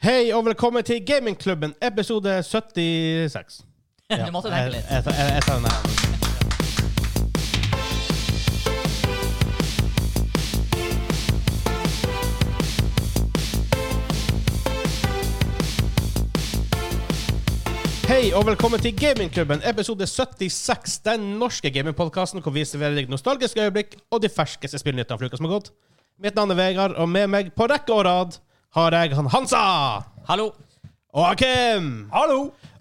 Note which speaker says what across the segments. Speaker 1: Hei og velkommen til Gamingklubben, episode 76.
Speaker 2: Du måtte tenke litt.
Speaker 1: Jeg, jeg, jeg, jeg tar den her. Hei og velkommen til Gamingklubben, episode 76. Den norske gamingpodkasten hvor vi serverer deg nostalgiske øyeblikk og de ferskeste spillnyttene fra uka som har gått. Mitt navn er Vegard, og med meg på rekke og rad har jeg han Hansa eh.
Speaker 2: Hallo.
Speaker 1: og Kim.
Speaker 3: Hallo!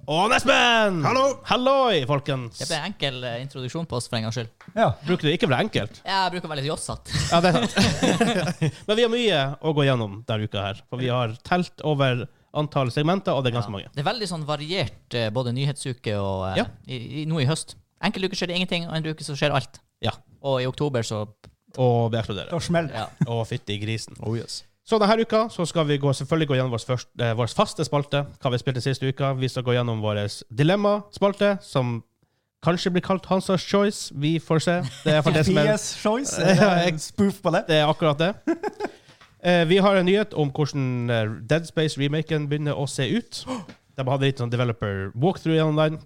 Speaker 1: Og Nesben!
Speaker 3: Hallo!
Speaker 1: Halloi, folkens!
Speaker 2: Det ble en enkel eh, introduksjon på oss for en gangs skyld.
Speaker 3: Ja.
Speaker 1: Bruker det ikke ble enkelt?
Speaker 2: Jeg bruker å være litt jossete.
Speaker 1: Ja, det er sant. Men vi har mye å gå gjennom denne uka her. For vi har telt over antall segmenter, og det er ganske mange.
Speaker 2: Det er veldig sånn variert, eh, både nyhetsuke og eh,
Speaker 1: Ja.
Speaker 2: i, i, nå i høst. Enkelte uker skjer det ingenting, og en uke så skjer alt.
Speaker 1: Ja.
Speaker 2: Og i oktober så
Speaker 1: Og vi eksploderer.
Speaker 3: Da smeller det.
Speaker 2: Ja.
Speaker 1: Å, fytti grisen.
Speaker 3: Oh, yes.
Speaker 1: Så denne uka så skal vi gå, selvfølgelig gå gjennom vår, først, eh, vår faste spalte, hva vi spilte siste uka. Vi skal gå gjennom vår dilemma-spalte, som kanskje blir kalt Hansas Choice. Vi får se. Det er for det som er
Speaker 3: PS Choice.
Speaker 1: Ja,
Speaker 3: er det
Speaker 1: jeg-
Speaker 3: en Spoof på det.
Speaker 1: Det er akkurat det. Eh, vi har en nyhet om hvordan eh, Dead Space-remaken begynner å se ut. De hadde litt sånn developer walkthrough gjennom den.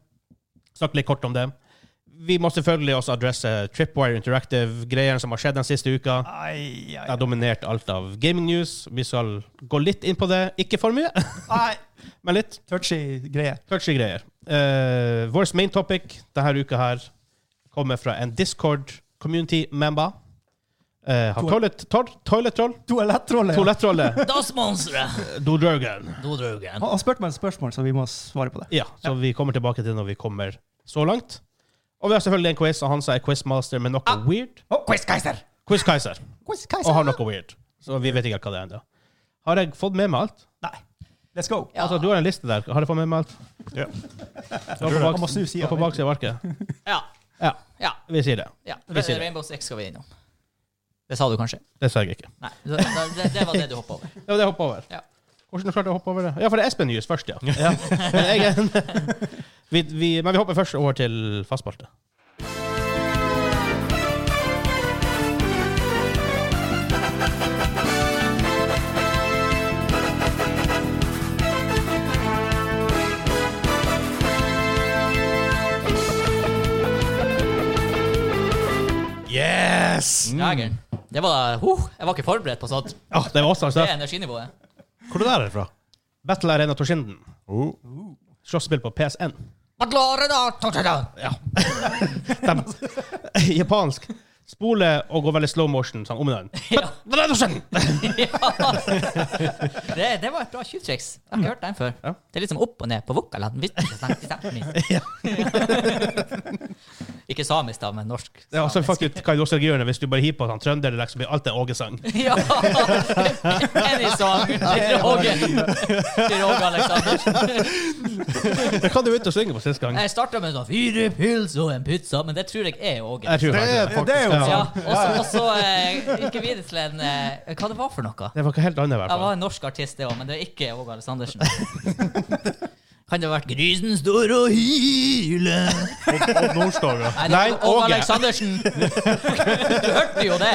Speaker 1: Snakket litt kort om det. Vi må selvfølgelig også adresse Tripwire Interactive-greiene som har skjedd den siste uka.
Speaker 3: Ai, ai,
Speaker 1: Det har dominert alt av gaming news. Vi skal gå litt inn på det. Ikke for mye,
Speaker 3: ai.
Speaker 1: men litt.
Speaker 3: Touchy greie.
Speaker 1: Touchy greier. Eh, vår main topic denne uka her kommer fra en Discord community member. Eh, han
Speaker 3: To-
Speaker 1: toilet, tor- toilet troll.
Speaker 3: Toalettrolle. ja.
Speaker 1: Toalettrollet.
Speaker 2: Das monsteret!
Speaker 1: Dodurgan.
Speaker 2: Dodrugen.
Speaker 3: Han han spurte meg et spørsmål, så vi må svare på det.
Speaker 1: Ja, så vi kommer tilbake til det når vi kommer så langt. Og vi har selvfølgelig en quiz, og han sa er quizmaster med noe weird.
Speaker 3: Oh, Quizkeiser!
Speaker 1: Quizkeiser.
Speaker 3: Quizkeiser!
Speaker 1: Og har noe weird. Så vi vet ikke hva det er ennå. Har jeg fått med meg alt?
Speaker 3: Nei. Let's go.
Speaker 2: Ja.
Speaker 1: Altså, du har en liste der. Har jeg fått med meg alt?
Speaker 3: Ja.
Speaker 1: Det var på
Speaker 3: Han må
Speaker 1: baks-
Speaker 3: snu siden.
Speaker 1: det var på baksida av arket.
Speaker 2: Ja.
Speaker 1: Ja,
Speaker 2: ja.
Speaker 1: vi sier det.
Speaker 2: ja.
Speaker 1: Vi sier det.
Speaker 2: Rainbow Six skal vi innom. Det sa du kanskje?
Speaker 1: Det sa jeg ikke.
Speaker 2: Nei. Det, det, det var det du hoppa over.
Speaker 1: Det var det jeg hoppa over.
Speaker 2: Ja.
Speaker 1: Hvordan klarte jeg å hoppe over det? Ja, for det er Espen Nyhus først, ja. Men, jeg, vi, vi, men vi hopper først over til fastspalte. Yes!
Speaker 2: Jegeren. Det var huh, Jeg var ikke forberedt på sånt.
Speaker 1: Ah, det var også
Speaker 2: Det
Speaker 1: altså.
Speaker 2: er energinivået.
Speaker 4: Hvor er det der fra?
Speaker 1: Battle Arena Torsinden.
Speaker 4: Oh.
Speaker 1: Slåsspill på PSN.
Speaker 2: Hva klarer da? Ta, ta, ta.
Speaker 1: Dem. Japansk. Spole og gå veldig slow motion sånn om den.
Speaker 2: Ja.
Speaker 1: Ja,
Speaker 2: Ja. Det, det var et bra tjuvtriks. Jeg har ikke hørt den før.
Speaker 1: Ja.
Speaker 2: Det er liksom opp og ned på vokalen. Hvis det er snakk- snakk min. Ikke samisk, da, men norsk.
Speaker 1: og så fuck ut hva du også gjør hvis du bare hiver på sånn trønderdialekt, så blir alt det Åge-sang.
Speaker 2: Ja! Any song til Roger. Til Roger Alexander.
Speaker 1: Det kan du jo ikke synge på sist gang.
Speaker 2: Jeg starta med sånn fire pils og en pizza, men det tror jeg er Åge.
Speaker 1: Jeg tror
Speaker 4: Det er
Speaker 1: faktisk
Speaker 3: det er jo
Speaker 1: ja.
Speaker 2: Ja, og så- og så eh, ikke videre til en eh, Hva det var for noe?
Speaker 1: Det var ikke helt annet, i hvert
Speaker 2: Jeg var
Speaker 1: fall.
Speaker 2: en norsk artist, det òg, men det er ikke Åge Aleksandersen. Kan det ha vært 'Grisen står og hyler'?
Speaker 4: Odd Nordstoga.
Speaker 2: Nei,
Speaker 1: Nei,
Speaker 2: det var Åge
Speaker 1: Åge.
Speaker 2: Aleksandersen. Du hørte jo det.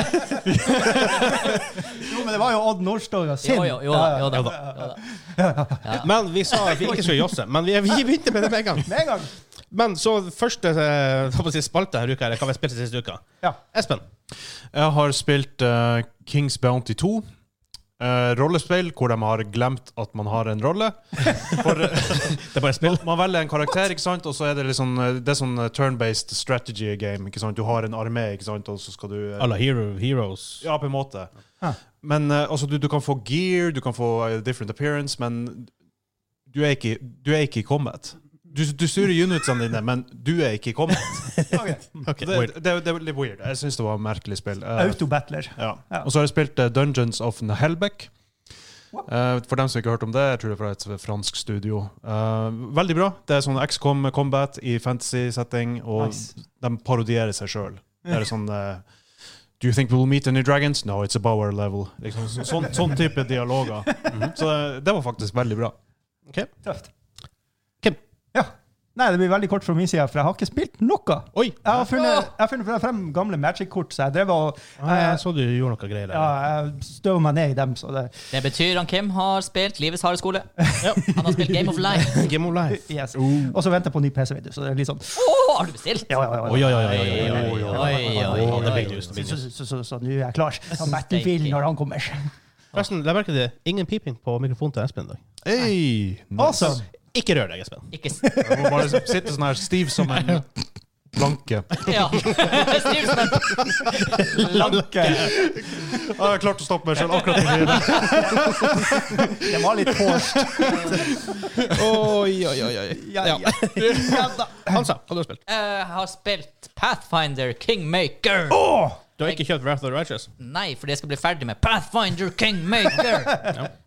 Speaker 3: Jo, men det var jo Odd Nordstoga sin.
Speaker 2: Jo, jo, jo, da, jo, da, jo da.
Speaker 1: Men vi sa at vi ikke skulle josse. Men vi, vi begynte med det med en gang.
Speaker 3: Med en gang.
Speaker 1: Men så første eh, hva skal jeg si, spalte denne uka, eller hva vi spilte sist uke.
Speaker 3: Ja.
Speaker 1: Espen.
Speaker 4: Jeg har spilt eh, Kings Bounty 2. eh, rollespill hvor de har glemt at man har en rolle. For, eh,
Speaker 1: Det er bare spill.
Speaker 4: man velger en karakter, ikke sant? og så er det litt sånn, eh, det er sånn eh, turn-based strategy game. Ikke sant? Du har en armé, ikke sant? og så skal du eh,
Speaker 1: À la Hero, Heroes.
Speaker 4: Ja, på en måte.
Speaker 3: Hæ.
Speaker 4: Men eh, altså, du, du kan få gear, du kan få eh, different appearance, men du er ikke, du er ikke i combat. Du, du styrer unitsene dine, men du er ikke i combat.
Speaker 3: Okay.
Speaker 1: Okay,
Speaker 4: det,
Speaker 1: weird.
Speaker 4: det, det er litt weird. Jeg syns det var et merkelig spill. Eh,
Speaker 3: Autobattler.
Speaker 4: ja.
Speaker 3: Ja.
Speaker 4: Og så har jeg spilt eh, Dungeons of Hellbeck.
Speaker 3: What?
Speaker 4: Eh, for dem som ikke har hørt om det, jeg tror det er fra et fransk studio. Eh, veldig bra. Det er sånn XCOM combat i fantasy-setting, og
Speaker 3: Nice.
Speaker 4: de parodierer seg sjøl. Det er sånn eh, Do you think we'll meet any dragons? No, it's a bower level. Liksom, så, sånn, sånn type dialoger.
Speaker 3: Mhm.
Speaker 4: eh, Så det, det var faktisk veldig bra.
Speaker 3: Tøft.
Speaker 1: Kim?
Speaker 3: Ja. Nei, det blir veldig kort fra min side, for jeg har ikke spilt noe.
Speaker 1: Oi!
Speaker 3: Jeg har funnet, jeg har funnet frem gamle Magic-kort, så jeg drev og
Speaker 1: Ah, jeg så du gjorde noe greier der.
Speaker 3: ja, jeg støver meg ned i dem. Så det,
Speaker 2: Det betyr han Kim har spilt livets harde skole. Han har spilt Game of Life.
Speaker 1: Game of Life.
Speaker 3: yes. Og så venter jeg på ny PC, vet du. Så det er litt sånn
Speaker 2: Åh, har du bestilt?
Speaker 3: ja, ja, ja, ja.
Speaker 1: Oi, oi, oi, oi, oi, oi, oi, oi.
Speaker 2: oi, oi,
Speaker 1: Å, det
Speaker 2: oi.
Speaker 1: blir just, det
Speaker 3: Så,
Speaker 1: blir
Speaker 3: så,
Speaker 1: just.
Speaker 3: så, så, så nå er jeg klar. Ja, Battlefield når han kommer.
Speaker 1: Forresten, la merke til det. Ingen piping på mikrofonen til Espen i dag.
Speaker 4: Hey,
Speaker 3: Awesome!
Speaker 1: Ikke rør deg, Espen.
Speaker 2: Ikke s...
Speaker 4: Jeg må bare sitte sånn her stiv som en planke.
Speaker 2: Ja. Stiv som en
Speaker 3: Lanke.
Speaker 4: Jeg har klart å stoppe meg selv akkurat i tide.
Speaker 3: Det var litt forced.
Speaker 1: Oi, oi, oi. oi.
Speaker 3: Ja, ja.
Speaker 1: Hansa, hva har du spilt?
Speaker 2: Eh, Jeg har spilt Pathfinder Kingmaker.
Speaker 3: Åh!
Speaker 1: Du har ikke kjøpt Wrath of the Righteous?
Speaker 2: Nei, fordi jeg skal bli ferdig med Pathfinder Kingmaker.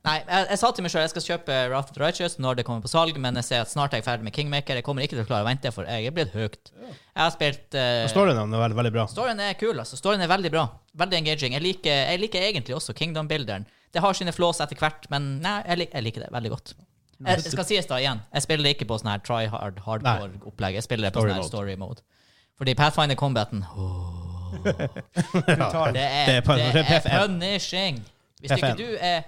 Speaker 2: Nei, jeg, jeg sa til meg selv jeg skal kjøpe Wrath of the Righteous når det kommer på salg, men jeg ser at snart er jeg ferdig med Kingmaker. Jeg kommer ikke til å klare å vente, for jeg er blitt høyt. Jeg har spilt eh,
Speaker 1: Storyen er veldig, veldig bra.
Speaker 2: Storyen er kul, altså. Storyen er veldig bra. Veldig engaging. Jeg liker, jeg liker egentlig også Kingdom-bilderen. Det har sine flås etter hvert, men nei, jeg, lik, jeg liker det veldig godt. Jeg, jeg skal sies da igjen, jeg spiller det ikke på sånn her try hard, hardcore-opplegg. Jeg spiller det på
Speaker 1: Story
Speaker 2: sånn her
Speaker 1: mode.
Speaker 2: story mode. Fordi Pathfinder Combaten åh, det, er,
Speaker 1: Det er pun-
Speaker 2: det er
Speaker 1: PFN.
Speaker 2: punishing. Hvis
Speaker 1: PFN.
Speaker 2: ikke du er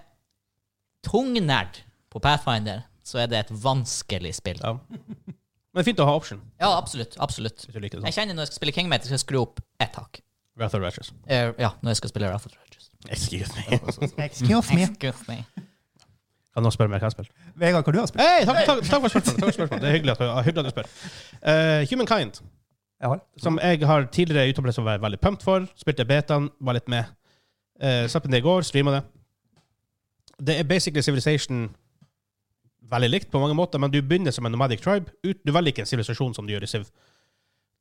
Speaker 2: tungnerd på Pathfinder, så er det et vanskelig spill.
Speaker 1: Ja. Men fint å ha option,
Speaker 2: Ja, absolutt. absolutt.
Speaker 1: hvis du liker det sånn.
Speaker 2: Jeg kjenner når jeg skal spille Kingmaker, skal jeg skru opp ett hakk.
Speaker 1: Wrath of the Righteous.
Speaker 2: Eh, ja, når jeg skal spille Wrath of the Righteous.
Speaker 1: Excuse me.
Speaker 3: Excuse me.
Speaker 2: Excuse me.
Speaker 1: Kan noen spørre meg hva jeg har spilt?
Speaker 3: Vegard, hva du har spilt?
Speaker 1: Hei, takk, takk, takk for spørsmålet. Takk for spørsmålet. Det er hyggelig at, du- hyggelig at du spør. Eh, Humankind,
Speaker 3: Ja, vel.
Speaker 1: som jeg har tidligere uttalt som var veldig pumped for, spilte betaen, var litt med. Uh, Slapp inn det i går, streama det. Det er basically Civilization veldig likt på mange måter, men du begynner som en nomadic tribe. Ut, du velger ikke en sivilisasjon som du gjør i Civ.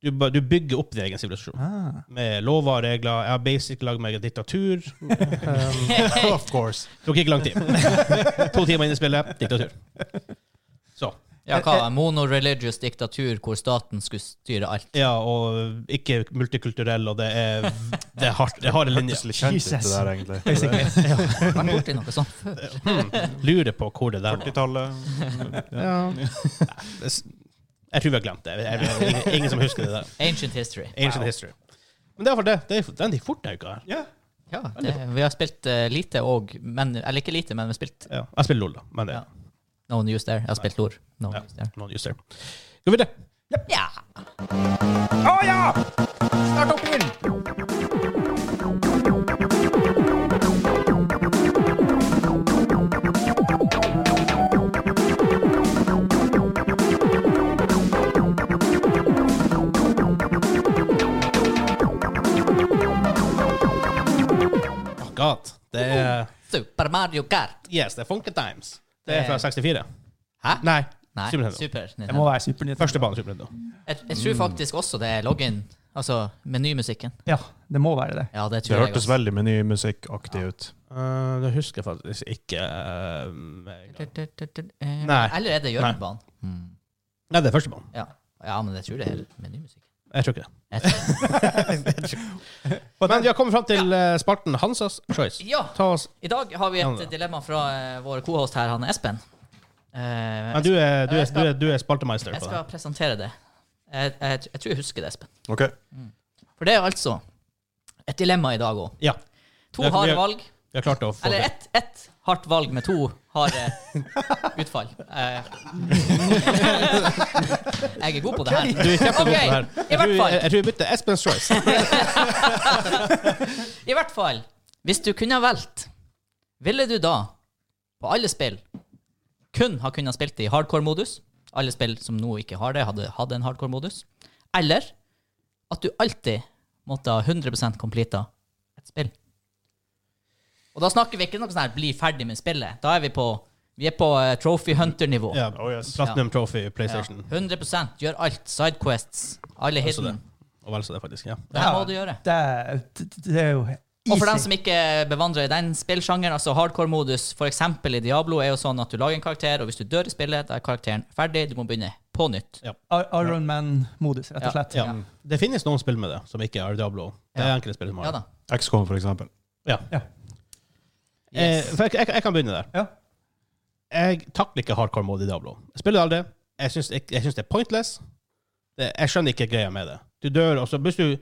Speaker 1: Du, ba- du bygger opp din egen sivilisasjon.
Speaker 3: Ah.
Speaker 1: Med lover og regler. Jeg har basically lagd meg en diktatur.
Speaker 3: Um,
Speaker 4: Of course.
Speaker 1: Tok ikke lang tid. to timer inn i spillet, diktatur. Så.
Speaker 2: Ja, hva? Monoreligious diktatur hvor staten skulle styre alt.
Speaker 1: Ja, og ikke multikulturell, og det er, det er hardt. Det har en linje.
Speaker 4: Plutselig kjent ut det
Speaker 3: Jesus.
Speaker 4: der, egentlig.
Speaker 2: Vært borti noe sånt før.
Speaker 1: Hmm. Lurer på hvor det der var.
Speaker 4: 40-tallet.
Speaker 1: Ja. Jeg tror vi har glemt det. Jeg, jeg, ingen, ingen som husker det der.
Speaker 2: Ancient history.
Speaker 1: Ancient history. Men det er for det. det er, den gikk fort denne uka. her.
Speaker 3: Ja.
Speaker 2: Ja, det, vi har spilt eh, lite og men, Eller ikke lite, men vi har spilt
Speaker 1: Ja. Jeg spiller LOL, da. Men det
Speaker 2: Ja. No News there. Jeg har spilt LOR. No News there.
Speaker 1: noen juster. Skal vi det?
Speaker 2: Ja.
Speaker 3: Å ja! Start opp inn!
Speaker 1: Oh, God. Det er
Speaker 2: Super Mario Kart.
Speaker 1: Yes, det er Funky Times. Det er fra 64.
Speaker 2: Hæ?
Speaker 1: Nei.
Speaker 2: Nei,
Speaker 1: Super Nintendo.
Speaker 2: Super
Speaker 3: Det må
Speaker 2: Nintendo.
Speaker 3: være Super Nintendo.
Speaker 1: Første bane Super Nintendo.
Speaker 2: Jeg, jeg tror faktisk også det er login. Altså menymusikken.
Speaker 3: Ja, det må være det.
Speaker 2: Ja, det
Speaker 4: Det
Speaker 2: tror jeg
Speaker 4: hørtes
Speaker 2: også.
Speaker 4: veldig menymusikkaktig ut.
Speaker 1: Eh, det husker jeg faktisk ikke eh, meg.
Speaker 2: Eh,
Speaker 1: Nei.
Speaker 2: Eller er det Gjørmbanen? Hmm.
Speaker 1: Nei, det er første banen.
Speaker 2: Ja. ja, men jeg tror det er menymusikk.
Speaker 1: Jeg tror ikke det.
Speaker 2: Jeg tror-
Speaker 1: Men vi har kommet fram til eh, spalten Hansas choice.
Speaker 2: Ja!
Speaker 1: Ta oss
Speaker 2: I dag har vi
Speaker 1: Ja, da.
Speaker 2: et dilemma fra eh, vår cohost her, han Espen. Eh,
Speaker 1: Nei, du er, du er,
Speaker 2: Jeg
Speaker 1: du
Speaker 2: skal-
Speaker 1: er, du er spaltemeister
Speaker 2: jeg
Speaker 1: på
Speaker 2: skal
Speaker 1: det.
Speaker 2: presentere det. Jeg, jeg, jeg tror jeg husker det, Espen.
Speaker 4: OK.
Speaker 2: For det er altså et dilemma i dag òg.
Speaker 1: Ja.
Speaker 2: To
Speaker 1: Det er-
Speaker 2: harde
Speaker 1: vi er-
Speaker 2: valg.
Speaker 1: Vi har klart å få
Speaker 2: Eller
Speaker 1: det.
Speaker 2: ett ett hardt valg med to harde utfall. Eh, jeg er god på det her.
Speaker 1: Du er kjempegod på det her. eh, Jeg
Speaker 2: Ok, i
Speaker 1: tror,
Speaker 2: hvert fall.
Speaker 1: jeg, tror vi bytter Espens choice.
Speaker 2: I hvert fall, hvis du kunne ha valgt, ville du da, på alle spill, kun ha kunnet spilt det i hardcore-modus? Alle spill som nå ikke har det, hadde hatt en hardcore-modus. Eller at du alltid måtte ha 100 completa et spill. Og da snakker vi ikke noe sånn her 'bli ferdig med spillet'. Da er vi på, vi er på eh, trophy hunter-nivå.
Speaker 1: Ja.
Speaker 4: Oh, yes.
Speaker 1: Platinum Trophy,
Speaker 2: Ja.
Speaker 1: PlayStation
Speaker 2: 100 gjør alt. Sidequests, alle
Speaker 1: Også
Speaker 2: hidden.
Speaker 1: og vel så det, faktisk. Ja.
Speaker 2: Det her må du gjøre.
Speaker 3: Det, er- det- det er jo easy.
Speaker 2: Og for dem som ikke bevandrer den spillsjangeren, altså hardcore-modus, for eksempel i Diablo, er jo sånn at du lager en karakter, og hvis du dør i spillet, da er karakteren ferdig, du må begynne på nytt.
Speaker 3: Ar- Iron Man-modus, rett og slett.
Speaker 1: Ja. Det finnes noen spill med det, som ikke er Diablo. Det er
Speaker 2: Ja.
Speaker 1: enkelte spill som
Speaker 2: Ja
Speaker 1: har det.
Speaker 2: da.
Speaker 4: XCOM, for eksempel.
Speaker 1: Eh,
Speaker 2: Yes.
Speaker 1: for jeg, jeg, jeg kan begynne der.
Speaker 3: Ja.
Speaker 1: Jeg takler ikke hardcore mode i Diablo. Jeg spiller aldri. Jeg syns jeg, jeg syns det er pointless. Det, jeg skjønner ikke greia med det. Du dør, og så hvis du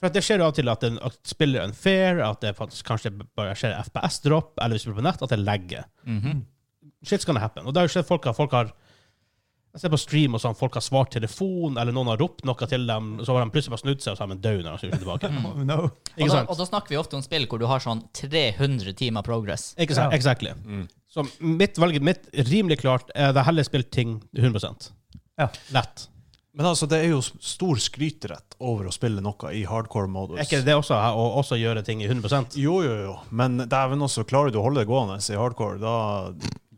Speaker 1: For at det skjer jo av og til at den at spiller unfair, at det faktisk kanskje bare skjer FPS-dropp, eller hvis du spiller på nett, at det legger.
Speaker 2: Mhm.
Speaker 1: Shit's gonna happen. Og det har jo skjedd folk har, folk har Jeg ser på stream og sånn, folk har svart telefon, eller noen har ropt noe til dem, så har de plutselig bare snudd seg, og så har de en død når de snur seg tilbake.
Speaker 5: Oh, no.
Speaker 2: og,
Speaker 1: Ikke
Speaker 2: da,
Speaker 1: sant?
Speaker 2: og da snakker vi ofte om spill hvor du har sånn 300 timer progress.
Speaker 1: Ikke sant?
Speaker 5: Ja.
Speaker 1: Exactly. Så mitt valg mitt rimelig klart er at jeg heller spilt ting 100
Speaker 5: Ja.
Speaker 1: Lett.
Speaker 4: Men altså, det er jo s- stor skryterett over å spille noe i hardcore modus.
Speaker 1: Er ikke det også å også gjøre ting i 100
Speaker 4: Jo, jo, jo. Men dæven også, klarer du å holde det gående i hardcore, da,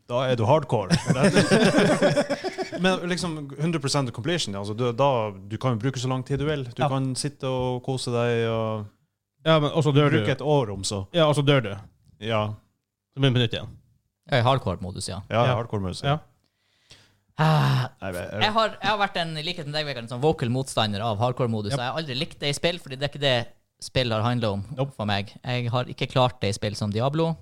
Speaker 4: da er du hardcore. Det- Men liksom 100 completion, altså, du, da, du kan jo bruke så lang tid du vil. Du
Speaker 5: Ja.
Speaker 4: kan sitte og kose deg og
Speaker 1: Ja, men også dør du.
Speaker 4: bruke et år om så.
Speaker 1: Ja, og så dør du.
Speaker 4: Ja,
Speaker 1: Så begynner på nytt igjen.
Speaker 2: Ja, I Eh, hardcore-modus, ja.
Speaker 4: ja,
Speaker 1: Ja.
Speaker 4: hardcore musikk.
Speaker 1: Ja.
Speaker 2: Ah,
Speaker 4: Nei, jeg-
Speaker 2: jeg, har, jeg har vært en i likhet med deg, Vegard, en sånn vocal motstander av hardcore-modus.
Speaker 1: Yep.
Speaker 2: Jeg har aldri likt det i spill, fordi det er ikke det spill har handla om
Speaker 1: Nope.
Speaker 2: for meg. Jeg har ikke klart det i spill som Diablo.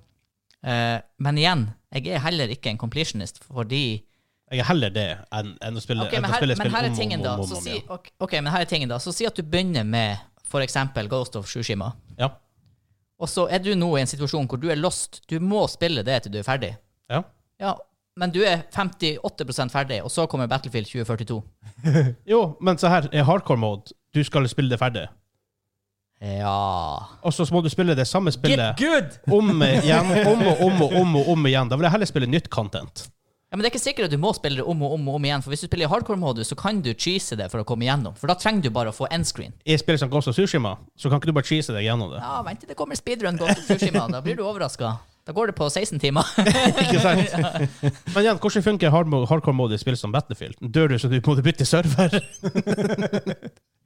Speaker 2: Eh, men igjen, jeg er heller ikke en completionist, fordi
Speaker 1: Jeg er heller det enn, enn å spille
Speaker 2: Ok,
Speaker 1: enn
Speaker 2: men
Speaker 1: å
Speaker 2: her,
Speaker 1: spille
Speaker 2: men
Speaker 1: spill
Speaker 2: her er
Speaker 1: om, om,
Speaker 2: tingen, da.
Speaker 1: om, om,
Speaker 2: Så
Speaker 1: om
Speaker 2: si,
Speaker 1: igjen.
Speaker 2: ok, ok, men her er tingen da. Så si at du begynner med for eksempel Ghost of Shushima.
Speaker 1: Ja.
Speaker 2: Og så er du nå i en situasjon hvor du er lost. Du må spille det til du er ferdig.
Speaker 1: Ja.
Speaker 2: Ja, men du er 58 ferdig, og så kommer Battlefield 2042.
Speaker 1: Jo, men se her, i hardcore mode, du skal spille det ferdig.
Speaker 2: Ja
Speaker 1: Og så må du spille det samme
Speaker 2: Get
Speaker 1: spillet
Speaker 2: good!
Speaker 1: om igjen, om og om og om og om igjen. Da vil jeg heller spille nytt content.
Speaker 2: Ja, men det er ikke sikkert at du må spille det om og om og om igjen. For hvis du spiller i hardcore-modus, så kan du cheese det for å komme igjennom. For da trenger du bare å få end screen.
Speaker 1: I spill som Ghost of Tsushima, så kan ikke du bare cheese deg gjennom det.
Speaker 2: Ja, vent til det kommer speedrun Ghost of Tsushima. Da blir du overraska. Da går det på 16 timer.
Speaker 1: Ikke sant? Men igjen, hvordan funker hard hardcore mode i spill som Battlefield? Dør du, så du må bytte server?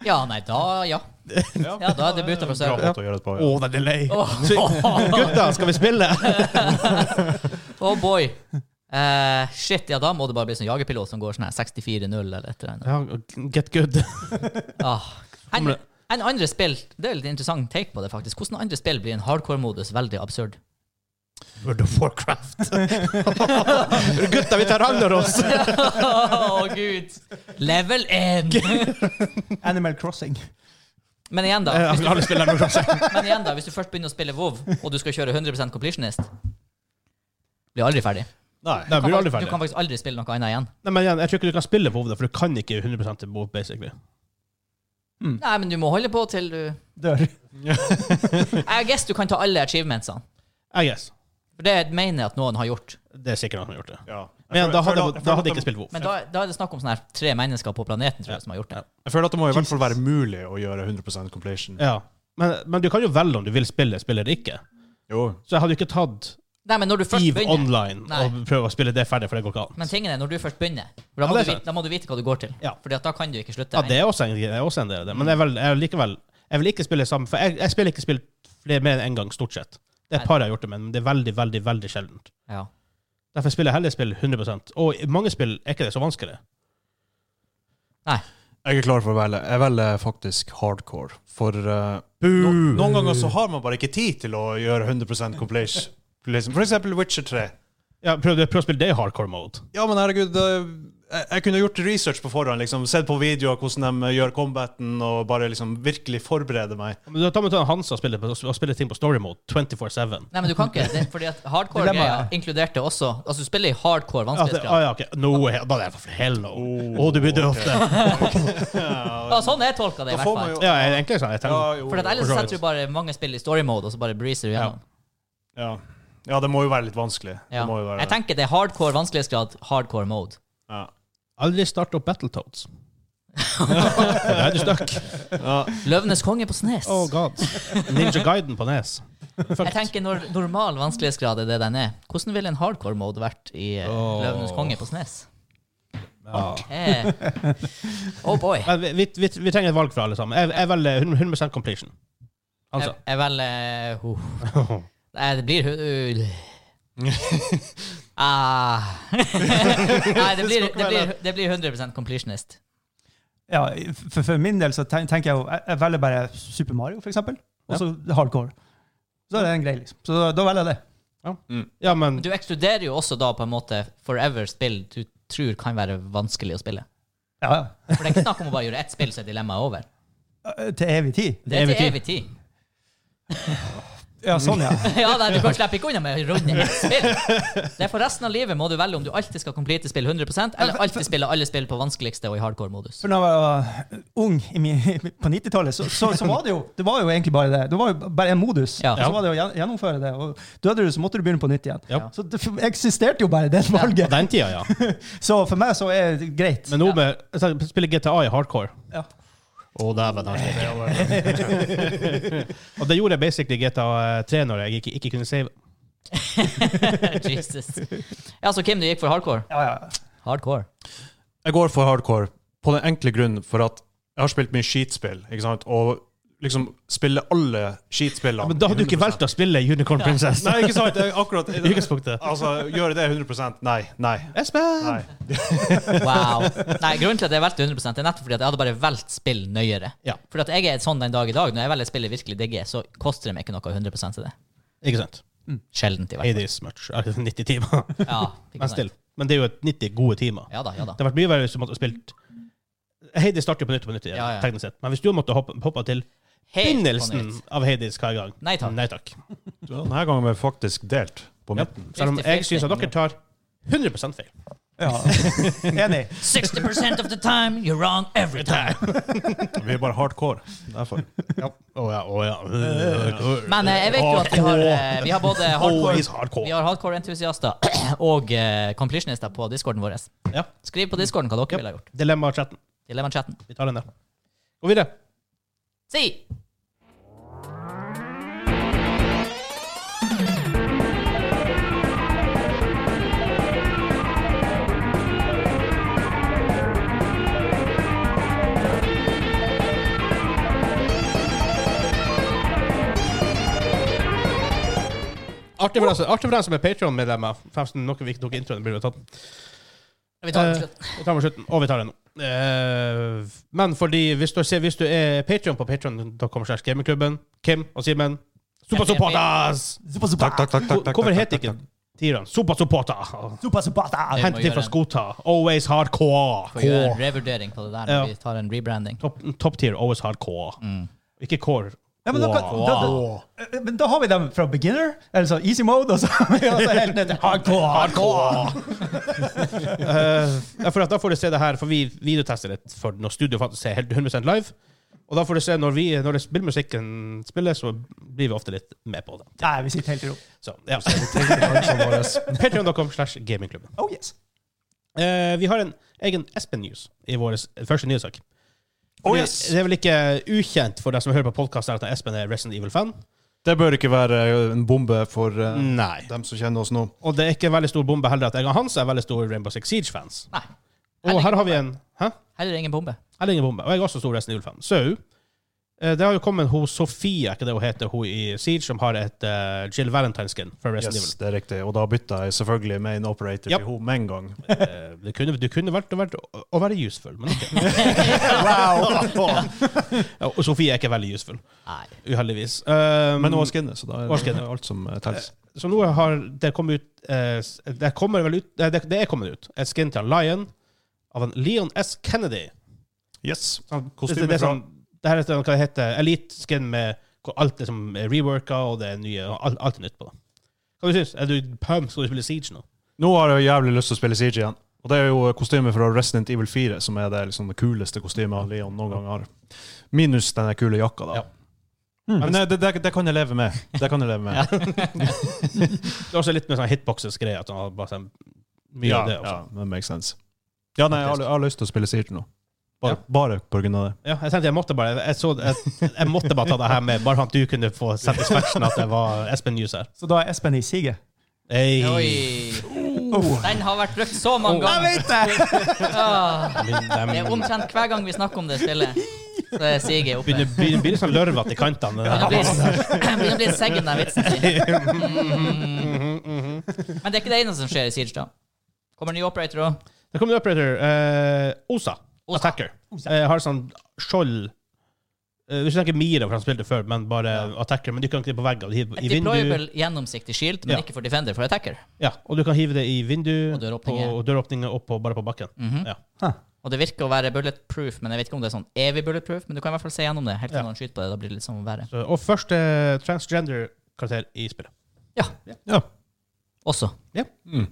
Speaker 2: Ja, nei, da Ja. Ja, da er det buta for
Speaker 4: Bra
Speaker 2: server.
Speaker 4: måte å gjøre det på.
Speaker 1: Å,
Speaker 4: Ja.
Speaker 1: det er delay!
Speaker 2: Åh.
Speaker 1: Så, gutta, skal vi spille?
Speaker 2: Oh boy. Eh, shit, ja, da må det bare bli sånn jagerpilot som går sånn her 64-0 eller et eller annet.
Speaker 1: Ja, get good.
Speaker 2: Ah. En, en andre spill, det er litt interessant take på det, faktisk. Hvordan andre spill blir en hardcore-modus veldig absurd?
Speaker 1: World of Warcraft. Gutta, vi tar Ragnaros!
Speaker 2: Å, gud! Level 1!
Speaker 5: Animal Crossing.
Speaker 2: Men igjen, da. Hvis du,
Speaker 1: Alle spiller Ragnaros.
Speaker 2: men igjen da, hvis du først begynner å spille WoW, og du skal kjøre 100 completionist, blir aldri ferdig.
Speaker 1: Nei,
Speaker 4: Nei.
Speaker 1: blir aldri
Speaker 2: Du
Speaker 1: ferdig.
Speaker 2: kan faktisk aldri spille noe annet igjen.
Speaker 1: Nei, men igjen, jeg tror ikke du kan spille WoW, da, for du kan ikke 100 til WoW, basically. Mm.
Speaker 2: Nei, men du må holde på til du
Speaker 5: Dør.
Speaker 2: Jeg guess du kan ta alle achievementsene.
Speaker 1: I guess.
Speaker 2: For det mener jeg at noen har gjort.
Speaker 1: Det er sikkert noen som har gjort det.
Speaker 4: Ja.
Speaker 1: Men igjen, da
Speaker 4: Jeg føler-
Speaker 1: hadde,
Speaker 4: jeg føler
Speaker 1: da
Speaker 4: at
Speaker 1: hadde
Speaker 4: det-
Speaker 1: jeg ikke spilt WoW.
Speaker 2: Men da, da er det snakk om sånn her tre mennesker på planeten tror jeg, som har gjort det.
Speaker 4: Jeg føler at det må i hvert fall være mulig å gjøre 100 completion.
Speaker 1: Ja. Men, men du kan jo velge om du vil spille, spiller eller ikke.
Speaker 4: Jo.
Speaker 1: Så jeg hadde jo ikke tatt
Speaker 2: Nei, men når du først
Speaker 1: EVE
Speaker 2: begynner
Speaker 1: Online
Speaker 2: Nei.
Speaker 1: og prøve å spille det ferdig, for det går ikke an.
Speaker 2: Men tingen er, når du først begynner, for da
Speaker 1: Ja,
Speaker 2: må,
Speaker 1: det er
Speaker 2: du,
Speaker 1: sant.
Speaker 2: vite, da må du vite hva du går til.
Speaker 1: Ja.
Speaker 2: Fordi at da kan du ikke slutte.
Speaker 1: Ja, det er også en, det er også en del av det. Men jeg vil, jeg vil likevel Jeg vil ikke spille sammen For jeg, jeg spiller ikke spill flere mer enn én gang, stort sett. Det er et par jeg har gjort det med, men det er veldig, veldig veldig sjeldent.
Speaker 2: Ja.
Speaker 1: Derfor spiller jeg heller spill 100 Og i mange spill er ikke det så vanskelig.
Speaker 4: Jeg er klar for å velge. Jeg velger faktisk hardcore. For eh, no,
Speaker 1: Boo!
Speaker 4: noen ganger så har man bare ikke tid til å gjøre 100 completion. Liksom, For eksempel Witcher 3.
Speaker 1: Ja, prøv, prøv å spille det i hardcore mode.
Speaker 4: Ja, men herregud, det- jeg, jeg kunne gjort research på forhånd. liksom, Sett på videoer hvordan de gjør combaten, og bare liksom virkelig forberede meg.
Speaker 1: Men da må du ta en Hansa og spille, på- og spille ting på story mode 24-7.
Speaker 2: Nei, men du kan ikke. Det, fordi at hardcore-greia
Speaker 5: Dilemmaet.
Speaker 2: inkluderte også Altså, du spiller i hardcore
Speaker 1: Ja, det-
Speaker 2: vanskelighetsgrad.
Speaker 1: ah, ja, ok. No way. Da er det for hell no. Å, du blir død ofte.
Speaker 2: Ja, sånn jeg tolka det, i
Speaker 4: Da
Speaker 2: hvert
Speaker 4: får man
Speaker 2: fall.
Speaker 4: jo
Speaker 1: Ja, jeg er egentlig sånn. Jeg tenker,
Speaker 4: jo,
Speaker 2: For at ellers
Speaker 1: For så vidt.
Speaker 2: setter du bare mange spill i story mode, og så bare breezer du gjennom.
Speaker 4: ja. ja, det må jo være litt vanskelig.
Speaker 2: Ja.
Speaker 4: Det må jo være
Speaker 2: Jeg tenker det er hardcore vanskelighetsgrad, hardcore mode.
Speaker 4: ja.
Speaker 1: aldri start opp Battletoads. For da er du stuck.
Speaker 2: Løvenes konge på Snes.
Speaker 1: Oh god. Ninja Guiden på E nes.
Speaker 2: jeg tenker når normal vanskelighetsgrad er det den er. Hvordan ville en hardcore mode vært i eh,
Speaker 1: Åh.
Speaker 2: Løvenes konge på Snes?
Speaker 1: Ja.
Speaker 2: Eh. Oh boy.
Speaker 1: Men Vi, vi, vi, vi trenger et valg fra alle sammen. Jeg, jeg velger 100 100 completion.
Speaker 2: Jeg,
Speaker 1: Altså.
Speaker 2: jeg velger uh, Nei, det blir uh, ah. Nei, det blir, det, blir, det blir 100 completionist.
Speaker 5: Ja, for, for min del så ten- tenker jeg jo Jeg jeg velger bare Super Mario, for eksempel. Og så hardcore. Så er det en greie, liksom. Så da, da velger jeg det.
Speaker 1: Ja, men
Speaker 2: Men du ekskluderer jo også da på en måte forever spill du tror kan være vanskelig å spille.
Speaker 5: Ja, ja.
Speaker 2: For det er ikke snakk om å bare gjøre ett spill, så er dilemmaet over.
Speaker 5: Eh, Til evig tid.
Speaker 2: Det er til evig tid.
Speaker 5: Ja, sånn, ja.
Speaker 2: ja, nei, Du kan slippe ikke unna med å runde ett spill. Det er For resten av livet må du velge om du alltid skal complete spill 100 eller alltid spille alle spill på vanskeligste og i hardcore-modus.
Speaker 5: For da jeg var eh, ung i min, på 90-tallet, så, så, så var det jo Det var jo egentlig bare det. Det var jo bare en modus.
Speaker 2: Ja.
Speaker 5: Og Så var det å gjen- gjennomføre det. Og døde du, så måtte du begynne på nytt igjen.
Speaker 1: Ja.
Speaker 5: Så det f- eksisterte jo bare det valget.
Speaker 1: På den tida, ja.
Speaker 5: Så for meg så er det greit.
Speaker 1: Men nå med jeg sa, spiller GTA i hardcore.
Speaker 5: Ja.
Speaker 1: Å, dæven. han sliter. Og det gjorde jeg basically i GTA 3 eh, når jeg ikke, ikke kunne save.
Speaker 2: Jesus. Ja, så Kim, du gikk for hardcore?
Speaker 5: Ja, ja.
Speaker 2: Hardcore.
Speaker 4: Jeg går for hardcore på den enkle grunn for at jeg har spilt mye skitspill, ikke sant? og liksom spiller alle skitspillene.
Speaker 1: Men da hadde du ikke
Speaker 4: 100%.
Speaker 1: valgt å spille Unicorn Princess.
Speaker 4: Nei, ikke sant? Jeg, akkurat,
Speaker 1: I utgangspunktet.
Speaker 4: altså, gjøre det 100 Nei, nei,
Speaker 1: Espen!
Speaker 4: nei.
Speaker 2: Wow. Nei, grunnen til at jeg valgte 100 er nettopp fordi at jeg hadde bare valgt spill nøyere.
Speaker 1: Ja.
Speaker 2: Fordi at jeg er sånn den dag i dag. Når jeg velger spill jeg virkelig digger, så koster det meg ikke noe 100 til det.
Speaker 1: Ikke sant.
Speaker 2: Sjeldent, i hvert fall.
Speaker 1: Hades much. Altså, 90 timer.
Speaker 2: Ja, ikke
Speaker 1: Men
Speaker 2: sant.
Speaker 1: still. Men det er jo et 90 gode timer.
Speaker 2: Ja da, ja da.
Speaker 1: Det har vært mye verre hvis du måtte ha spilt Hades starter jo på nytt og på nytt igjen,
Speaker 2: Ja, ja.
Speaker 1: teknisk sett. Men hvis du måtte hoppe, hoppe til
Speaker 2: Helt på
Speaker 1: begynnelsen
Speaker 2: nytt.
Speaker 1: av Hades hver gang
Speaker 2: Nei takk.
Speaker 1: Nei takk.
Speaker 4: Denne gangen ble jeg faktisk delt på
Speaker 1: Ja.
Speaker 4: midten.
Speaker 1: Selv om jeg syns at dere tar 100 feil.
Speaker 5: ja. Enig.
Speaker 2: 60 of the time, you're wrong every time.
Speaker 4: Vi er bare hardcore. Derfor.
Speaker 1: Å ja, å ja.
Speaker 2: Men eh, jeg vet jo at vi har, eh, vi har både hardcore,
Speaker 1: Always hardcore.
Speaker 2: vi har hardcore-entusiaster og eh, completionister på discorden vår.
Speaker 1: Ja.
Speaker 2: Skriv på discorden hva dere ville ha gjort.
Speaker 1: Dilemma og chatten.
Speaker 2: Dilemma-chatten.
Speaker 1: Vi tar den der. Gå videre.
Speaker 2: Si!
Speaker 1: Artig for dem som- artig for dem som er Patron-medlemmer. Forresten, noe vi ikke tok i introen. Burde vi tatt.
Speaker 2: Vi tar den
Speaker 1: Eh,
Speaker 2: til slutt.
Speaker 1: Vi tar den på slutten, og vi tar den nå. Eh, men fordi hvis du, ser, hvis du er Patreon på patreon.com slash gamingklubben, Kim og Simen Super supporters!
Speaker 5: Super, super.
Speaker 4: Takk, takk, takk. takk, takk
Speaker 1: Hvorfor
Speaker 4: takk,
Speaker 1: heter
Speaker 4: takk,
Speaker 1: ikke tierne Super supporter?
Speaker 5: Super, super. Eh,
Speaker 2: Ja.
Speaker 1: Hent til fra
Speaker 2: gjøre en-
Speaker 1: Skota. Always hardcore.
Speaker 2: Får gjøre en
Speaker 1: Core.
Speaker 2: revurdering på det der når
Speaker 1: Ja.
Speaker 2: vi tar en rebranding. Mm.
Speaker 1: Top, top tier, always hardcore. Ikke core.
Speaker 5: Ja, men, da, kan-
Speaker 1: Wow.
Speaker 5: da, da, eh, men da har vi dem fra beginner, eller så easy mode, og så, og så helt ned til hardcore.
Speaker 1: Eh, for at da får du se det her, for vi videotester litt for når studio faktisk er helt 100 live. Og da får du se når, vi, når det spillmusikken spilles, så blir vi ofte litt med på det.
Speaker 5: Nei, vi sitter helt i ro.
Speaker 1: Så, ja. Patreon.com slash gamingklubben.
Speaker 5: Oh yes.
Speaker 1: Eh, vi har en egen Espen-news i vår første nyhetssak.
Speaker 4: Oh,
Speaker 1: Fordi
Speaker 4: yes.
Speaker 1: Det er vel ikke ukjent for deg som hører på podkasten at Espen er Resident Evil-fan?
Speaker 4: Det bør ikke være en bombe for eh,
Speaker 1: Nei.
Speaker 4: dem som kjenner oss nå.
Speaker 1: Og det er ikke en veldig stor bombe heller at jeg og Hans er veldig store Rainbow Six Siege-fans.
Speaker 2: Nei.
Speaker 1: Og
Speaker 2: Heller
Speaker 1: her
Speaker 2: ingen
Speaker 1: har vi en Hæ?
Speaker 2: Heller ingen bombe.
Speaker 1: Heller ingen bombe. Og jeg er også stor Resident Evil-fan. Så eh, det har jo kommet hun Sofie, er ikke det hun heter, hun i Siege, som har et eh, Jill Valentine-skin fra Resident
Speaker 4: Yes, det er riktig. Og da bytta jeg selvfølgelig main operator
Speaker 1: Ja.
Speaker 4: til henne med en gang.
Speaker 1: Evil. Eh, du, kunne, du kunne valgt å, vært, å, å være useful, men ok. Ja, og Sofie er ikke veldig useful,
Speaker 2: Nei.
Speaker 1: uheldigvis. Eh,
Speaker 4: Men hun har skinnet, så da
Speaker 1: Hun har
Speaker 4: er det
Speaker 1: skinnet.
Speaker 4: alt som eh, telles.
Speaker 1: så nå har det kommet ut eh, s- Det kommer vel ut eh, det, det er kommet ut et skin til Lion av en Leon S. Kennedy.
Speaker 4: Yes.
Speaker 1: Sånn,
Speaker 4: Kostyme
Speaker 1: det, det, er
Speaker 4: fra-
Speaker 1: sånn, det her er sånn, hva det heter Elite skin med hvor alt er som er reworka, og det er nye, og alt, alt er nytt på det. Hva du syns Er du pumped? Skal du spille Siege nå?
Speaker 4: Nå har jeg jo jævlig lyst til å spille Siege igjen. Og det er jo kostymet fra Resident Evil 4 som er det, liksom, det kuleste kostymet Leon noen gang har. Minus den der kule jakka, da.
Speaker 1: Ja.
Speaker 2: Hmm.
Speaker 4: Men eh, det, det, det, det kan jeg leve med. Det kan jeg leve med.
Speaker 1: Det er også litt med sånn hitboxes-greier. at han har bare sånn mye
Speaker 4: Ja,
Speaker 1: av det også.
Speaker 4: ja, det makes sense. Ja, nei, jeg har, jeg har lyst til å spille Siege nå. Bare,
Speaker 1: Ja.
Speaker 4: bare på grunn av det.
Speaker 1: Ja, jeg tenkte jeg måtte bare jeg, så, jeg, jeg måtte bare ta det her med, bare for at du kunne få satisfaction at det var Espen News her.
Speaker 5: Så da er Espen i siget.
Speaker 1: Hey.
Speaker 2: Oi. Den har vært brukt så mange ganger.
Speaker 5: det!
Speaker 2: Ah,
Speaker 1: Min- dem-
Speaker 2: Det er omtrent hver gang vi snakker om det spillet. Så er siget oppe.
Speaker 1: Begynner, begynner, begynner sånn lørvete i kantene. den
Speaker 2: Begynner å
Speaker 1: her.
Speaker 2: bli- begynner å bli seggen den vitsen sin.
Speaker 1: Mhm,
Speaker 2: mhm. Men det er ikke det eneste som skjer i Siege, da. Kommer ny operator òg.
Speaker 1: Det kommer en operator. eh, Osa. Attacker. Eh, har sånn skjold Eh, Hvis du tenker Mira, for han spilte før, men bare attacker. Men du kan ikke det på veggen. Du hiver-
Speaker 2: Et
Speaker 1: I vindu.
Speaker 2: deployable gjennomsiktig shield, men
Speaker 1: Ja.
Speaker 2: ikke for defender, for attacker.
Speaker 1: Ja, og du kan hive det i vindu
Speaker 2: Og døråpninger.
Speaker 1: og døråpninger opp og bare på bakken.
Speaker 2: Mhm.
Speaker 1: Ja.
Speaker 2: Og det virker å være bulletproof, men jeg vet ikke om det er sånn evig bulletproof, men du kan i hvert fall se gjennom det helt til
Speaker 1: Ja.
Speaker 2: noen skyter på det. Da blir det litt sånn verre.
Speaker 1: Så, og første transgender-karakter i spillet.
Speaker 2: Ja.
Speaker 4: Ja.
Speaker 2: Også.
Speaker 1: Hmm.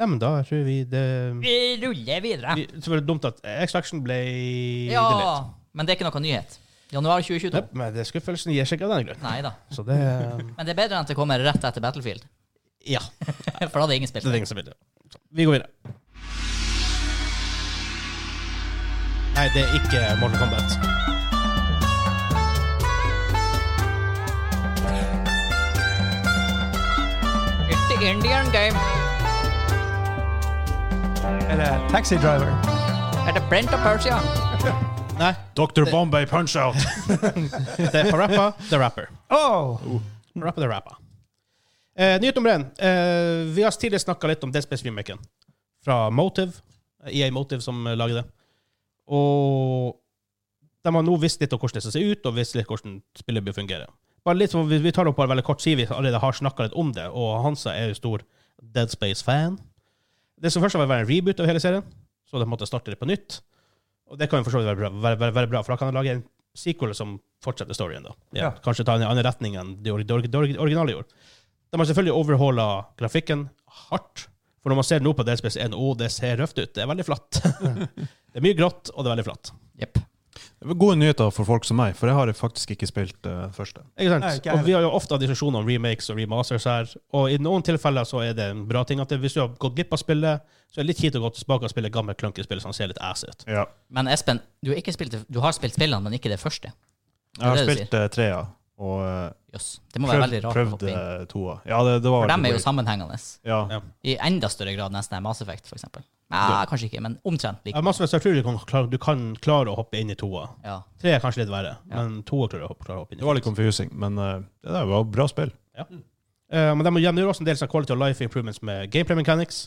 Speaker 1: Ja, men da tror vi det
Speaker 2: Vi ruller videre.
Speaker 1: vi, Så var det dumt at Extraction ble delert.
Speaker 2: Ja, men det er ikke noe nyhet. Januar 2022.
Speaker 1: Yep, men det skuffelsen gir seg ikke av den grunn.
Speaker 2: Nei da.
Speaker 1: Så det
Speaker 2: Men det er bedre enn at det kommer rett etter Battlefield.
Speaker 1: Ja.
Speaker 2: For da hadde ingen
Speaker 1: Det er
Speaker 2: spilt.
Speaker 1: det ingen som vil. det. Så, vi går videre. Nei, det er ikke Mortal Kombat.
Speaker 2: It's the Indian game.
Speaker 5: Er det Taxi Driver?
Speaker 2: Er det Brent og Persia?
Speaker 1: Nei,
Speaker 4: Dr. Bombay Punch-Out!
Speaker 1: det er Parappa the Rapper.
Speaker 5: Oh!
Speaker 1: Rappa the Rappa. Eh, nyhet nummer én. Eh, vi har tidligere snakka litt om Dead Space Remaken fra Motive. EA Motive som eh, lager det. Og de har nå visst litt om hvordan det ser ut, og visst litt hvordan spillet bør fungere. Bare litt, sånn- vi, vi tar det opp bare veldig kort, siden vi allerede har snakka litt om det, og Hansa er jo stor Dead Space-fan. Det som først var å være en reboot av hele serien, så de måtte starte det på nytt. Og det kan jo for så vidt være bra, være, være, være bra, for da kan de lage en sequel som fortsetter storyen. da. Ja,
Speaker 5: Ja.
Speaker 1: Kanskje ta en annen retning enn det, or- det, or- det or- originale gjorde. De har selvfølgelig overhaula grafikken hardt. For når man ser nå på Dead Space 1, å, det ser røft ut. Det er veldig flatt. det er mye grått, og det er veldig flatt.
Speaker 2: Jepp.
Speaker 4: Det var Gode nyheter for folk som meg, for jeg har faktisk ikke spilt eh, første.
Speaker 1: Ikke sant?
Speaker 5: Nei, ikke
Speaker 1: og vi har jo ofte hatt diskusjoner om remakes og remasters her, og i noen tilfeller så er det en bra ting at det, hvis du har gått glipp av spillet, så er det litt kjipt å gå tilbake og spille gammelt klunkespill som ser litt ass ut.
Speaker 4: Ja.
Speaker 2: Men Espen, du har, ikke spilt, du har spilt spillene, men ikke det første.
Speaker 4: Jeg
Speaker 2: Det
Speaker 4: har
Speaker 2: er det du
Speaker 4: spilt eh, trea, og eh,
Speaker 2: Jøss. Det må være
Speaker 4: prøvd,
Speaker 2: veldig rart. å
Speaker 4: prøvd
Speaker 2: hoppe inn.
Speaker 4: eh, toa. Ja, det, det var
Speaker 2: For dem
Speaker 4: veldig
Speaker 2: er jo
Speaker 4: weird.
Speaker 2: sammenhengende.
Speaker 4: Ja.
Speaker 1: Ja.
Speaker 2: I enda større grad nesten enn Mass Effect, for eksempel. Nei, kanskje ikke, men omtrent
Speaker 1: Jeg,
Speaker 2: like.
Speaker 1: har masse, jeg tror du kan, klare, du kan klare å hoppe inn i toa.
Speaker 2: Ja.
Speaker 1: Tre er kanskje litt verre,
Speaker 2: Ja.
Speaker 1: men toa klarer å hoppe, klarer å hoppe inn i.
Speaker 4: Det var litt confusing, men eh, det der var bra spill.
Speaker 2: Mm.
Speaker 1: Eh, men de må gjøre også en del sånn quality of life improvements med gameplay mechanics,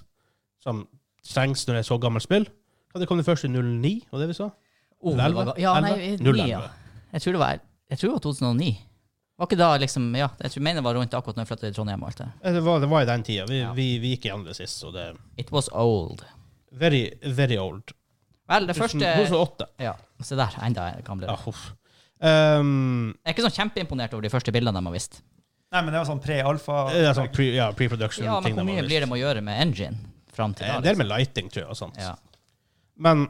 Speaker 1: som trengs når det er så gammelt spill. Ja, det kom det først i 09, og det vi sa.
Speaker 2: Oh, det
Speaker 1: 11?
Speaker 2: var, ga- ja, nei,
Speaker 1: 11?
Speaker 2: 9, ja. Jeg tror det var, jeg tror det var 2009. Var ikke da liksom, ja, jeg tror mener det var rundt akkurat når jeg flyttet til Trondheim og alt det.
Speaker 1: Eh, Det var, det var i den tida. Vi,
Speaker 2: Ja.
Speaker 1: vi, vi gikk i andre sist, så det er
Speaker 2: It was old.
Speaker 1: very, very old.
Speaker 2: Vel, det første...
Speaker 1: 2008.
Speaker 2: Ja, se der, enda gamlere.
Speaker 1: Ja, huff. Ehm,
Speaker 2: Jeg er ikke sånn kjempeimponert over de første bildene de har vist.
Speaker 5: Nei, men det var sånn pre-alfa.
Speaker 1: det er sånn pre, ja, pre-production.
Speaker 2: Ja, men
Speaker 1: ting
Speaker 2: hvor
Speaker 1: de har
Speaker 2: mye
Speaker 1: vist.
Speaker 2: blir det med å gjøre med engine fram til
Speaker 1: Eh,
Speaker 2: da?
Speaker 1: Det er
Speaker 2: Liksom?
Speaker 1: med lighting, tror jeg. og sånt.
Speaker 2: Ja.
Speaker 1: Men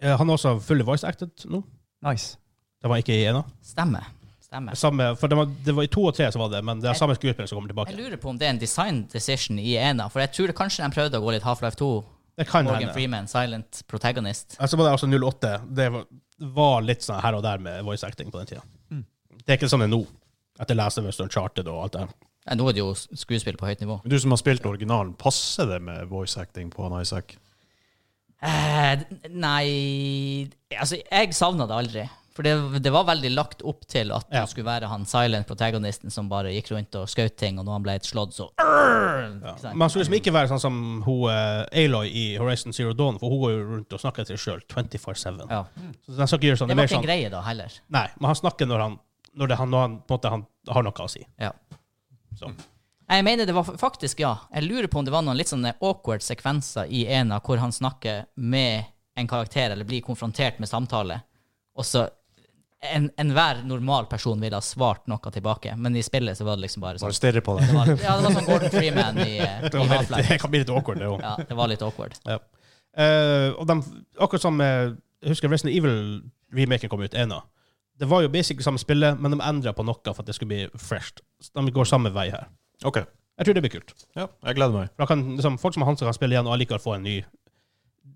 Speaker 1: eh, han er også fully voice acted nå.
Speaker 5: Nice.
Speaker 1: Det var ikke i ena.
Speaker 2: Stemmer. Stemmer.
Speaker 1: Samme, for det var, det var i to og tre så var det, men det er samme skuespiller som kommer
Speaker 2: Jeg
Speaker 1: tilbake.
Speaker 2: lurer på om det er en design decision i ena, for jeg tror det kanskje de prøvde å gå litt Half-Life 2.
Speaker 1: Det kan
Speaker 2: Morgan
Speaker 1: hende.
Speaker 2: Freeman, silent protagonist.
Speaker 1: Altså, var det altså 08. Det var, var litt sånn her og der med voice acting på den tida. Det er ikke sånn det er nå. Etter Last of Us og Uncharted og alt det her.
Speaker 2: Nei, nå er det jo skuespill på høyt nivå.
Speaker 4: Men du som har spilt originalen, passer det med voice acting på han Isaac?
Speaker 2: Eh, d- nei Altså, jeg savna det aldri. For det, det var veldig lagt opp til at
Speaker 1: Ja.
Speaker 2: det skulle være han silent protagonisten som bare gikk rundt og skjøt ting, og når han ble slått, så Ikke sant?
Speaker 1: Men han skulle liksom ikke være sånn som hun eh, Aloy i Horizon Zero Dawn, for hun går jo rundt og snakker til seg sjøl 24-7.
Speaker 2: ja.
Speaker 1: Så den skal ikke gjøre sånn.
Speaker 2: Det
Speaker 1: Det er mer
Speaker 2: var ikke en
Speaker 1: sånn
Speaker 2: greie da heller.
Speaker 1: Nei, men han snakker når han, når det, han, når han på en måte han har noe å si.
Speaker 2: Ja. Mm.
Speaker 1: Så.
Speaker 2: Jeg mener det var fa- faktisk, ja. Jeg lurer på om det var noen litt sånne awkward sekvenser i en av hvor han snakker med en karakter, eller blir konfrontert med samtale, og så en- Enhver normal person ville ha svart noe tilbake, men i spillet så var det liksom bare sånn
Speaker 4: Bare stirrer på det.
Speaker 2: det var, Ja, det var sånn Gordon Freeman i, eh, i
Speaker 1: Det, var litt,
Speaker 2: Half-Life.
Speaker 1: det kan bli litt awkward, det òg.
Speaker 2: Ja, det var litt awkward.
Speaker 1: Ja. Eh, og de, akkurat som eh, Jeg husker Resident Evil-remaken kom ut ennå. Det var jo basically samme spillet, men de endra på noe for at det skulle bli fresh. Så De går samme vei her.
Speaker 4: OK.
Speaker 1: Jeg tror det blir kult.
Speaker 4: Ja, jeg gleder meg.
Speaker 1: For da kan, liksom, folk som har Hansa kan spille igjen og allikevel få en ny,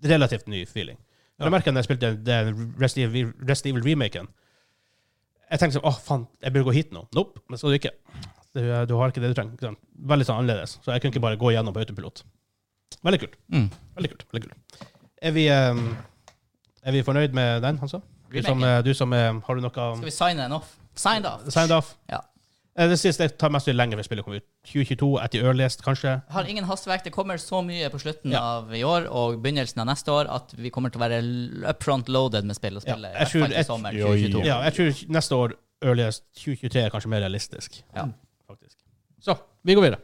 Speaker 1: relativt ny feeling.
Speaker 4: Ja.
Speaker 1: Jeg merker når jeg spilte den Resident Evil- Resident Evil-remaken Jeg tenkte sånn, åh faen, jeg burde gå hit nå. Nope, det skal du ikke. Du, eh, du har ikke det du trenger. Ikke sant? Veldig sånn annerledes. Så jeg kunne ikke bare gå igjennom på autopilot. Veldig kult.
Speaker 2: Mm.
Speaker 1: Veldig kult. veldig kult. Er vi, ehm, er vi fornøyd med den, Hansa? Du som,
Speaker 2: Remaken.
Speaker 1: eh, du som eh, Har du noe
Speaker 2: Skal vi signe den off? Sign off!
Speaker 1: Signed off?
Speaker 2: Ja.
Speaker 1: Eh, Det siste tar mest sannsynlig lenger før spillet kommer ut. 2022 etter Earliest, kanskje.
Speaker 2: Har ingen hastverk. Det kommer så mye på slutten
Speaker 1: Ja.
Speaker 2: av i år og begynnelsen av neste år at vi kommer til å være l- upfront loaded med spill og
Speaker 1: Ja,
Speaker 2: spille.
Speaker 1: jeg tror-
Speaker 2: i hvert fall
Speaker 1: jeg-
Speaker 2: til sommeren
Speaker 4: Oi,
Speaker 2: 2022.
Speaker 1: Ja, jeg tror neste år Earliest 2023 er kanskje mer realistisk.
Speaker 2: Ja.
Speaker 1: Faktisk. Så vi går videre.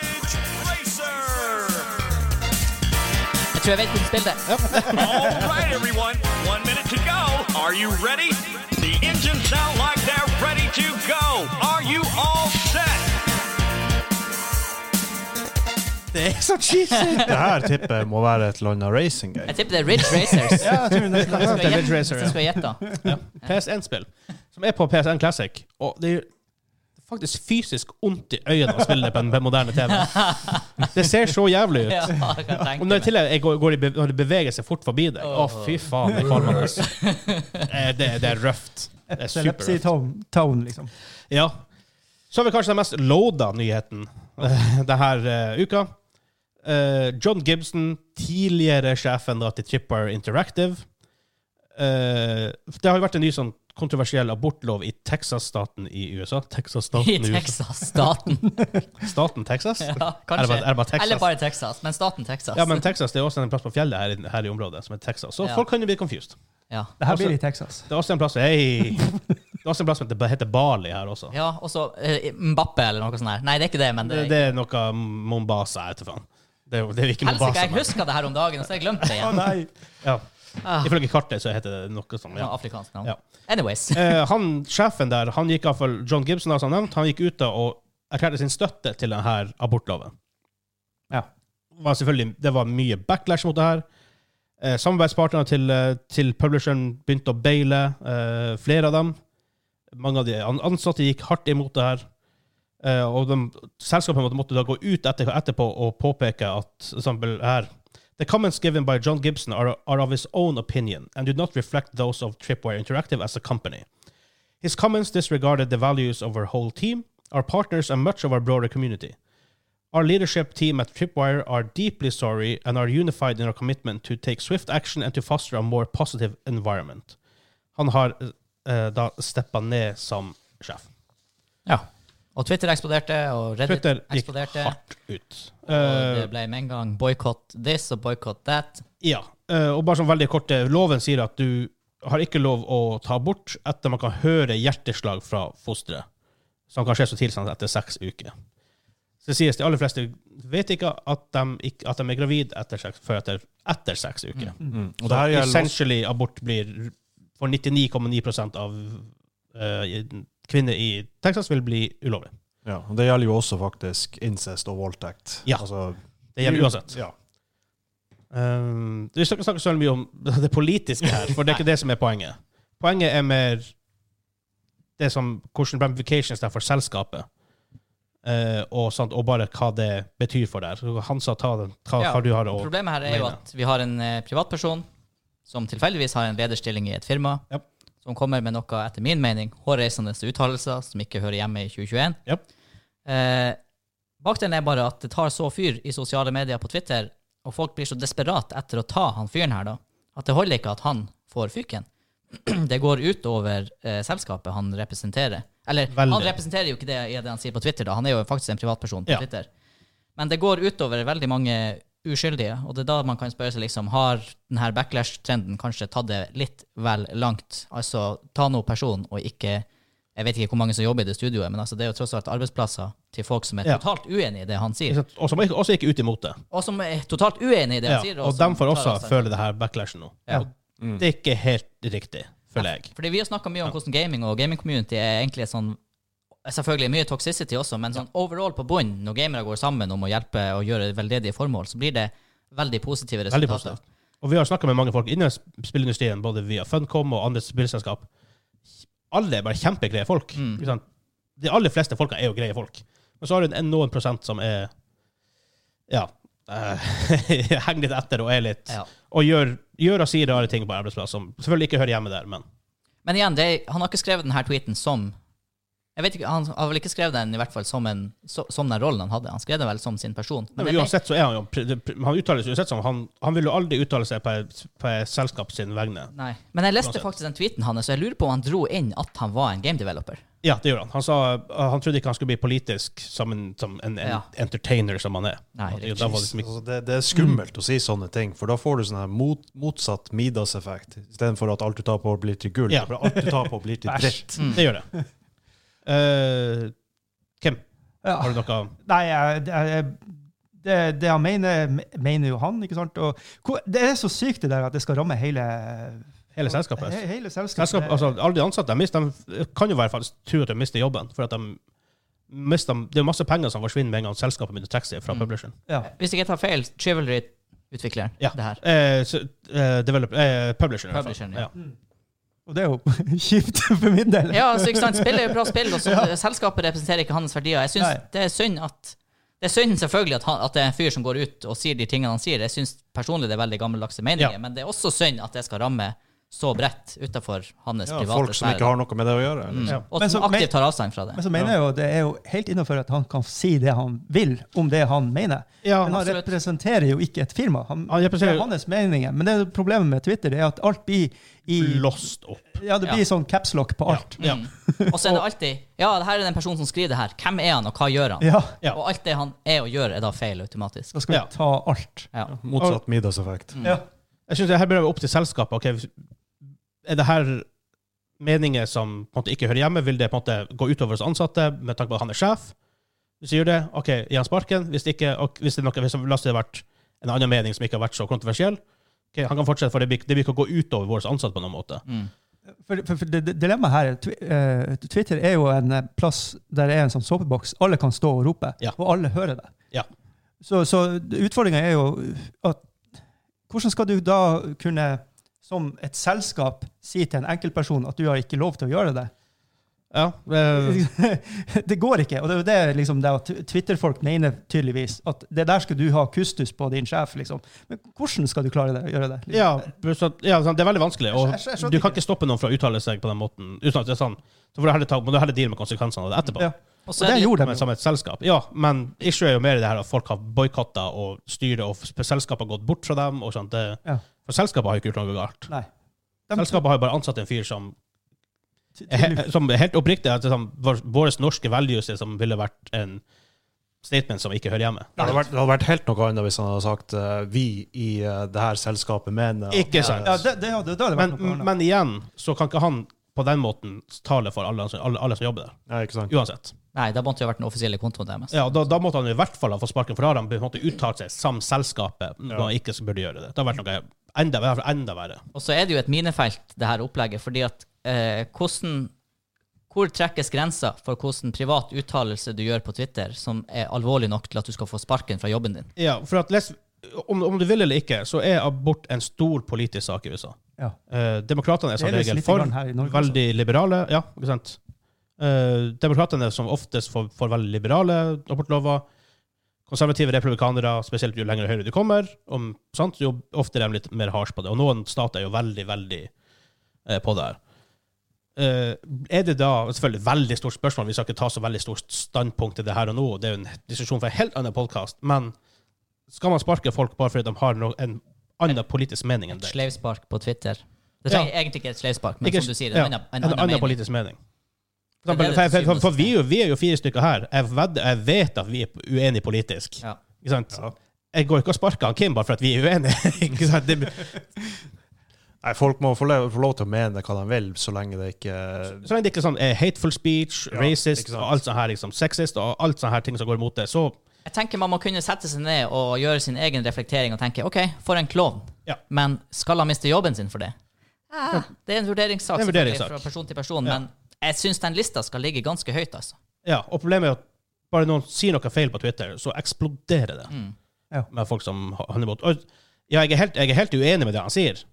Speaker 3: Ridge Racer!
Speaker 2: Jeg tror jeg vet hvordan spille det.
Speaker 3: All right, everyone. One minute to go. Are you ready? The engines sound like they're ready to go. Are you all set?
Speaker 1: Det er så cheesy!
Speaker 4: Det her tippet jeg må være et eller annet racing game.
Speaker 2: Jeg tipper det er Ridge Racers.
Speaker 5: Ja, jeg tror det er
Speaker 2: Hvis
Speaker 1: det er
Speaker 2: jeg
Speaker 1: Ridge Racer,
Speaker 2: skal gjette- hvis jeg skal gjette.
Speaker 1: PS1-spill, som er på PSN Classic. Og det er jo faktisk fysisk vondt i øynene å spille det på en på en moderne TV. Det ser så jævlig ut.
Speaker 2: Ja, jeg kan
Speaker 1: Og når, det
Speaker 2: tenke
Speaker 1: i
Speaker 2: meg.
Speaker 1: tillegg jeg går, går i be når det beveger seg fort forbi deg Å, fy faen, det er kvalmende. Eh, Det, det er røft. Det er
Speaker 5: Epilepsy
Speaker 1: superrøft.
Speaker 5: tone, tone, liksom.
Speaker 1: Ja. Så har vi kanskje den mest loada nyheten eh, det her eh, uka. Eh, John Gibson, tidligere sjefen da til Tripwire Interactive Eh, Det har jo vært en ny sånn kontroversiell abortlov i Texas-staten i USA.
Speaker 2: I
Speaker 1: Texas-staten i USA.
Speaker 2: Texas. Staten.
Speaker 1: Staten Texas?
Speaker 2: Ja,
Speaker 1: Er det
Speaker 2: kanskje.
Speaker 1: bare- er det bare Texas?
Speaker 2: Eller bare Texas. Men staten Texas.
Speaker 1: Ja, men Texas det er også en plass på fjellet her, i- her i området som er Texas. Så
Speaker 2: Ja.
Speaker 1: folk kan jo bli confused.
Speaker 2: Ja.
Speaker 5: Det her blir i Texas.
Speaker 1: Det er også en plass Hei! Det er også en plass som heter, heter Bali her også.
Speaker 2: Ja, og så eh, Mbappe eller noe sånt. her. Nei, det er ikke det, men eh,
Speaker 1: Det,
Speaker 2: det
Speaker 1: det er noe Mombasa, jeg vet ikke faen. Det er, jo- det er ikke
Speaker 2: Helsike,
Speaker 1: Mombasa.
Speaker 2: jeg
Speaker 1: men-
Speaker 2: huska det her om dagen, og så har jeg glemt det igjen.
Speaker 5: nei.
Speaker 1: Ja.
Speaker 2: Ah,
Speaker 1: Ifølge kartet så heter det noe sånn,
Speaker 2: noe
Speaker 1: ja.
Speaker 2: Afrikansk
Speaker 1: Ja.
Speaker 2: navn. Anyways.
Speaker 1: Eh, han, sjefen der, han gikk iallfall John Gibson, altså, han nevnt, han gikk ut da og erklærte sin støtte til denne abortloven.
Speaker 5: Ja.
Speaker 1: Det var selvfølgelig, det var mye backlash mot det her. Eh, samarbeidspartnerne til, eh, til publisheren begynte å baile, eh, flere av dem. Mange av de an- ansatte gikk hardt imot det her. Eh, og de, selskapet måtte, måtte da gå ut etter, etterpå og påpeke at for eksempel her The comments given by John Gibson are, are of his own opinion and do not reflect those of Tripwire Interactive as a company. His comments disregarded the values of our whole team, our partners, and much of our broader community. Our leadership team at Tripwire are deeply sorry and are unified in our commitment to take swift action and to foster a more positive environment. Han har eh, da steppa ned som sjef.
Speaker 2: Ja. Og Twitter eksploderte, og Reddit
Speaker 1: Twitter gikk
Speaker 2: eksploderte.
Speaker 1: hardt ut.
Speaker 2: Og det
Speaker 1: Eh,
Speaker 2: ble med en gang boikott this og boikott that.
Speaker 1: ja, eh, og bare sånn veldig kort, eh, loven sier at du har ikke lov å ta abort etter man kan høre hjerteslag fra fosteret, som kan skje så tidlig som etter seks uker. Så det sies de aller fleste vet ikke at de, ikke, at de er gravid etter seks, før etter, etter seks uker.
Speaker 4: Mm.
Speaker 1: Så
Speaker 4: Og det her gjelder også,
Speaker 1: essentially abort blir for 99,9 av eh, kvinner i Texas vil bli ulovlig.
Speaker 4: ja, og det gjelder jo også faktisk incest og voldtekt.
Speaker 1: Ja.
Speaker 4: Altså,
Speaker 1: Det gjelder uansett.
Speaker 4: Ja.
Speaker 1: Um, vi skal ikke snakke så veldig mye om det politiske her, for det er ikke det som er poenget. Poenget er mer det som, hvordan ramifications det er for selskapet, eh, og, sånt, og bare hva det betyr for deg. Så Han sa ta den, hva,
Speaker 2: Ja,
Speaker 1: hva du har å
Speaker 2: Problemet her er jo
Speaker 1: mener.
Speaker 2: at vi har en eh, privatperson som tilfeldigvis har en lederstilling i et firma,
Speaker 1: Japp.
Speaker 2: som kommer med noe, etter min mening, hårreisende uttalelser som ikke hører hjemme i 2021.
Speaker 1: Japp.
Speaker 2: Eh, Bakdelen er bare at det tar så fyr i sosiale medier på Twitter, og folk blir så desperat etter å ta han fyren her, da, at det holder ikke at han får fyken. Det går utover eh, selskapet han representerer. Eller, han
Speaker 1: Veldig.
Speaker 2: representerer jo ikke det i det han sier på Twitter, da. Han er jo faktisk en privatperson på
Speaker 1: Ja.
Speaker 2: Twitter. Men det går utover veldig mange uskyldige, og det er da man kan spørre seg liksom, har denne backlash-trenden kanskje tatt det litt vel langt? Altså, ta nå person, og ikke Jeg vet ikke hvor mange som jobber i det studioet, men altså, det er jo tross alt arbeidsplasser til folk som er
Speaker 1: Ja.
Speaker 2: totalt uenig i det han sier,
Speaker 1: Ikke sant? Og som ikke- også gikk ut imot det.
Speaker 2: og som er totalt uenig i det
Speaker 1: Ja,
Speaker 2: han sier.
Speaker 1: og
Speaker 2: som
Speaker 1: de får
Speaker 2: tar
Speaker 1: også
Speaker 2: avstand.
Speaker 1: føle det her backlashen nå.
Speaker 2: Ja.
Speaker 1: Og Det er ikke helt riktig, føler jeg.
Speaker 2: Fordi vi har snakka mye om hvordan gaming og gaming community er egentlig et sånn Selvfølgelig mye toxicity også, men sånn overall på bånn, når gamere går sammen om å hjelpe og gjøre veldedige formål, så blir det veldig positive resultater.
Speaker 1: Veldig positivt. Og vi har snakka med mange folk innen sp- spillindustrien, både via Funcom og andre spillselskap. Alle er bare kjempegreie folk.
Speaker 2: Mm.
Speaker 1: Ikke sant? De aller fleste folka er jo greie folk. Men så har du en- noen prosent som er Ja. eh, henger litt etter og er litt
Speaker 2: Ja.
Speaker 1: Og gjør, gjør og sier rare ting på arbeidsplass som selvfølgelig ikke hører hjemme der, men
Speaker 2: Men igjen, det, er- han har ikke skrevet denne tweeten som jeg vet ikke, Han har vel ikke skrevet den i hvert fall som, en, så, som den rollen han hadde. Han skrev den vel som sin person.
Speaker 1: Nei,
Speaker 2: Men
Speaker 1: men
Speaker 2: det-
Speaker 1: uansett så er han jo pr- pr- Han uttaler seg uansett som han, han vil jo aldri uttale seg på et, på et selskap sin vegne.
Speaker 2: Nei. Men jeg leste
Speaker 1: Uansett.
Speaker 2: faktisk den tweeten hans, og jeg lurer på om han dro inn at han var en game developer.
Speaker 1: Ja, det gjorde han. Han, sa, uh, han trodde ikke han skulle bli politisk som en, som en, en
Speaker 2: Ja.
Speaker 1: entertainer som han er.
Speaker 2: Nei,
Speaker 1: At, jo,
Speaker 2: riktig.
Speaker 1: da var det liksom ikke,
Speaker 4: Altså, det, det er skummelt å si sånne ting, for da får du sånn her mot, motsatt Midas-effekt. Istedenfor at alt du tar på, blir til gull.
Speaker 1: Ja.
Speaker 4: For alt du tar på, blir til dritt.
Speaker 2: Mm.
Speaker 1: det gjør det. Eh, Kim,
Speaker 5: Ja.
Speaker 1: har du noe
Speaker 5: Nei, jeg, jeg, det, det han mener, mener jo han, ikke sant? Og, hvor- det er så sykt det der at det skal ramme hele
Speaker 1: Hele selskapet?
Speaker 5: He, hele selskapet.
Speaker 1: Selskap, altså, alle de ansatte de mister, de kan jo være faktisk tro at de mister jobben. For at de mister, det er masse penger som forsvinner med en gang selskapet begynner å trekke seg fra
Speaker 2: Mm.
Speaker 1: publisheren.
Speaker 5: ja.
Speaker 2: Hvis ikke jeg tar feil, Chivalry-utvikleren.
Speaker 1: Ja.
Speaker 2: Det her.
Speaker 1: Eh, så, eh, develop, eh, publisheren, i hvert fall.
Speaker 2: Publisheren, ja.
Speaker 5: Og det er jo kjipt for min del.
Speaker 2: Ja, altså, ikke sant? Spill er jo bra spill, og så selskapet representerer ikke hans verdier. Jeg
Speaker 5: Nei.
Speaker 2: synes det er synd at det er synd selvfølgelig at, han, at det er en fyr som går ut og sier de tingene han sier. Jeg synes personlig det er veldig gammeldagse meninger,
Speaker 1: Ja.
Speaker 2: men det er også synd at det skal ramme så bredt utenfor hans
Speaker 4: Ja,
Speaker 2: private
Speaker 4: folk som
Speaker 2: sfære.
Speaker 4: ikke har noe med det å gjøre.
Speaker 2: Mm.
Speaker 4: Liksom.
Speaker 2: Og
Speaker 5: Men
Speaker 2: som
Speaker 5: så- men-
Speaker 2: aktivt tar avstand fra det.
Speaker 5: Men så mener jeg jo det er jo helt innafor at han kan si det han vil om det han mener.
Speaker 1: Ja,
Speaker 5: men han
Speaker 2: absolutt.
Speaker 5: representerer jo ikke et firma. Han,
Speaker 1: Han representerer-
Speaker 5: det er hans meninger. Men det er problemet med Twitter det er at alt blir i
Speaker 1: Lost opp.
Speaker 5: Ja, det blir sånn capslock på alt.
Speaker 2: Mm.
Speaker 1: Ja.
Speaker 2: Og så er det alltid Ja, det her er den personen som skriver det her. Hvem er han, og hva gjør han?
Speaker 5: Ja.
Speaker 1: Ja.
Speaker 2: Og alt det han er og gjør, er da feil automatisk.
Speaker 5: Da skal
Speaker 1: Ja.
Speaker 5: vi ta alt.
Speaker 2: Ja.
Speaker 1: Mm.
Speaker 4: Motsatt Midas-effekt.
Speaker 5: Ja.
Speaker 1: Jeg synes det her bør være opp til selskapet. Ok, hvis- er det her meninger som på en måte ikke hører hjemme? Vil det på en måte gå utover oss ansatte med tanke på at han er sjef? Hvis jeg gjør det, ok, gi han sparken. Hvis det ikke, og hvis det er noe, hvis det la oss si det har vært en annen mening som ikke har vært så kontroversiell, ok, han kan fortsette, for det blir ikke- det blir ikke å gå utover våre ansatte på noen måte.
Speaker 2: Mm.
Speaker 5: For, for, for det, det- dilemmaet her er twi- eh, Twitter er jo en eh, plass der det er en sånn såpeboks. Alle kan stå og rope,
Speaker 1: Ja.
Speaker 5: og alle hører det.
Speaker 1: Ja.
Speaker 5: Så, så utfordringa er jo at hvordan skal du da kunne, som et selskap, si til en enkeltperson at du har ikke lov til å gjøre det?
Speaker 1: Ja, eh,
Speaker 5: det går ikke. Og det er jo det liksom, det at Twitter-folk mener tydeligvis at det der skal du ha kustus på din sjef. liksom. Men hvordan skal du klare det? gjøre det?
Speaker 1: ja, så, ja sånn, det er veldig vanskelig.
Speaker 5: Jeg skjø- jeg skjønner
Speaker 1: Og du kan
Speaker 5: ikke.
Speaker 1: ikke stoppe noen fra å uttale seg på den måten. uten at det er sånn, Så får du heller, ta, må du heller deale med konsekvensene av det etterpå.
Speaker 5: Ja.
Speaker 2: Og så
Speaker 5: Og
Speaker 2: er
Speaker 5: det
Speaker 2: det,
Speaker 5: gjorde
Speaker 1: Men
Speaker 5: de.
Speaker 1: som
Speaker 5: jo.
Speaker 1: et selskap. Ja, men issue er jo mer det her at folk har boikotta og styret og sp- selskapet har gått bort fra dem. og sånt. Det,
Speaker 5: Ja.
Speaker 1: For selskapet har jo ikke gjort noe galt.
Speaker 5: Nei.
Speaker 1: Selskapet har jo bare ansatt en fyr som,
Speaker 5: Ty-
Speaker 1: er he-
Speaker 5: tydeligvis.
Speaker 1: som er helt oppriktig at liksom, vår- våre norske values er som ville vært en statement som ikke hører hjemme.
Speaker 4: Det hadde, vært, det hadde vært helt noe annet hvis han hadde sagt eh, 'vi i eh, det her selskapet mener at-
Speaker 1: Ikke sant?
Speaker 5: Ja, det, det, hadde- da hadde det vært
Speaker 1: men,
Speaker 5: noe annet.
Speaker 1: men igjen så kan ikke han på den måten tale for alle, alle, alle som jobber der.
Speaker 4: Ja, ikke sant?
Speaker 1: Uansett.
Speaker 2: nei, da måtte det jo vært den offisielle kontoen deres.
Speaker 1: Ja, og da, da måtte han i hvert fall ha fått sparken, for da har han på en måte uttalt seg som selskapet når han ikke burde gjøre det. Det har vært noe enda, enda verre.
Speaker 2: Og så er det jo et minefelt, det her opplegget, fordi at eh, hvordan hvor trekkes grensa for hvordan privat uttalelse du gjør på Twitter, som er alvorlig nok til at du skal få sparken fra jobben din?
Speaker 1: Ja, for at les, om, om du vil eller ikke, så er abort en stor politisk sak i USA.
Speaker 5: Ja.
Speaker 1: Eh, Demokratene er som
Speaker 5: Det er litt
Speaker 1: regel for,
Speaker 5: grann her i Norge
Speaker 1: veldig liberale. Ja, ikke sant? Eh, Demokratene er som oftest for, for veldig liberale abortlover. Konservative republikanere, spesielt jo lenger høyre du kommer, om, sant? jo ofte er de litt mer hards på det. Og noen stater er jo veldig, veldig eh, på det her. Eh, er det da selvfølgelig et veldig stort spørsmål, vi skal ikke ta så veldig stort standpunkt til det her og nå, det er jo en diskusjon for en helt annen podkast, men skal man sparke folk bare fordi de har no, en annen politisk mening enn
Speaker 2: Et
Speaker 1: deg?
Speaker 2: sleivspark på Twitter. Det
Speaker 1: Ja.
Speaker 2: trenger egentlig ikke et sleivspark, men
Speaker 1: Ikke-
Speaker 2: som du sier, en
Speaker 1: ja,
Speaker 2: annen,
Speaker 1: en
Speaker 2: en annen,
Speaker 1: annen
Speaker 2: mening.
Speaker 1: politisk mening. For,
Speaker 2: Det er det
Speaker 1: eksempel, for,
Speaker 2: det
Speaker 1: for, for,
Speaker 2: synes.
Speaker 1: for vi, er jo, vi er jo fire stykker her. Jeg, vedder- jeg vet at vi er uenige politisk.
Speaker 2: Ja.
Speaker 1: Ikke sant? Jeg går ikke og sparker han Kim bare for at vi er uenige. ikke sant? Det,
Speaker 4: Nei, folk må få lov, få lov til å mene hva de vil, så lenge det ikke
Speaker 1: så lenge det ikke er sånn eh, hateful speech,
Speaker 4: Ja,
Speaker 1: racist
Speaker 4: ikke sant.
Speaker 1: og alt sånn her, liksom, sexist og alt sånn her ting som går imot det, så
Speaker 2: Jeg tenker man må kunne sette seg ned og gjøre sin egen reflektering og tenke OK, for en klovn.
Speaker 1: Ja.
Speaker 2: Men skal han miste jobben sin for det? Ah, det er en vurderingssak
Speaker 1: Det er en
Speaker 2: selvfølgelig,
Speaker 1: vurderingssak.
Speaker 2: fra person til person, men jeg syns den lista skal ligge ganske høyt. altså.
Speaker 1: Ja. Og problemet er at bare noen sier noe feil på Twitter, så eksploderer det
Speaker 2: Mm.
Speaker 5: Ja.
Speaker 1: med folk som ha- handler imot. Og, ja, jeg er, helt, jeg er helt uenig med det han sier,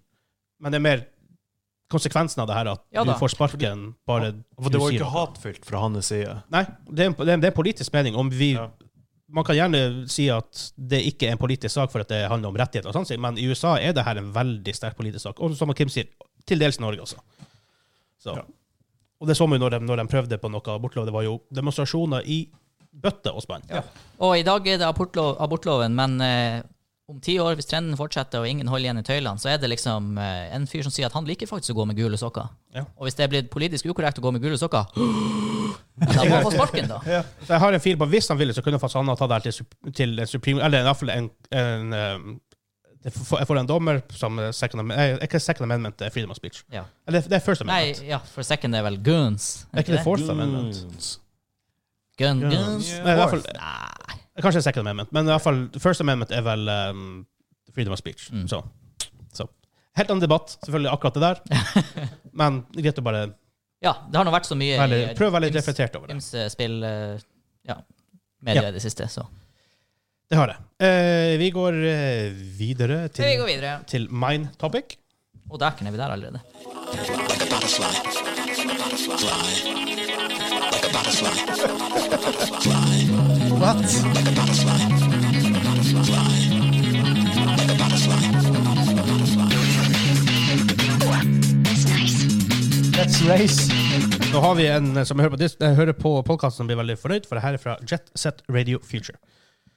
Speaker 1: men det er mer konsekvensen av det her at
Speaker 2: Ja
Speaker 1: du
Speaker 2: da.
Speaker 1: får sparken bare
Speaker 4: For Det
Speaker 1: du
Speaker 4: var jo
Speaker 1: sier
Speaker 4: ikke
Speaker 1: noe.
Speaker 4: hatfylt fra hans side.
Speaker 1: Nei, det er, en- det er, en- det er en politisk mening. Om vi,
Speaker 4: Ja.
Speaker 1: Man kan gjerne si at det ikke er en politisk sak for at det handler om rettigheter, og sånn, sier- men i USA er det her en veldig sterk politisk sak. Og som Kim sier, til dels i Norge også. Så.
Speaker 4: Ja.
Speaker 1: Og det så man jo når de, når de prøvde på noe abortlov. Det var jo demonstrasjoner i bøtte og spann.
Speaker 2: Og i dag er det abortlov, abortloven, men eh, om ti år, hvis trenden fortsetter og ingen holder igjen i tøylene, så er det liksom eh, en fyr som sier at han liker faktisk å gå med gule sokker.
Speaker 1: Ja.
Speaker 2: Og hvis det blir politisk ukorrekt å gå med gule sokker, da må han få sparken, da.
Speaker 1: Så jeg har en fil på hvis han ville, så kunne faktisk han ha tatt det her til, Sup- til en Supreme Eller iallfall en, en ehm, det får- Jeg får en dommer som eh, second, Amendment- eh, Ikke second amendment, det er freedom of speech.
Speaker 2: Ja.
Speaker 1: Eller det er first
Speaker 2: Nei,
Speaker 1: amendment.
Speaker 2: ja, for second er vel guns.
Speaker 1: er ikke det fourth
Speaker 4: Mm.
Speaker 1: amendment?
Speaker 2: Gun,
Speaker 1: Guns.
Speaker 2: guns.
Speaker 1: Nei, Eh, i hvert fall,
Speaker 2: Nei.
Speaker 1: kanskje second amendment, men i hvert fall first amendment er vel ehm, freedom of speech.
Speaker 2: Mm.
Speaker 1: Så. så. Helt annen debatt, selvfølgelig, akkurat det der. Men greit å bare
Speaker 2: Ja, det har nå vært så mye
Speaker 1: være litt-
Speaker 2: i-
Speaker 1: prøve å være litt
Speaker 2: Ims-
Speaker 1: reflektert over det.
Speaker 2: Ymse spill eh, Ja. Medier
Speaker 1: Ja.
Speaker 2: i det siste, så.
Speaker 1: Det har jeg. Eh, vi går eh, videre
Speaker 2: Vi
Speaker 1: til,
Speaker 2: går videre.
Speaker 1: til mine topic.
Speaker 2: Og dæken, er vi der allerede?
Speaker 5: What? Let's race.
Speaker 1: Nå har vi en eh, som hører på, dis- eh, hører på podkasten som blir veldig fornøyd, for det her er fra Jet Set Radio Future.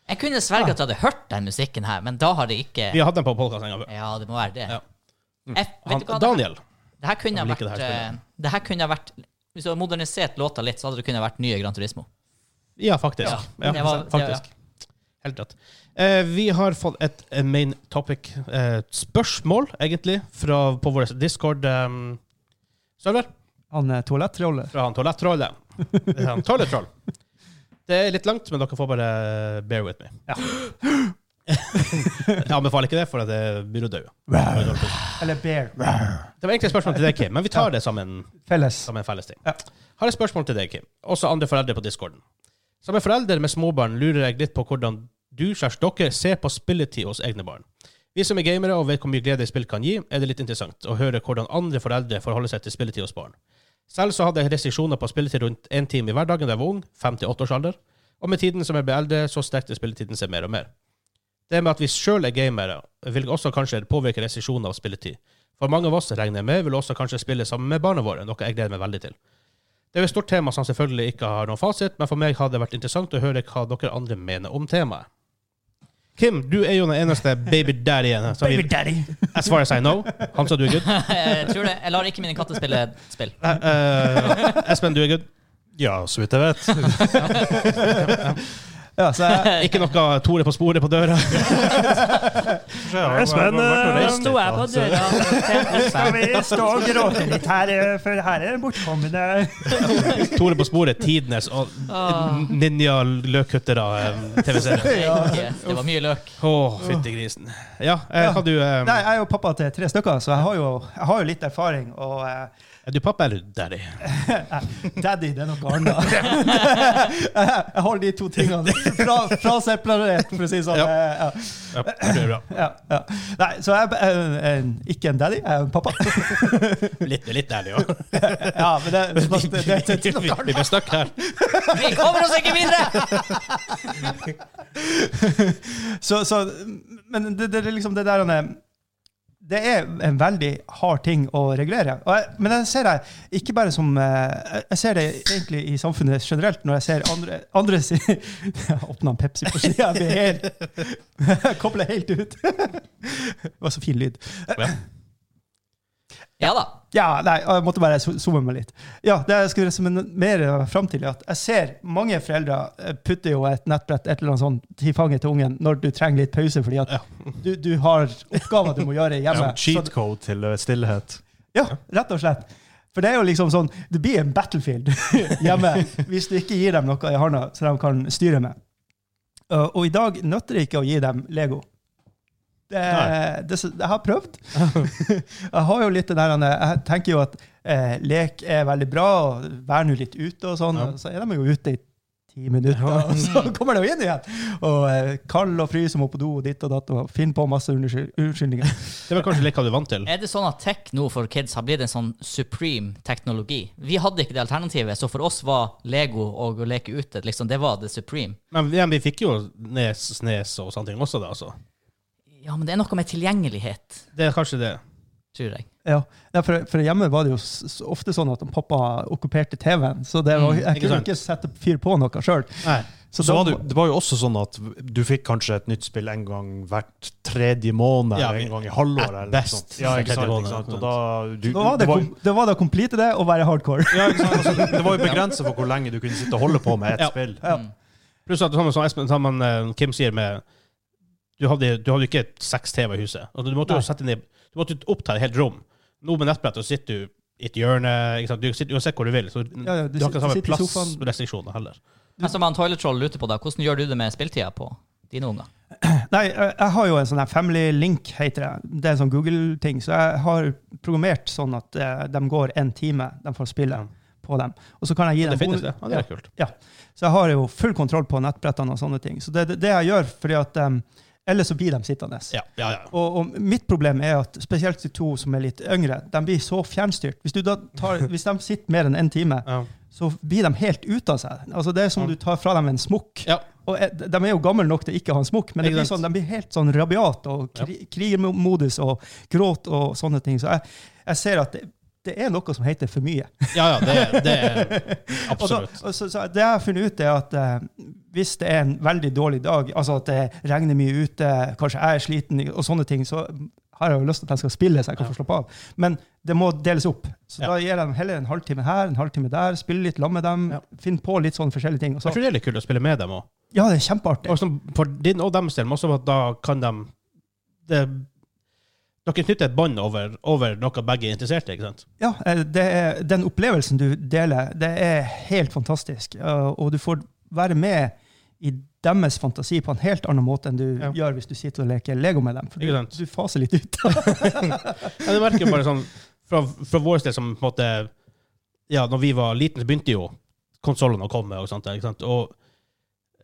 Speaker 2: Jeg kunne sverge at jeg hadde hørt den musikken her, men da har det ikke
Speaker 1: Vi har hatt den på podkasten en gang før.
Speaker 2: Ja, det må være det.
Speaker 1: Ja.
Speaker 2: Jeg, vet
Speaker 1: Han,
Speaker 2: du hva? Det,
Speaker 1: Daniel.
Speaker 2: det her kunne
Speaker 1: Jeg
Speaker 2: ha
Speaker 1: liker det
Speaker 2: vært
Speaker 1: her
Speaker 2: eh, Det her kunne ha vært Hvis du hadde modernisert låta litt, så hadde det kunne ha vært nye Gran Turismo.
Speaker 1: Ja, faktisk.
Speaker 2: Ja,
Speaker 1: Ja,
Speaker 2: det var- det var-
Speaker 1: faktisk. Helt rett. Eh, vi har fått et eh, main topic-spørsmål, egentlig, fra, på vår Discord-server.
Speaker 5: Han eh, er toalettroller.
Speaker 1: fra han toalettrollet. Det er han Toilettroll. Det er litt langt, men dere får bare bear with me.
Speaker 5: Ja.
Speaker 1: Jeg anbefaler ikke det, for det blir å dø.
Speaker 5: Rar. Eller bear.
Speaker 1: Det var egentlig et spørsmål til deg, Kim, men vi tar det som en,
Speaker 5: Felles.
Speaker 1: som en felles ting.
Speaker 5: Ja.
Speaker 1: Har et spørsmål til deg, Kim, også andre foreldre på discorden. Som en forelder med småbarn lurer jeg litt på hvordan du slags dere ser på spilletid hos egne barn. Vi som er gamere og vet hvor mye glede spill kan gi, er det litt interessant å høre hvordan andre foreldre forholder seg til spilletid hos barn. Selv så hadde jeg restriksjoner på spilletid rundt én time i hverdagen da jeg var ung, fem til åtte års alder, og med tiden som jeg ble eldre, så strekte spilletiden seg mer og mer. Det med at vi sjøl er gamere, vil også kanskje påvirke restriksjoner av spilletid. For mange av oss, regner jeg med, vil også kanskje spille sammen med barna våre, noe jeg gleder meg veldig til. Det er jo et stort tema som selvfølgelig ikke har noen fasit, men for meg hadde det vært interessant å høre hva dere andre mener om temaet. Kim, du er jo den eneste baby daddy-en. som vi-
Speaker 5: daddy.
Speaker 1: As far as I know. Han sa du er good.
Speaker 2: jeg tror det. Jeg lar ikke mine katter spille spill.
Speaker 1: Eh, eh, Espen, du er good.
Speaker 4: Ja, så vidt jeg vet.
Speaker 5: Ja, så jeg,
Speaker 1: Ikke noe Tore på sporet på døra.
Speaker 4: Ja,
Speaker 5: Nå er jeg
Speaker 1: altså.
Speaker 5: på Skal vi stå og gråte litt her, eh, for her er det bortkommende
Speaker 1: Tore på sporet, tidenes og
Speaker 5: Ah.
Speaker 1: ninja-løkkuttere-TV-serie.
Speaker 2: Det var mye løk.
Speaker 1: Å, eh, fytti grisen. Ja, eh, hva du eh,
Speaker 5: Nei, jeg er jo pappa til tre stykker, så jeg har jo, jeg har jo litt erfaring. Og eh,
Speaker 1: Er du pappa eller daddy?
Speaker 5: daddy, det er noe annet. jeg holder de to tingene fra, fra separert, for å si det sånn.
Speaker 1: Ja.
Speaker 5: Eh, Ja.
Speaker 1: Ja, det er bra.
Speaker 5: Ja, ja. Nei, så jeg er ikke en daddy, jeg er en pappa.
Speaker 1: Litt, litt daddy òg.
Speaker 5: Ja, men det, det, det, det, det,
Speaker 1: Vi vi ble stuck her.
Speaker 2: Vi kommer oss ikke videre!
Speaker 5: så, så, men det, det, er liksom det der han er- Det er en veldig hard ting å regulere. Og jeg, men jeg ser det ikke bare som eh, Jeg ser det egentlig i samfunnet generelt, når jeg ser andre, andre si, Jeg åpna en Pepsi på sida, jeg blir helt Jeg kobler helt ut. Det var så fin lyd.
Speaker 2: Ja da.
Speaker 5: Ja, nei, jeg måtte bare zo- zoome meg litt. Ja, det jeg skulle resumere fram til, er at jeg ser mange foreldre eh, putter jo et nettbrett et eller annet sånt til fanget til ungen når du trenger litt pause, fordi at du, du har oppgaver du må gjøre hjemme.
Speaker 4: Som cheat code til eh, stillhet.
Speaker 5: ja, rett og slett. For det er jo liksom sånn, det blir en battlefield hjemme hvis du ikke gir dem noe i hånda så de kan styre med. Uh, og i dag nøtter det ikke å gi dem Lego. Det,
Speaker 4: Nei.
Speaker 5: det, jeg har prøvd. jeg har jo litt det der, jeg tenker jo at eh, lek er veldig bra, og vær nå litt ute og sånn.
Speaker 4: Ja.
Speaker 5: og Så er de jo ute i ti minutter, og så kommer de jo inn igjen. Og eh, kald og fryser må på do, og ditt og datt, og finner på masse unnskyld- unnskyldninger.
Speaker 1: Det var kanskje litt hva du er vant til.
Speaker 2: Er det sånn at tech nå for kids har blitt en sånn supreme teknologi? Vi hadde ikke det alternativet, så for oss var Lego og å leke ute liksom, det var det supreme.
Speaker 1: Men vi, vi fikk jo nes, snes og sånne ting også, da. Altså.
Speaker 2: Ja, men det er noe med tilgjengelighet.
Speaker 1: Det er kanskje det.
Speaker 2: tror jeg.
Speaker 5: Ja, ja for, for hjemme var det jo s- s- ofte sånn at pappa okkuperte TV-en, så det var,
Speaker 1: Mm,
Speaker 5: jeg
Speaker 1: ikke
Speaker 5: kunne
Speaker 1: sant.
Speaker 5: ikke sette fyr på noe sjøl.
Speaker 1: Nei.
Speaker 5: Så,
Speaker 4: Så
Speaker 5: da-
Speaker 4: var det, det var jo også sånn at du fikk kanskje et nytt spill en gang hvert tredje måned,
Speaker 1: Ja,
Speaker 4: eller en gang i halvåret. eller noe
Speaker 1: best
Speaker 4: sånt. Ja, ikke sant,
Speaker 1: tredje måned.
Speaker 4: ikke sant? Og da, du,
Speaker 5: da var det,
Speaker 4: det var,
Speaker 5: kom, det var det complete det å være hardcore.
Speaker 4: ja, ikke sant? Altså, det var jo begrenset for hvor lenge du kunne sitte og holde på med ett
Speaker 1: Ja.
Speaker 4: spill.
Speaker 5: Ja.
Speaker 1: Pluss at sammen som Espen, sammen, eh, Kim sier med Du hadde du hadde jo ikke seks TV i huset. Altså, du måtte jo
Speaker 5: Nei.
Speaker 1: sette ned, du måtte jo opp til et helt rom. Nå med nettbrett så sitter du i et hjørne. Ikke sant? Du sitter uansett hvor du vil. Så
Speaker 5: Ja, ja,
Speaker 1: du,
Speaker 5: du
Speaker 1: har ikke
Speaker 5: sit-
Speaker 1: samme
Speaker 5: sitter i sofaen.
Speaker 1: plassrestriksjoner heller.
Speaker 2: Men
Speaker 1: Altså,
Speaker 2: som han Toilet Troll lurer på, da, hvordan gjør du det med spilltida på dine unger?
Speaker 5: Nei, jeg jeg har jo en sånn her Family Link, heter det. Det er en sånn Google-ting. Så jeg har programmert sånn at eh, de går en time, de får spille
Speaker 1: Ja.
Speaker 5: på dem. Og så kan jeg gi
Speaker 1: Det
Speaker 5: dem
Speaker 1: finnes,
Speaker 5: bonus-
Speaker 1: det. Ja, det er kult.
Speaker 5: Ja. Så jeg har jo full kontroll på nettbrettene og sånne ting. Så det er det, det jeg gjør, fordi at em, ellers så blir de sittende.
Speaker 1: Ja, ja, ja.
Speaker 5: Og, og mitt problem er at spesielt de to som er litt yngre, de blir så fjernstyrt. Hvis, du da tar, hvis de sitter mer enn én time,
Speaker 1: ja.
Speaker 5: så blir de helt ute av seg. Altså Det er som
Speaker 1: Ja.
Speaker 5: du tar fra dem en smokk.
Speaker 1: Ja.
Speaker 5: Og eh, de er jo gamle nok til ikke å ha en smokk, men det
Speaker 1: Ikke
Speaker 5: blir
Speaker 1: sant.
Speaker 5: sånn, de blir helt sånn rabiat og kri krigermodus og gråt og sånne ting. Så jeg, jeg ser at det, det er noe som heter for mye.
Speaker 1: ja, ja det, er- det er
Speaker 5: Og da,
Speaker 1: absolutt.
Speaker 5: og så, så Det jeg har funnet ut, er at eh, hvis det er en veldig dårlig dag, altså at det regner mye ute, kanskje jeg er sliten og sånne ting, så har jeg jo lyst til at de skal spille, så jeg kan få slappe av. Men det må deles opp. Så
Speaker 1: Ja.
Speaker 5: da gir jeg dem heller en halvtime her, en halvtime der, spille litt sammen med dem,
Speaker 1: Ja.
Speaker 5: finn på litt sånne forskjellige ting. Og
Speaker 1: Jeg
Speaker 5: så,
Speaker 1: tror det er litt kult å spille med dem òg.
Speaker 5: ja, det er kjempeartig.
Speaker 1: Og sånn for din og deres del, men også for at da kan de det, Dere knytter et bånd over, over noe begge er interessert i, ikke sant?
Speaker 5: Ja, eh, det er, Den opplevelsen du deler, det er helt fantastisk. Eh, Og du får være med i deres fantasi på en helt annen måte enn du
Speaker 1: Ja.
Speaker 5: gjør hvis du sitter og leker Lego med dem. For
Speaker 1: Ikke sant?
Speaker 5: du, du faser litt ut.
Speaker 1: Ja, det merker jo bare sånn Fra, fra vår del som på en måte Ja, når vi var liten, så begynte jo konsollene å komme. Og sånt der, ikke sant? Og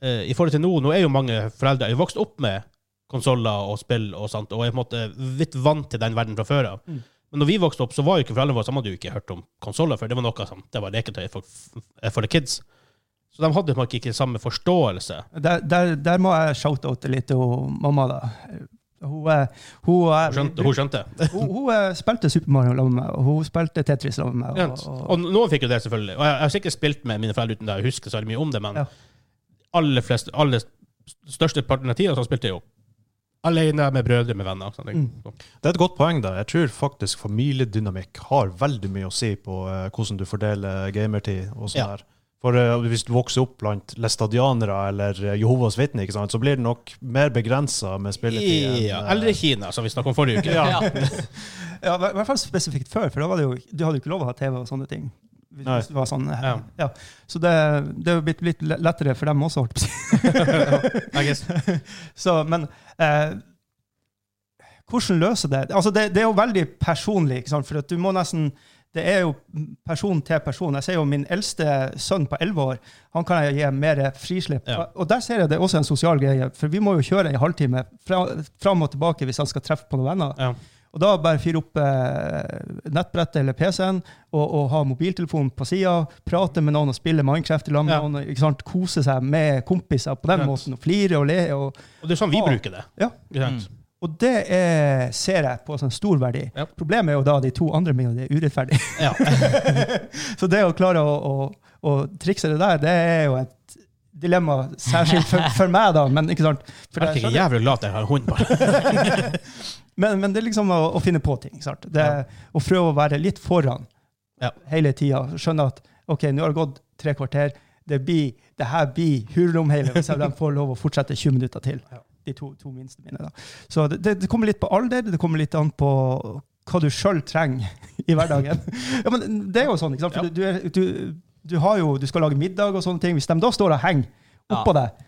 Speaker 1: eh, i forhold til nå, nå er jo mange foreldre jo vokst opp med konsoller og spill og sånt, og er på en måte litt vant til den verden fra før av.
Speaker 5: Mm.
Speaker 1: Men når vi vokste opp, så var jo ikke foreldrene våre, så hadde jo ikke hørt om konsoller før. Det var noe som, det var leketøy for, for the kids. Så de hadde på en måte ikke samme forståelse.
Speaker 5: Der, der, der må jeg shout-oute litt til hun mamma, da. Hun, eh, hun, eh,
Speaker 1: Hun skjønte. Hun skjønte.
Speaker 5: hun, hun, eh, spilte Super Mario sammen med meg, og hun spilte Tetris sammen med meg.
Speaker 1: Rent.
Speaker 5: Og, og,
Speaker 1: Og noen fikk jo det, selvfølgelig. Og jeg, jeg har sikkert spilt med mine foreldre uten at jeg husker så veldig mye om det, men
Speaker 5: Ja.
Speaker 1: aller flest, aller største parten av tida så spilte jeg jo alene med brødre, med venner. og Sånne ting.
Speaker 5: Mm.
Speaker 1: Så,
Speaker 4: Det er et godt poeng der. Jeg tror faktisk familiedynamikk har veldig mye å si på eh, hvordan du fordeler gamertid og sånn
Speaker 1: Ja.
Speaker 4: her. For eh, hvis du vokser opp blant læstadianere eller eh, Jehovas vitner, ikke sant, så blir det nok mer begrensa med spilletid. enn,
Speaker 1: ja.
Speaker 4: eh,
Speaker 1: Eller i Kina, som vi snakket om forrige uke.
Speaker 2: Ja.
Speaker 5: ja, I hvert fall spesifikt før, for da var det jo, du hadde jo ikke lov å ha TV og sånne ting. Hvis,
Speaker 4: Nei.
Speaker 5: hvis det var sånn, eh,
Speaker 1: Ja.
Speaker 5: ja. Så det, det er jo blitt litt lettere for dem også, holdt jeg på å si.
Speaker 1: I guess.
Speaker 5: Så, men eh, hvordan løse det? Altså, det? Det er jo veldig personlig, ikke sant? for at du må nesten det er jo person til person. Jeg ser jo min eldste sønn på 11 år. Han kan jeg gi mer frislipp.
Speaker 1: Ja.
Speaker 5: Og der ser jeg det er også en sosial greie, for vi må jo kjøre en halvtime fra, fram og tilbake hvis han skal treffe på noen venner.
Speaker 1: Ja.
Speaker 5: Og da bare fyre opp eh, nettbrettet eller PC-en og, og ha mobiltelefonen på sida, prate med noen og spille Minecraft i lag med
Speaker 1: Ja.
Speaker 5: noen, ikke sant? kose seg med kompiser på den
Speaker 1: Rett.
Speaker 5: måten, og flire og le. og
Speaker 1: Og det er sånn vi
Speaker 5: Ja.
Speaker 1: bruker det.
Speaker 5: Ja.
Speaker 1: Ikke sant?
Speaker 2: Mm.
Speaker 5: og det er, ser jeg på som en stor verdi.
Speaker 1: Ja.
Speaker 5: Problemet er jo da de to andre med det er urettferdig.
Speaker 1: Ja.
Speaker 5: Så det å klare å, å, å trikse det der, det er jo et dilemma særskilt for, for meg, da. Men, ikke sant? For
Speaker 1: Jeg
Speaker 5: det,
Speaker 1: er ikke jævlig glad at jeg har en hund, bare.
Speaker 5: men, men det er liksom å, å finne på ting. ikke Sant? Det,
Speaker 1: Ja.
Speaker 5: Å prøve å være litt foran
Speaker 1: Ja.
Speaker 5: hele tida. Skjønne at OK, nå har det gått tre kvarter. Det, blir, det her blir hulromheilet hvis de får lov å fortsette 20 minutter til.
Speaker 1: Ja.
Speaker 5: De to, to minste mine. Da. Så det, det, det kommer litt på alder, det kommer litt an på hva du sjøl trenger i hverdagen. ja, men det er jo sånn, ikke sant? For
Speaker 1: Ja.
Speaker 5: du, er, du, du, har jo, du skal lage middag og sånne ting. Hvis de da står og henger oppå deg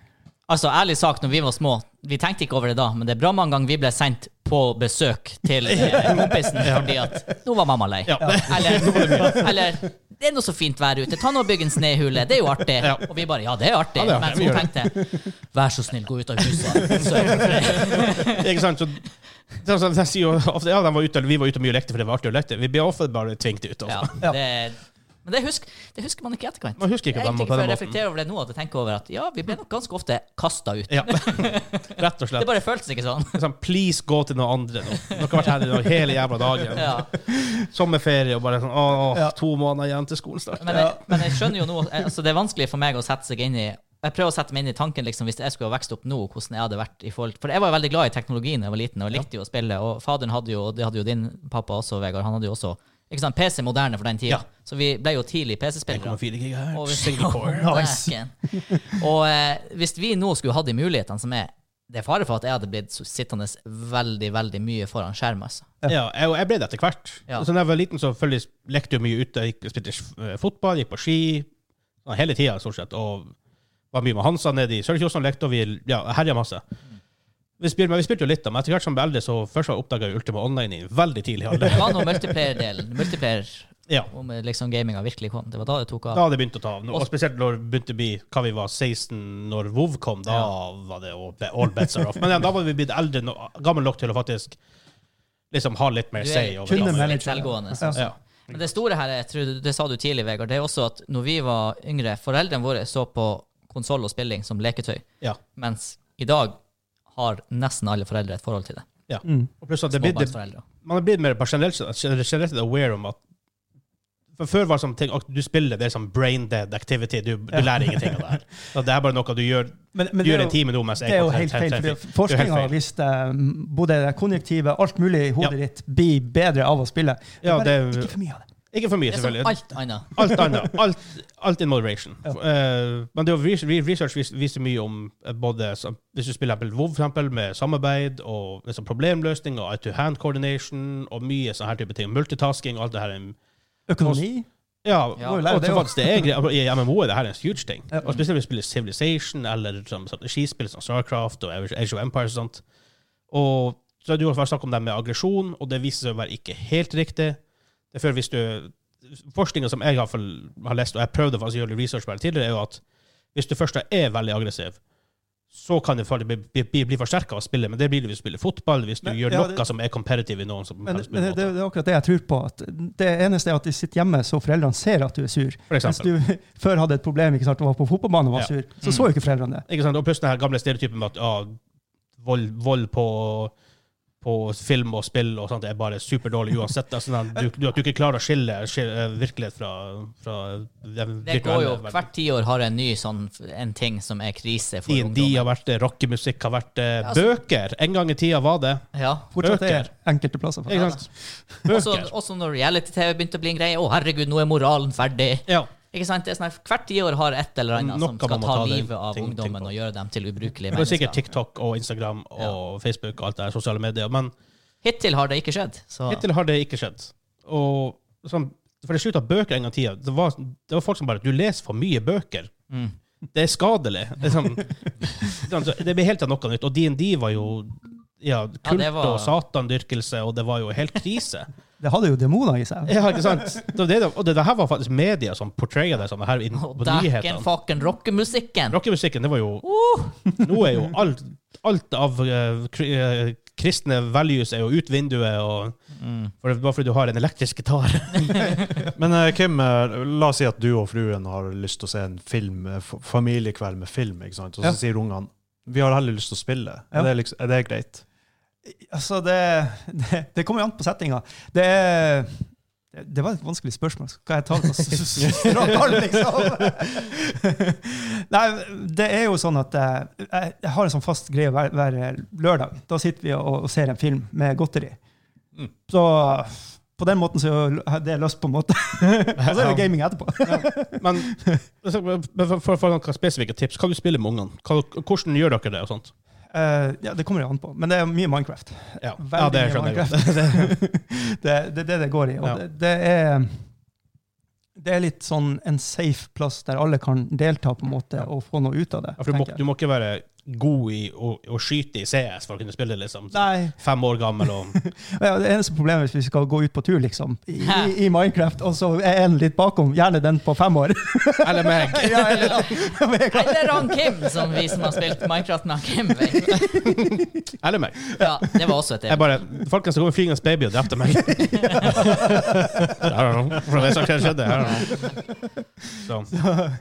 Speaker 2: Altså, ærlig sak, når vi var små, vi tenkte ikke over det da, men det er bra mange ganger vi ble sendt på besøk til eh, kompisen fordi at nå var mamma lei.
Speaker 1: Ja.
Speaker 2: Eller, eller det er noe så fint vær ute, ta nå og bygg en snehule, det er jo artig.
Speaker 1: Ja.
Speaker 2: Og vi bare ja, det er artig.
Speaker 1: Ja, det er
Speaker 2: Men
Speaker 1: artig,
Speaker 2: så
Speaker 1: vi
Speaker 2: tenkte jeg, vær så snill, gå ut av huset. Så,
Speaker 1: Ikke sant? Så, det er sånn, de sier jo ofte ja, de var ute, eller vi var ute mye og lekte, for det var artig å leke. Vi ble ofte bare tvingt ut. altså.
Speaker 2: ja,
Speaker 1: Også.
Speaker 2: det, men Men det husker, det husker man ikke i etterkant.
Speaker 1: Man husker
Speaker 2: Det
Speaker 1: ikke på
Speaker 2: er
Speaker 1: den,
Speaker 2: egentlig
Speaker 1: på
Speaker 2: før
Speaker 1: den
Speaker 2: jeg
Speaker 1: måten.
Speaker 2: reflekterer over det nå, at jeg tenker over at ja, vi ble nok ganske ofte kasta ut.
Speaker 1: Ja. Rett og
Speaker 2: Det
Speaker 1: slett.
Speaker 2: bare føltes ikke sånn.
Speaker 1: Sånn, please gå til noen andre nå. Dere har vært her i dag hele jævla dagen.
Speaker 2: Ja.
Speaker 1: Sommerferie og bare sånn Å,
Speaker 5: Ja.
Speaker 1: to måneder igjen til skolestart.
Speaker 2: Men, jeg, men jeg skjønner jo nå altså Det er vanskelig for meg å sette seg inn i Jeg prøver å sette meg inn i tanken liksom, hvis jeg skulle ha vokst opp nå, hvordan jeg hadde vært i forhold For jeg var jo veldig glad i teknologien da jeg var liten, og likte jo å spille. Og faderen hadde jo, og det hadde jo din pappa også, Vegard, han hadde jo også ikke sant, PC moderne for den tida.
Speaker 1: Ja.
Speaker 2: Så vi ble jo tidlig PC-spillere.
Speaker 1: gig
Speaker 2: Og
Speaker 1: her.
Speaker 2: hvis-
Speaker 1: Single core.
Speaker 2: Å, dæken. Og eh, hvis vi nå skulle hatt de mulighetene som er Det er fare for at jeg hadde blitt sittende veldig, veldig mye foran skjerm, altså.
Speaker 1: Ja, jeg, jeg ble det etter hvert.
Speaker 2: Ja.
Speaker 1: Så da jeg var liten, så selvfølgelig lekte jeg mye ute. Jeg gikk- spilte eh, fotball, gikk på ski ja, hele tida, stort sett. Og var mye med Hansa nede i Sørkjosen og lekte, og vi ja, herja masse. Vi spilte, men vi spilte jo litt, da, men etter hvert som jeg ble eldre, så først oppdaga jeg Ultima Online i veldig tidlig alder.
Speaker 2: Hva nå multiplayer-delen? Multiplayer
Speaker 1: Ja.
Speaker 2: om eh, liksom gaminga virkelig kom. Det var da det tok av.
Speaker 1: Da hadde det begynt å ta av. Og spesielt når det begynte å bli hva vi var 16 når WoW kom. Da var det all- all bets are off. Men ja, da var vi blitt eldre, no- gammel nok til å faktisk liksom ha litt mer
Speaker 2: Du er-
Speaker 1: say. over
Speaker 5: Kunne
Speaker 1: det.
Speaker 5: melde-
Speaker 2: Litt selvgående.
Speaker 5: Ja.
Speaker 2: sånn.
Speaker 1: Ja.
Speaker 2: Men det store her, jeg tror det sa du tidlig, Vegard, det er også at når vi var yngre, foreldrene våre så på konsoll og spilling som leketøy,
Speaker 1: Ja.
Speaker 2: mens i dag har nesten alle foreldre et forhold til det.
Speaker 1: ja.
Speaker 5: Mm.
Speaker 1: Og pluss at det blir, det,
Speaker 2: Småbarnsforeldre.
Speaker 1: man er blitt mer bare generelt, generelt aware om at for Før var det sånn ting at du spiller, det er sånn brain dead activity. Du, du lærer ingenting av det her. Og Det er bare noe du gjør,
Speaker 5: Men, men
Speaker 1: du
Speaker 5: det
Speaker 1: gjør
Speaker 5: er
Speaker 1: en
Speaker 5: jo,
Speaker 1: time nå mens jeg
Speaker 5: det er jo
Speaker 1: går til-
Speaker 5: helt
Speaker 1: til-
Speaker 5: feil.
Speaker 1: til-
Speaker 5: fordi
Speaker 1: til- Det er
Speaker 5: Forskning
Speaker 1: helt
Speaker 5: har
Speaker 1: feil.
Speaker 5: vist eh, både det konjunktive, alt mulig i hodet ditt, blir bedre av å spille.
Speaker 1: Ja,
Speaker 5: bare
Speaker 1: det er-
Speaker 5: ikke for mye av det. sånn
Speaker 1: Ikke for mye,
Speaker 2: Det er som
Speaker 1: selvfølgelig.
Speaker 2: alt annet.
Speaker 1: Alt annet. Alt, alt in moderation. Eh, men det er jo res- re- research vis- viser mye om eh, både som- Hvis du spiller eksempel WoW, for eksempel, med samarbeid og liksom, problemløsning og eye-to-hand coordination og mye sånn her type ting. Multitasking og alt det her. er-
Speaker 5: Økonomi?
Speaker 1: Ja,
Speaker 2: Ja.
Speaker 1: og
Speaker 5: Lære
Speaker 1: og
Speaker 5: det
Speaker 1: så
Speaker 5: jo.
Speaker 1: faktisk det er en greie- I MMO er det her en huge ting.
Speaker 5: Ja.
Speaker 1: Og spesielt hvis du spiller Civilization eller sånn strategispill som Starcraft og Age of Empires og sånt. Og så har du også vært snakk om det med aggresjon, og det viser seg å være ikke helt riktig. Det er før hvis du Forskninga som jeg i hvert fall har lest, og jeg prøvde faktisk å gjøre litt research på det tidligere, er jo at hvis du først er veldig aggressiv, så kan det faktisk bli, bli, bli, bli forsterka av spillet, men det blir det hvis du spiller fotball, hvis du
Speaker 5: Men-
Speaker 1: gjør
Speaker 5: ja,
Speaker 1: noe
Speaker 5: det-
Speaker 1: som er competitive i noen som
Speaker 5: Men,
Speaker 1: spiller
Speaker 5: men det, det,
Speaker 1: måte,
Speaker 5: er akkurat det jeg tror på. At det eneste er at de sitter hjemme så foreldrene ser at du er sur.
Speaker 1: for
Speaker 5: Mens
Speaker 1: eksempel.
Speaker 5: du før hadde et problem ikke sant, du var på fotballbanen og var
Speaker 1: Ja. Mm.
Speaker 5: sur, så så jo ikke foreldrene det.
Speaker 1: Ikke sant? Og plutselig den her gamle stereotypen med at ja, vold, vold på, på film og spill og sånt er bare superdårlig uansett. Altså, sånn at du, du, at du ikke klarer å skille, skille eh, virkelighet fra, fra den
Speaker 2: Det går jo,
Speaker 1: virtuelle verden.
Speaker 2: Hvert tiår har en ny sånn en ting som er krise for
Speaker 1: D&D
Speaker 2: ungdommen.
Speaker 1: har vært det, rockemusikk har vært det,
Speaker 2: altså-
Speaker 1: bøker. En gang i tida var det.
Speaker 2: Ja.
Speaker 5: Fortsatt
Speaker 1: Bøker.
Speaker 5: er enkelte plasser. for-
Speaker 1: Ikke
Speaker 2: altså.
Speaker 1: sant?
Speaker 2: Også,
Speaker 1: Bøker.
Speaker 2: også når reality-TV begynte å bli en greie. Å, herregud, nå er moralen ferdig.
Speaker 1: Ja.
Speaker 2: Ikke sant? Det er sånn her, hvert tiår har et eller annet
Speaker 1: Noe
Speaker 2: som skal
Speaker 1: man må
Speaker 2: ta
Speaker 1: ta det
Speaker 2: livet av
Speaker 1: ting- ting
Speaker 2: ungdommen
Speaker 1: på.
Speaker 2: og gjøre dem til ubrukelige
Speaker 1: Det var sikkert
Speaker 2: mennesker.
Speaker 1: TikTok og Instagram og Facebook og alt det der, sosiale medier. Men
Speaker 2: Hittil har det ikke skjedd. Så
Speaker 1: Hittil har det ikke skjedd. Og sånn, for det slutta bøker en gang i tida. Det var, det var folk som bare Du leser for mye bøker.
Speaker 2: Mm.
Speaker 1: Det er skadelig. Det, er sånn, sånn, så det blir helt av noe nytt. Og DND var jo ja,
Speaker 2: Ja,
Speaker 1: kult
Speaker 2: det var-
Speaker 1: og satandyrkelse, og det var jo helt krise.
Speaker 5: Det hadde jo demoner i seg.
Speaker 1: Ja, ikke sant? Det, var det, og det, det her var faktisk media som portraya det sånn her inn
Speaker 2: Og
Speaker 1: på
Speaker 2: dæken
Speaker 1: nyhetene.
Speaker 2: fucken rockemusikken!
Speaker 1: Rockemusikken, det var jo
Speaker 2: Uh!
Speaker 1: Nå er jo alt, alt av eh, kri- eh, kristne values er jo ut vinduet, og,
Speaker 2: Mm.
Speaker 1: for, bare fordi du har en elektrisk gitar.
Speaker 4: Men eh, Kim, eh, la oss si at du og fruen har lyst til å se en film, eh, f- familiekveld med film, ikke sant? og så
Speaker 5: Ja.
Speaker 4: sier ungene vi har heller lyst til å spille.
Speaker 5: Ja.
Speaker 4: Er, det liksom, er det greit?
Speaker 5: Altså, det, det, det kommer jo an på settinga. Det er det var et vanskelig spørsmål. Skal jeg ta det på s- s- strak arm, liksom? Nei, det er jo sånn at eh, jeg, jeg har en sånn fast greie hver, hver lørdag. Da sitter vi og, og ser en film med godteri. Så på den måten så er jo l- det er løst, på en måte. og så er det gaming etterpå.
Speaker 1: Men men for, for, for noen spesifikke tips, hva du spiller med ungene? Hva, hvordan gjør dere det? og sånt?
Speaker 5: Eh, ja, det kommer jo an på. Men det er mye Minecraft.
Speaker 1: Ja,
Speaker 5: Veldig
Speaker 1: ja det
Speaker 5: mye
Speaker 1: skjønner jeg godt.
Speaker 5: Minecraft. det er det, er det det går i. Og
Speaker 1: Ja.
Speaker 5: det, det er det er litt sånn en safe plass der alle kan delta på en måte og få noe ut av det.
Speaker 1: Ja, for du, må,
Speaker 5: tenker jeg.
Speaker 1: du må ikke være god i å, å skyte i CS for å kunne spille, liksom.
Speaker 5: Nei.
Speaker 1: Fem år gammel og
Speaker 5: Ja, det eneste problemet er hvis vi skal gå ut på tur, liksom, i, i, i Minecraft, og så er en litt bakom. Gjerne den på fem år.
Speaker 1: Eller meg.
Speaker 5: ja, eller, ja.
Speaker 2: Eller han Kim, som vi som har spilt Minecraft med han Kim. vet.
Speaker 1: Eller meg.
Speaker 2: Ja, det var også et
Speaker 1: Jeg
Speaker 2: eventyr.
Speaker 1: bare Folkens, det kommer en flygende baby og drepte meg. I don't know. For det som skjedde. I don't Sånn. know. Så,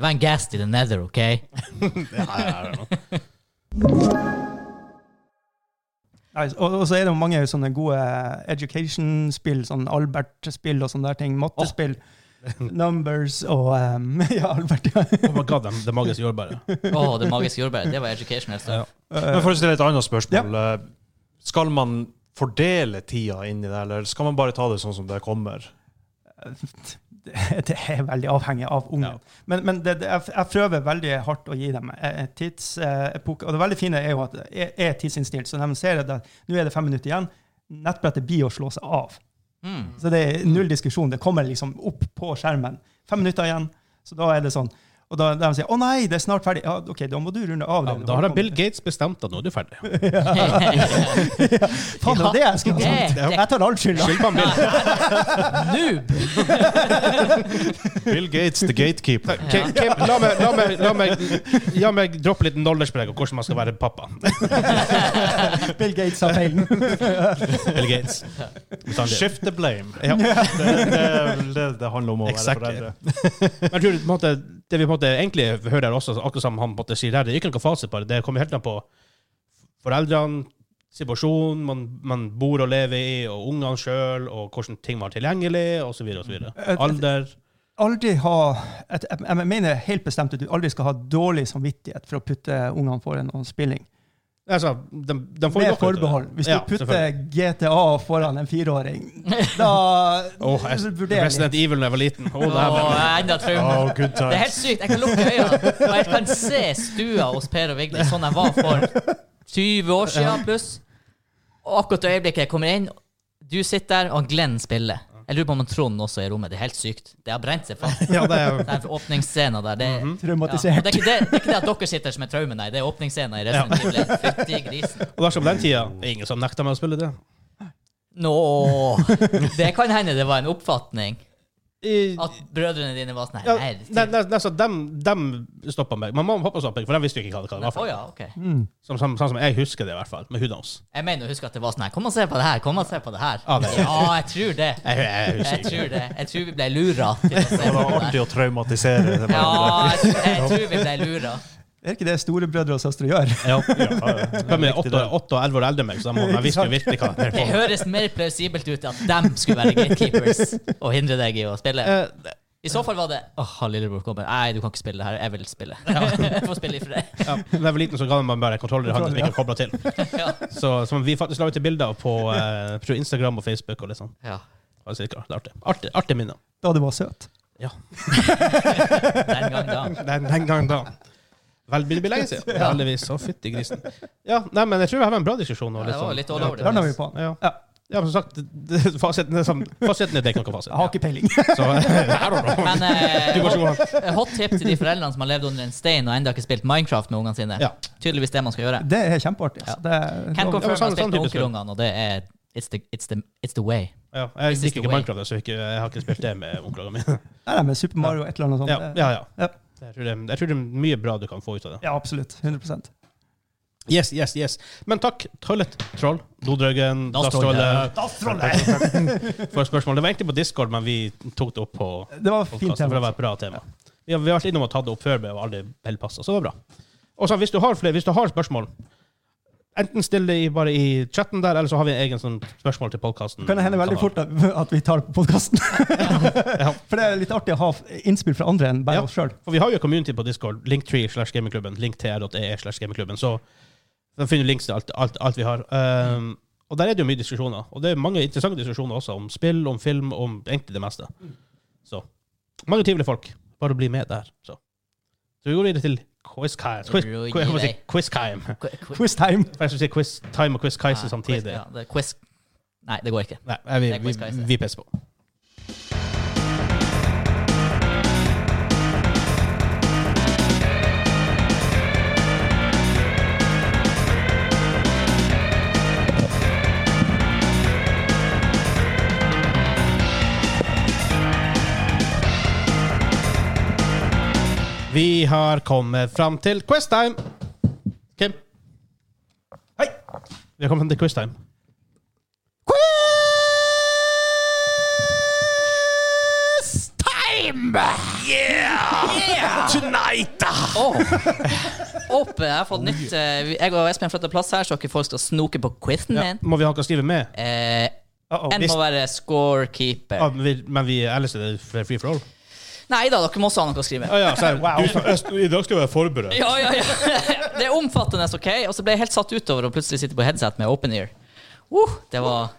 Speaker 2: Det var en gast i the nether, OK?
Speaker 1: ja, I don't know.
Speaker 5: Nei, og, og så er det jo mange sånne gode education-spill, sånn Albert-spill og sånne der ting. Mattespill. Numbers og um, Ja, Albert. Ja.
Speaker 1: Oh my god, det, det magiske jordbæret.
Speaker 2: Å, det magiske jordbæret. Det var educational stuff.
Speaker 4: Men for å stille et annet spørsmål. eh, Skal man fordele tida inn i det, eller skal man bare ta det sånn som det kommer?
Speaker 5: Det er veldig avhengig av ungen. Men, men det, det, jeg, jeg prøver veldig hardt å gi dem eh, tidsepoke. Og det veldig fine er jo at jeg er tidsinnstilt, så når de ser at det- nå er det fem minutter igjen, nettbrettet blir å slå seg av.
Speaker 2: Hmm.
Speaker 5: Så det er null diskusjon. Det kommer liksom opp på skjermen. Fem minutter igjen. Så da er det sånn. Og da da de sier 'Å nei, det er snart ferdig', ja, ok, da må du runde av.
Speaker 1: Ja,
Speaker 5: det.
Speaker 1: da har da Bill Gates bestemt at nå er du ferdig.
Speaker 5: Faen, det var det jeg skulle
Speaker 2: Ja,
Speaker 5: sagt!
Speaker 2: det-
Speaker 5: Jeg tar all skylda.
Speaker 1: Skyld på han Bill.
Speaker 2: Noob!
Speaker 4: Bill Gates, the gatekeeper.
Speaker 1: Kim, Kim, la, meg, la, meg, la, meg, la meg droppe litt knowledge på deg om hvordan man skal være pappa.
Speaker 5: Bill Gates har feilen.
Speaker 1: Bill Gates. Hvis han det.
Speaker 4: Shift the blame.
Speaker 1: Ja.
Speaker 4: Det, det, det, det handler om å
Speaker 1: Exactly.
Speaker 4: være foreldre.
Speaker 1: Men jeg tror på en måte, det vi på en måte egentlig hører her også, akkurat som han på en måte sier her, det er ikke noen fasit på det. Det kommer helt an på foreldrene, situasjonen man, man bor og lever i, og ungene sjøl, og hvordan ting var tilgjengelig, osv. Alder.
Speaker 5: aldri ha et, jeg- Jeg mener helt bestemt at du aldri skal ha dårlig samvittighet for å putte ungene foran noen spilling.
Speaker 1: Altså, de, de får jo godt ut
Speaker 5: Med
Speaker 1: av det.
Speaker 5: forbehold. Hvis du
Speaker 1: Ja,
Speaker 5: putter
Speaker 1: selvfølgelig.
Speaker 5: GTA foran en fireåring, da
Speaker 1: Åh, jeg,
Speaker 5: vurderer jeg.
Speaker 1: Resident Evil da jeg var liten. Åh,
Speaker 2: Å,
Speaker 1: det her var-
Speaker 2: enda et traume.
Speaker 4: Oh, good
Speaker 2: Det er helt
Speaker 4: times.
Speaker 2: sykt. Jeg kan lukke øynene, og jeg kan se stua hos Per og Vigdis sånn jeg var for 20 år siden pluss. Og akkurat det øyeblikket jeg kommer inn, du sitter der, og Glenn spiller. Jeg lurer på om han Trond også er i rommet. Det er helt sykt. Det har brent seg fast.
Speaker 1: ja, Mhm. det er,
Speaker 2: Den åpningsscenen der, det er
Speaker 5: Traumatisert.
Speaker 2: Og Det, er ikke det, det er ikke det at dere sitter som er traumen, nei. Det er åpningsscenen i Resident Evil. Fytti grisen.
Speaker 1: og dersom den tida det er Ingen som nekter meg å spille det.
Speaker 2: Nå Det kan hende det var en oppfatning.
Speaker 1: I,
Speaker 2: At brødrene dine var sånn
Speaker 1: Ja,
Speaker 2: her
Speaker 1: nei, nei, nei, så dem, dem stoppa meg. Men Mamma og pappa stoppa meg, for de visste jo ikke hva det, hva det var.
Speaker 2: Å
Speaker 1: for.
Speaker 2: ja, OK.
Speaker 1: Som- som- Sånn som jeg husker det, i hvert fall. Med huden hans.
Speaker 2: Jeg mener å huske at det var sånn her. Kom og se på det her! kom og se på det her.
Speaker 1: Ja, det-
Speaker 2: Ja, jeg tror det.
Speaker 1: Jeg, jeg husker
Speaker 2: Jeg
Speaker 1: ikke.
Speaker 2: tror det. Jeg tror vi ble lura til å se
Speaker 4: Det
Speaker 2: på
Speaker 4: var
Speaker 2: det.
Speaker 4: artig å traumatisere. det.
Speaker 2: Ja, jeg, jeg tror vi ble lura.
Speaker 5: Det er ikke det storebrødre og søstre gjør.
Speaker 1: Ja.
Speaker 4: Ja, ja.
Speaker 1: De er åtte, åtte og elleve år eldre enn meg, så de må, jeg visste jo virkelig hva det
Speaker 2: Det
Speaker 1: var.
Speaker 2: høres mer plausibelt ut at dem skulle være gatekeepers og hindre deg i å spille. I så fall var det Eh, åh, lillebror kommer. Nei, du kan ikke spille det her. Jeg vil spille. Jeg får spille i fred.
Speaker 1: Ja, da jeg var liten, så ga de meg bare en kontroller i hånden som ikke kobla til.
Speaker 2: Ja.
Speaker 1: Så, som vi faktisk la ut bilder av på, eh, på Instagram og Facebook. og litt sånn.
Speaker 2: Ja.
Speaker 1: Og så gikk Det det er artig. Artig, artig minne.
Speaker 5: Da du var søt.
Speaker 1: Ja.
Speaker 2: Den gang da.
Speaker 1: Den, den gangen da. Vel, det blir lenge siden. Heldigvis. Å, fytti grisen. Ja, nei, men jeg tror vi har en bra diskusjon. nå,
Speaker 2: Ja, det var
Speaker 1: sånn.
Speaker 2: litt all over the
Speaker 5: Der når vi
Speaker 2: place.
Speaker 5: på den.
Speaker 1: Ja.
Speaker 5: Ja.
Speaker 1: Ja, men som sagt, det- det- fasiten er, sånn, fasiten er det ikke noe fasit.
Speaker 5: Jeg har ikke peiling.
Speaker 1: Så I don't know.
Speaker 2: Men eh,
Speaker 1: Du går så
Speaker 2: hot, hot tip til de foreldrene som har levd under en stein og enda ikke spilt Minecraft med ungene sine.
Speaker 1: Ja.
Speaker 2: Tydeligvis det man skal gjøre.
Speaker 5: Det er kjempeartig. altså. Det er-
Speaker 1: Ja,
Speaker 2: Can't confirm
Speaker 1: men
Speaker 2: jeg har
Speaker 1: sånn-
Speaker 2: spilt
Speaker 1: sånn
Speaker 2: med
Speaker 1: type spill.
Speaker 2: onkelungene, og det er it's the, it's, the, it's the way.
Speaker 1: Ja, jeg
Speaker 2: This is
Speaker 1: liker
Speaker 2: the
Speaker 1: ikke
Speaker 2: way.
Speaker 1: Minecraft, så jeg, ikke, jeg har ikke spilt det med onklene mine.
Speaker 5: Nei, nei, men Super Mario et eller annet sånt.
Speaker 1: Ja,
Speaker 5: det-
Speaker 1: ja, ja.
Speaker 5: Ja.
Speaker 1: Jeg, tror det, jeg tror det er mye bra du kan få ut av det.
Speaker 5: ja, absolutt. 100
Speaker 1: Yes, yes, yes. Men takk, Toilet Troll, Dodrøggen,
Speaker 2: Dastrolle.
Speaker 1: Dastrolle, for spørsmål. Det var egentlig på Discord, men vi tok det opp på
Speaker 5: Det var fint
Speaker 1: podkasten, for det
Speaker 5: tema.
Speaker 1: var et bra tema. Vi har, vi har vært innom og tatt det opp før, men det var aldri helt passet, så det var bra. Og så hvis du har flere, hvis du har spørsmål, enten still det i- bare i chatten der, eller så har vi en egen sånn spørsmål til podkasten.
Speaker 5: kan det hende veldig fort at, at vi tar det på podkasten. For det er litt artig å ha innspill fra andre enn bare
Speaker 1: Ja.
Speaker 5: oss sjøl.
Speaker 1: For vi har jo community på Discord, linktree slash gamingklubben, linktr.ee slash gamingklubben, så der finner du links til alt, alt, alt vi har. Um, og der er det jo mye diskusjoner, og det er mange interessante diskusjoner også, om spill, om film, om egentlig det meste. Så, mange trivelige folk, bare bli med der, så. Så vi går videre til Quizkime. Quiz,
Speaker 2: Jo, gi
Speaker 1: quiz, jeg må si
Speaker 2: deg.
Speaker 1: Quizkime.
Speaker 2: Qu- qu-
Speaker 5: Quiz time.
Speaker 1: For jeg skulle si Quiztime og Quizkaiser samtidig.
Speaker 2: Ja, det er quiz. Nei, det går ikke.
Speaker 1: Nei, jeg, vi,
Speaker 2: Det er
Speaker 1: vi,
Speaker 2: Quizkaiser.
Speaker 1: vi pisser på. Vi har kommet fram til quiztime. Kim? Hei! Vi har kommet fram til quiztime.
Speaker 2: Åh! Oppe, jeg har fått nytt eh, Jeg og Espen flytta plass her, så ikke folk skal snoke på quizen
Speaker 1: Ja.
Speaker 2: min.
Speaker 1: Må vi ha noe å skrive med?
Speaker 2: Eh,
Speaker 5: Uh -oh.
Speaker 2: en må være
Speaker 1: Ja,
Speaker 2: scorekeeper.
Speaker 1: men vi, men vi ellers er det free for all.
Speaker 2: Nei da, dere må også ha noe å skrive.
Speaker 1: Å ja, så her,
Speaker 5: Wow.
Speaker 1: du,
Speaker 6: I dag skal jeg være forberedt.
Speaker 2: Ja, ja, ja. Det er omfattende, OK? Og så ble jeg helt satt utover og plutselig sitter på headset med open ear. Uh, det var,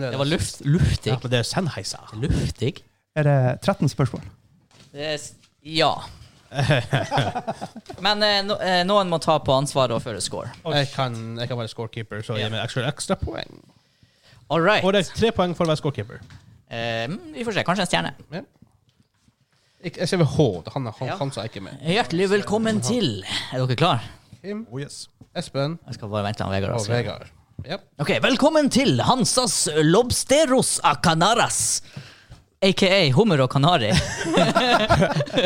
Speaker 2: det var luft, luftig.
Speaker 1: Ja, men det er Sennheiser.
Speaker 2: Luftig?
Speaker 5: Er det 13 spørsmål?
Speaker 2: Det er Eh, s- Ja. Men eh, no, eh, noen må ta på ansvaret og føre score.
Speaker 1: Jeg kan, jeg kan være scorekeeper, så gir meg ekstra, ekstra poeng.
Speaker 2: All right.
Speaker 1: Og det er tre poeng for å være scorekeeper.
Speaker 2: Eh, mm, vi får se. Kanskje en stjerne.
Speaker 1: Ja. Ikke- Jeg ser ved H. Han, han,
Speaker 2: Ja.
Speaker 1: han sa ikke med.
Speaker 2: Hjertelig velkommen til. Er dere klare?
Speaker 1: Kim,
Speaker 4: Oh, yes.
Speaker 1: Espen
Speaker 2: Jeg skal bare vente på Vegard.
Speaker 1: og
Speaker 2: også.
Speaker 1: Vegard. Ja.
Speaker 2: Ok, Velkommen til Hansas Lobsteros a Canaras. Aka hummer og kanari.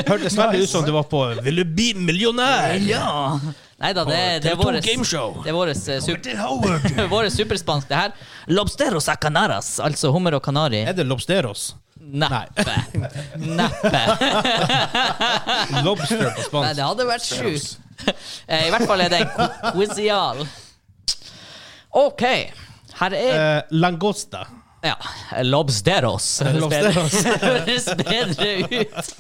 Speaker 1: Hørtes veldig ut som det var på Ville bli millionær!
Speaker 2: ja. Nei da, det, det er
Speaker 1: TV2
Speaker 2: våres,
Speaker 1: gameshow.
Speaker 2: det er våres, eh, sup- våres superspansk, det her. Lobsteros a Canaras, altså hummer og kanari.
Speaker 1: Er det Lobsteros?
Speaker 2: Neppe. Neppe.
Speaker 1: Lobster på
Speaker 2: Nei,
Speaker 1: spansk.
Speaker 2: det hadde vært sjukt. Eh, I hvert fall er det en qu- quizial. OK. Her er
Speaker 1: Eh, langosta.
Speaker 2: Ja. Lobsteros. Høres bedre- Høres bedre ut.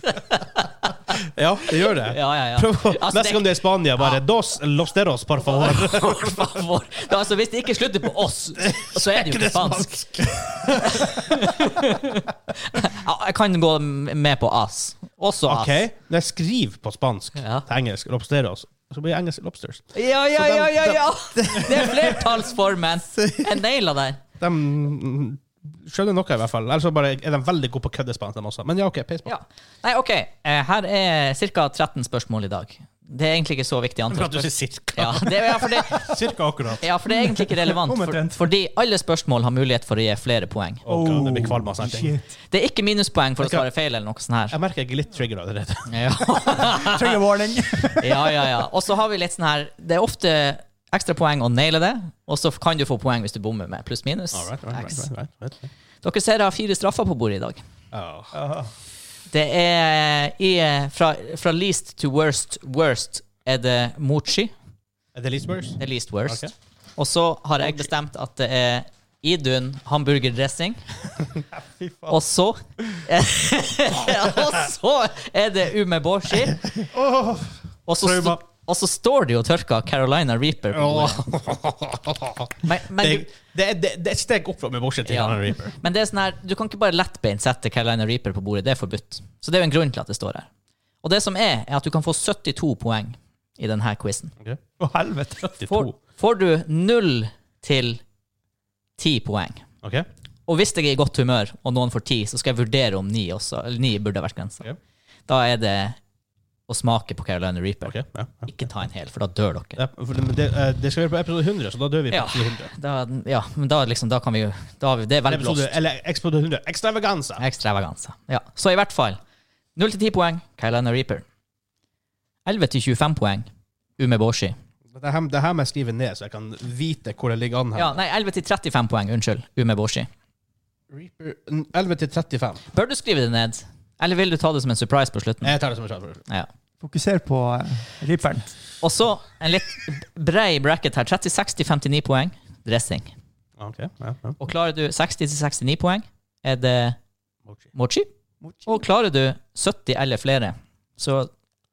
Speaker 1: Ja, det gjør det.
Speaker 2: Ja, ja, ja.
Speaker 1: Prøv å
Speaker 2: Altså,
Speaker 1: Neste gang du er i Spania, bare Dos Lobsteros, por favor.
Speaker 2: For favor. Det er altså, hvis det ikke slutter på oss, så er det jo ikke spansk. Ja, Jeg kan gå med på ass. Også ass.
Speaker 1: Ok, Når jeg skriver på spansk
Speaker 2: Ja.
Speaker 1: til engelsk Lobsteros, så blir det engelsk Lobsters.
Speaker 2: Ja, ja, ja, ja, ja! Det er flertallsformen. Jeg naila den.
Speaker 1: De mm, skjønner noe, i hvert fall. Ellers så bare er de veldig gode på køddespansk, de også. Men ja, OK, peis på.
Speaker 2: Ja. Nei, OK. Eh, Her er ca. 13 spørsmål i dag. Det er egentlig ikke så viktig antall.
Speaker 1: Bra at du sier cirka.
Speaker 2: Ja, det, ja, for det,
Speaker 4: Cirka akkurat.
Speaker 2: ja, for det er egentlig ikke relevant.
Speaker 5: Om
Speaker 2: For,
Speaker 5: omtrent.
Speaker 2: fordi alle spørsmål har mulighet for å gi flere poeng.
Speaker 1: Å, God, det blir kvalm
Speaker 5: altså.
Speaker 1: av sånne ting.
Speaker 5: shit.
Speaker 2: Det er ikke minuspoeng for å
Speaker 1: Jeg kan-
Speaker 2: svare feil eller noe sånt her.
Speaker 1: Jeg merker jeg er litt trigger allerede.
Speaker 2: Ja,
Speaker 5: Trigger warning.
Speaker 2: ja, ja. ja. Og så har vi litt sånn her Det er ofte ekstra poeng å naile det, og så kan du få poeng hvis du bommer med pluss-minus.
Speaker 1: All right, all right, all right, all right.
Speaker 2: Dere ser jeg har fire straffer på bordet i dag.
Speaker 1: Åh.
Speaker 2: Det er i, eh, fra, fra least to worst worst er det mochi.
Speaker 1: Er det Lisbers?
Speaker 2: Det er least worst.
Speaker 1: Ok.
Speaker 2: Og så har jeg bestemt at det er Idun hamburgerdressing. Og så Og så er det umeboshi. Og så, sto,
Speaker 1: Trauma.
Speaker 2: og så står det jo tørka Carolina Reaper. På bordet. men, men,
Speaker 1: Det,
Speaker 2: du,
Speaker 1: det, er- det, det er et steg opp fra med bortsett til
Speaker 2: Ja.
Speaker 1: Alan Reaper.
Speaker 2: men det er sånn her, du kan ikke bare lettbeint sette Carolina Reaper på bordet. Det er forbudt. Så det er jo en grunn til at det står her. Og det som er, er at du kan få 72 poeng i denne quizen.
Speaker 5: Å, helvete.
Speaker 1: Det er
Speaker 2: Får,
Speaker 1: to.
Speaker 2: får du 0 til 10 poeng.
Speaker 1: Ok?
Speaker 2: Og hvis jeg er i godt humør, og noen får ti, så skal jeg vurdere om ni også. Eller ni burde ha vært grensa.
Speaker 1: Ok.
Speaker 2: Da er det å smake på Carolina Reaper.
Speaker 1: ok, ja, ja.
Speaker 2: Ikke ta en hel, for da dør dere.
Speaker 1: Ja, for det, men det, eh, det skal være på episode 100, så da dør vi på
Speaker 2: Ja.
Speaker 1: episode 100.
Speaker 2: Da, ja, men da liksom, da kan vi jo da har vi, Det er veldig
Speaker 1: Episode,
Speaker 2: lost.
Speaker 1: eller episode 100. Ekstravaganza!
Speaker 2: Ekstravaganza. Ja. Så i hvert fall 0 til 10 poeng Carolina Reaper. 11 til 25 poeng Umeboshi.
Speaker 1: Det her, det her må jeg skrive ned, så jeg kan vite hvor det ligger an her.
Speaker 2: Ja, nei, 11 til 35 poeng, unnskyld, Umeboshi.
Speaker 1: Reaper, n- 11 til 35.
Speaker 2: Bør du skrive det ned? Eller vil du ta det som en surprise på slutten?
Speaker 1: Jeg tar det som en sjans.
Speaker 2: Ja.
Speaker 5: Fokuser på uh, ripperen.
Speaker 2: Og så en litt brei bracket her. 36 til 59 poeng dressing.
Speaker 1: Okay, ja, ja.
Speaker 2: Og klarer du 60 til 69 poeng, er det
Speaker 1: Mochi.
Speaker 2: mochi. Og klarer du 70 eller flere, så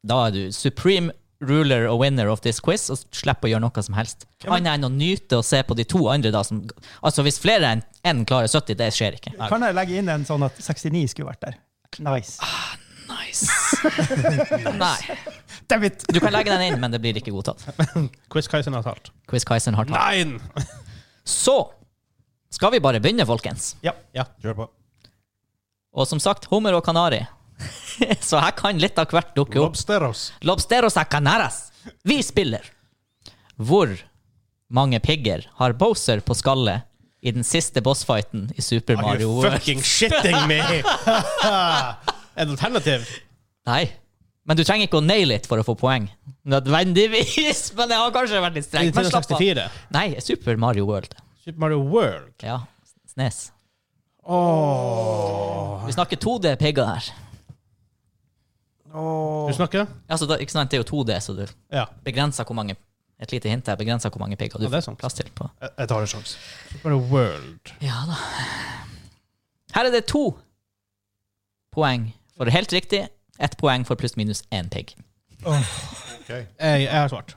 Speaker 2: da er du supreme ruler og winner of this quiz, og slipper å gjøre noe som helst. Annet enn å nyte og se på de to andre, da. Som, altså, hvis flere enn en klarer 70, det skjer ikke.
Speaker 5: Kan jeg legge inn en sånn at 69 skulle vært der? Ah, Nice.
Speaker 2: Nice. Nei.
Speaker 5: Damn it!
Speaker 2: Du kan legge den inn, men det blir ikke godtatt.
Speaker 1: Quiz Kaisen har talt.
Speaker 2: Quiz Kaisen har tatt.
Speaker 1: Nein!
Speaker 2: Så skal vi bare begynne, folkens.
Speaker 5: Ja.
Speaker 1: Ja.
Speaker 4: Kjør på.
Speaker 2: Og som sagt, hummer og kanari. Så her kan litt av hvert dukke opp.
Speaker 4: Lobsteros.
Speaker 2: Lobsteros a canaras. Vi spiller. Hvor mange pigger har Bowser på skallet i den siste bossfighten i Super Mario
Speaker 1: You're
Speaker 2: World?
Speaker 1: fucking shitting me! Et alternativ?
Speaker 2: Nei. Men du trenger ikke å naile it for å få poeng. Nødvendigvis! Men jeg har kanskje vært litt streng. Men
Speaker 1: Nintendo
Speaker 2: slapp av.
Speaker 1: 64.
Speaker 2: Nei, Super Mario World.
Speaker 1: Super Mario World.
Speaker 2: Ja, Snes. Vi snakker 2D-pigger her.
Speaker 1: Du snakker?
Speaker 2: Altså, da, ikke sant, Det er jo 2D, så du
Speaker 1: Ja.
Speaker 2: begrenser hvor mange Et lite hint her begrenser hvor mange pigger du
Speaker 1: Ja, det er
Speaker 2: får
Speaker 1: sant.
Speaker 2: plass til. på.
Speaker 4: Jeg, jeg tar en sjanse.
Speaker 1: Super Mario World.
Speaker 2: Ja da. Her er det to poeng for helt riktig. Ett poeng for pluss-minus én pigg.
Speaker 1: Jeg, jeg har svart.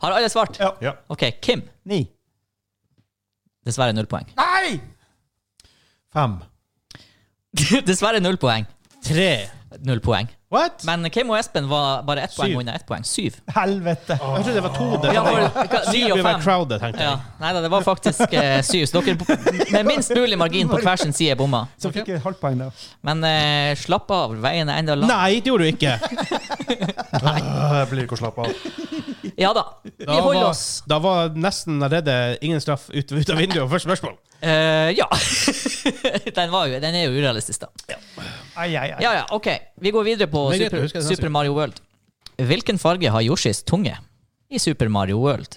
Speaker 2: Har alle svart?
Speaker 5: Ja.
Speaker 4: Ja.
Speaker 2: OK, Kim.
Speaker 5: Ni.
Speaker 2: Dessverre null poeng.
Speaker 5: Nei!
Speaker 4: Fem.
Speaker 2: Dessverre null poeng.
Speaker 1: Tre.
Speaker 2: Null poeng.
Speaker 1: What?
Speaker 2: Men Kim og Espen var bare ett poeng
Speaker 1: Syv.
Speaker 2: unna ett poeng. Syv.
Speaker 5: Helvete.
Speaker 1: Jeg trodde det var to. Det
Speaker 2: Ja, for, hva, ni
Speaker 1: Syv
Speaker 2: og
Speaker 1: blir vel
Speaker 2: fem.
Speaker 1: crowded, tenkte
Speaker 2: Ja.
Speaker 1: jeg.
Speaker 2: Nei da, det var faktisk eh, syv. Så dere b- med minst mulig margin på hver sin side bomma.
Speaker 5: Så fikk jeg halvt poeng, da.
Speaker 2: Men eh, slapp av, veien er enda lang.
Speaker 1: Nei, det gjorde du ikke.
Speaker 4: Øh, Jeg blir ikke å slappe av.
Speaker 2: Ja da, vi
Speaker 1: Da
Speaker 2: holder
Speaker 1: var,
Speaker 2: oss.
Speaker 1: da var nesten allerede ingen straff ut, ut av vinduet. Første spørsmål.
Speaker 2: Eh, ja. den, var jo, den er jo urealistisk, da.
Speaker 5: Ai, ai, ai.
Speaker 2: Ja, ja, ok. Vi går videre på
Speaker 1: Det er sånn greit,
Speaker 2: Super,
Speaker 1: jeg husker det neste
Speaker 2: Super Mario World. Hvilken farge har Yoshis tunge i Super Mario World?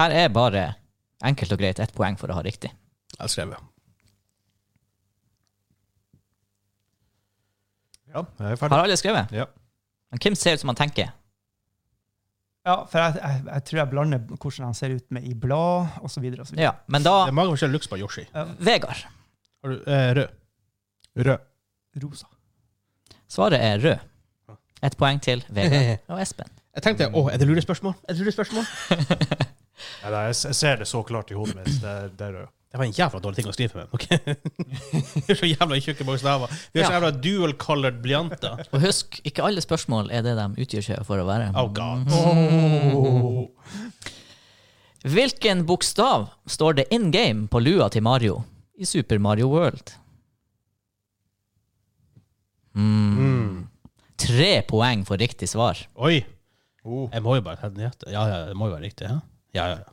Speaker 2: Her er bare enkelt og greit ett poeng for å ha riktig.
Speaker 1: Jeg skrev
Speaker 4: Ja, jeg er ferdig.
Speaker 2: Har alle skrevet?
Speaker 4: Ja.
Speaker 2: Men Kim ser ut som han tenker.
Speaker 5: Ja, for jeg, jeg, jeg tror jeg blander hvordan han ser ut med i blad, osv. Ja.
Speaker 2: Ja, men
Speaker 1: Det
Speaker 2: da
Speaker 1: er mange forskjellige looks på Yoshi.
Speaker 2: Vegard.
Speaker 1: Har du, eh, rød.
Speaker 4: Rød.
Speaker 5: Rosa.
Speaker 2: Svaret er rød. Ett poeng til Vegard og Espen.
Speaker 1: Jeg tenkte å, er det lurespørsmål? Er det lurespørsmål?
Speaker 4: Nei, nei, jeg, s- jeg ser det så klart i hodet mitt. Det, er- det er rød.
Speaker 1: Det var en jævla dårlig ting å skrive med. ok? Vi er så jævla tjukke bokstaver. Vi har så
Speaker 2: Ja.
Speaker 1: jævla dual-colored blyanter.
Speaker 2: Og husk, ikke alle spørsmål er det de utgir seg for å være.
Speaker 1: Oh
Speaker 4: Mm.
Speaker 1: god.
Speaker 2: Oh. Hvilken bokstav står det in game på lua til Mario i Super Mario World? Hmm. Tre poeng for riktig svar.
Speaker 1: Oi. Jeg må jo bare ta den i hjertet. Ja, ja, det må jo være riktig. hæ? Ja, ja, ja.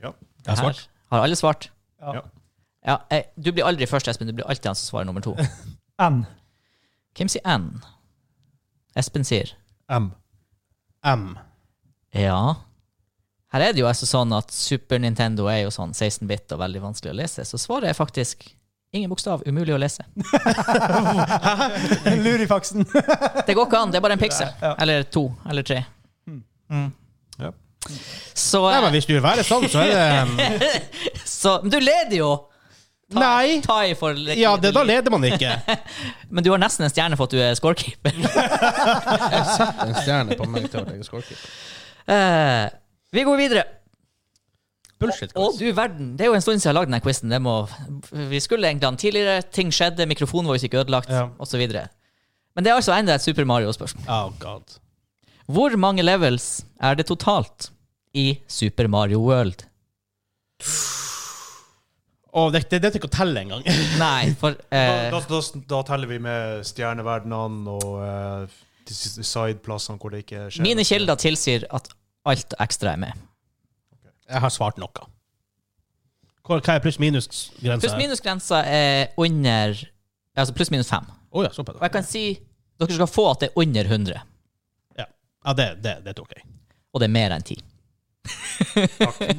Speaker 4: Ja.
Speaker 1: Jeg har svart.
Speaker 2: Her har alle svart?
Speaker 5: Ja.
Speaker 4: Ja.
Speaker 2: Ja, eh, du blir aldri først, Espen. Du blir alltid han som svarer nummer to.
Speaker 5: N.
Speaker 2: Kim sier N. Espen sier
Speaker 4: M.
Speaker 1: M.
Speaker 2: ja. Her er det jo altså sånn at Super Nintendo er jo sånn 16-bit og veldig vanskelig å lese, så svaret er faktisk ingen bokstav, umulig å lese.
Speaker 5: Lurifaksen.
Speaker 2: Det går ikke an. Det er bare en piksel. Eller to. Eller tre.
Speaker 4: Ja.
Speaker 2: Så,
Speaker 1: Mm.
Speaker 2: eh,
Speaker 1: Nei, men hvis du vil være sånn, så er det
Speaker 2: så Men du leder jo! Ta,
Speaker 1: Nei.
Speaker 2: Ta i for
Speaker 1: Ja, det, da leder man ikke.
Speaker 2: Men du har nesten en stjerne for at du er scorekeeper.
Speaker 1: En stjerne på meg til å legge scorekeeper.
Speaker 2: Eh, vi går videre.
Speaker 1: Bullshit.
Speaker 2: Å,
Speaker 1: guys.
Speaker 2: du verden. Det er jo en stund siden jeg har lagd denne quizen. Vi skulle egentlig ha den tidligere. Ting skjedde. Mikrofonen vår gikk ødelagt,
Speaker 1: Ja.
Speaker 2: og osv. Men det er altså enda et Super Mario-spørsmål.
Speaker 1: Oh god.
Speaker 2: Hvor mange levels er det totalt i Super Mario World?
Speaker 1: Å, det, det, det er ikke å telle engang.
Speaker 2: Nei, for eh,
Speaker 4: Da, da, da, da teller vi med stjerneverdenene og eh, de s- sideplassene hvor det ikke skjer.
Speaker 2: Mine kilder tilsier at alt ekstra er med.
Speaker 1: Jeg har svart noe. Hva, hva er pluss-minus-grensa?
Speaker 2: Pluss-minus-grensa er under Altså pluss-minus fem.
Speaker 1: Å ja, såpass.
Speaker 2: Og jeg kan si dere skal få at det er under 100,
Speaker 1: Ja, ja det, det, det tok jeg.
Speaker 2: og det er mer enn 10.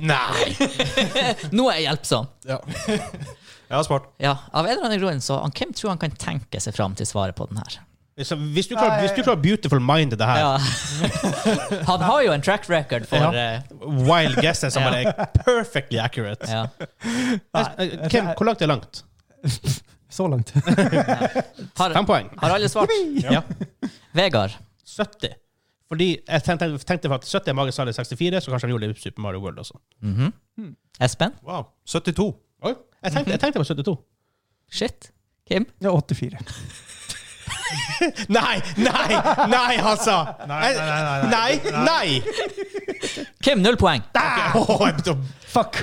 Speaker 1: Nei!
Speaker 2: Nå er jeg hjelpsom.
Speaker 4: Jeg har svart.
Speaker 2: Ja, Av en eller annen grunn så han Kim tror han kan tenke seg fram til svaret på den her.
Speaker 1: Hvis, hvis, du klarer, hvis du klarer beautiful mind i det her,
Speaker 2: Ja. Han har jo en track record for
Speaker 1: Ja.
Speaker 2: eh,
Speaker 1: wild guesses som
Speaker 2: Ja.
Speaker 1: bare er perfectly accurate
Speaker 2: ja.
Speaker 1: Eh, Kim, hvor langt er langt?
Speaker 5: Så langt.
Speaker 2: Har,
Speaker 1: Fem poeng.
Speaker 2: har alle svart?
Speaker 1: Ja.
Speaker 2: Vegard.
Speaker 1: 70. Fordi jeg tenkte, tenkte for at 70 er Magens Sally 64, så kanskje han gjorde det i Super Mario World også.
Speaker 2: Espen?
Speaker 4: Wow. 72.
Speaker 1: Oi. Jeg tenkte, jeg tenkte på 72.
Speaker 2: Shit. Kim?
Speaker 5: Det er 84.
Speaker 1: Nei! Nei! Nei, altså! Nei, nei, nei!
Speaker 2: Kim, null poeng.
Speaker 1: Ah! Åh, jeg begynte å-
Speaker 5: Fuck!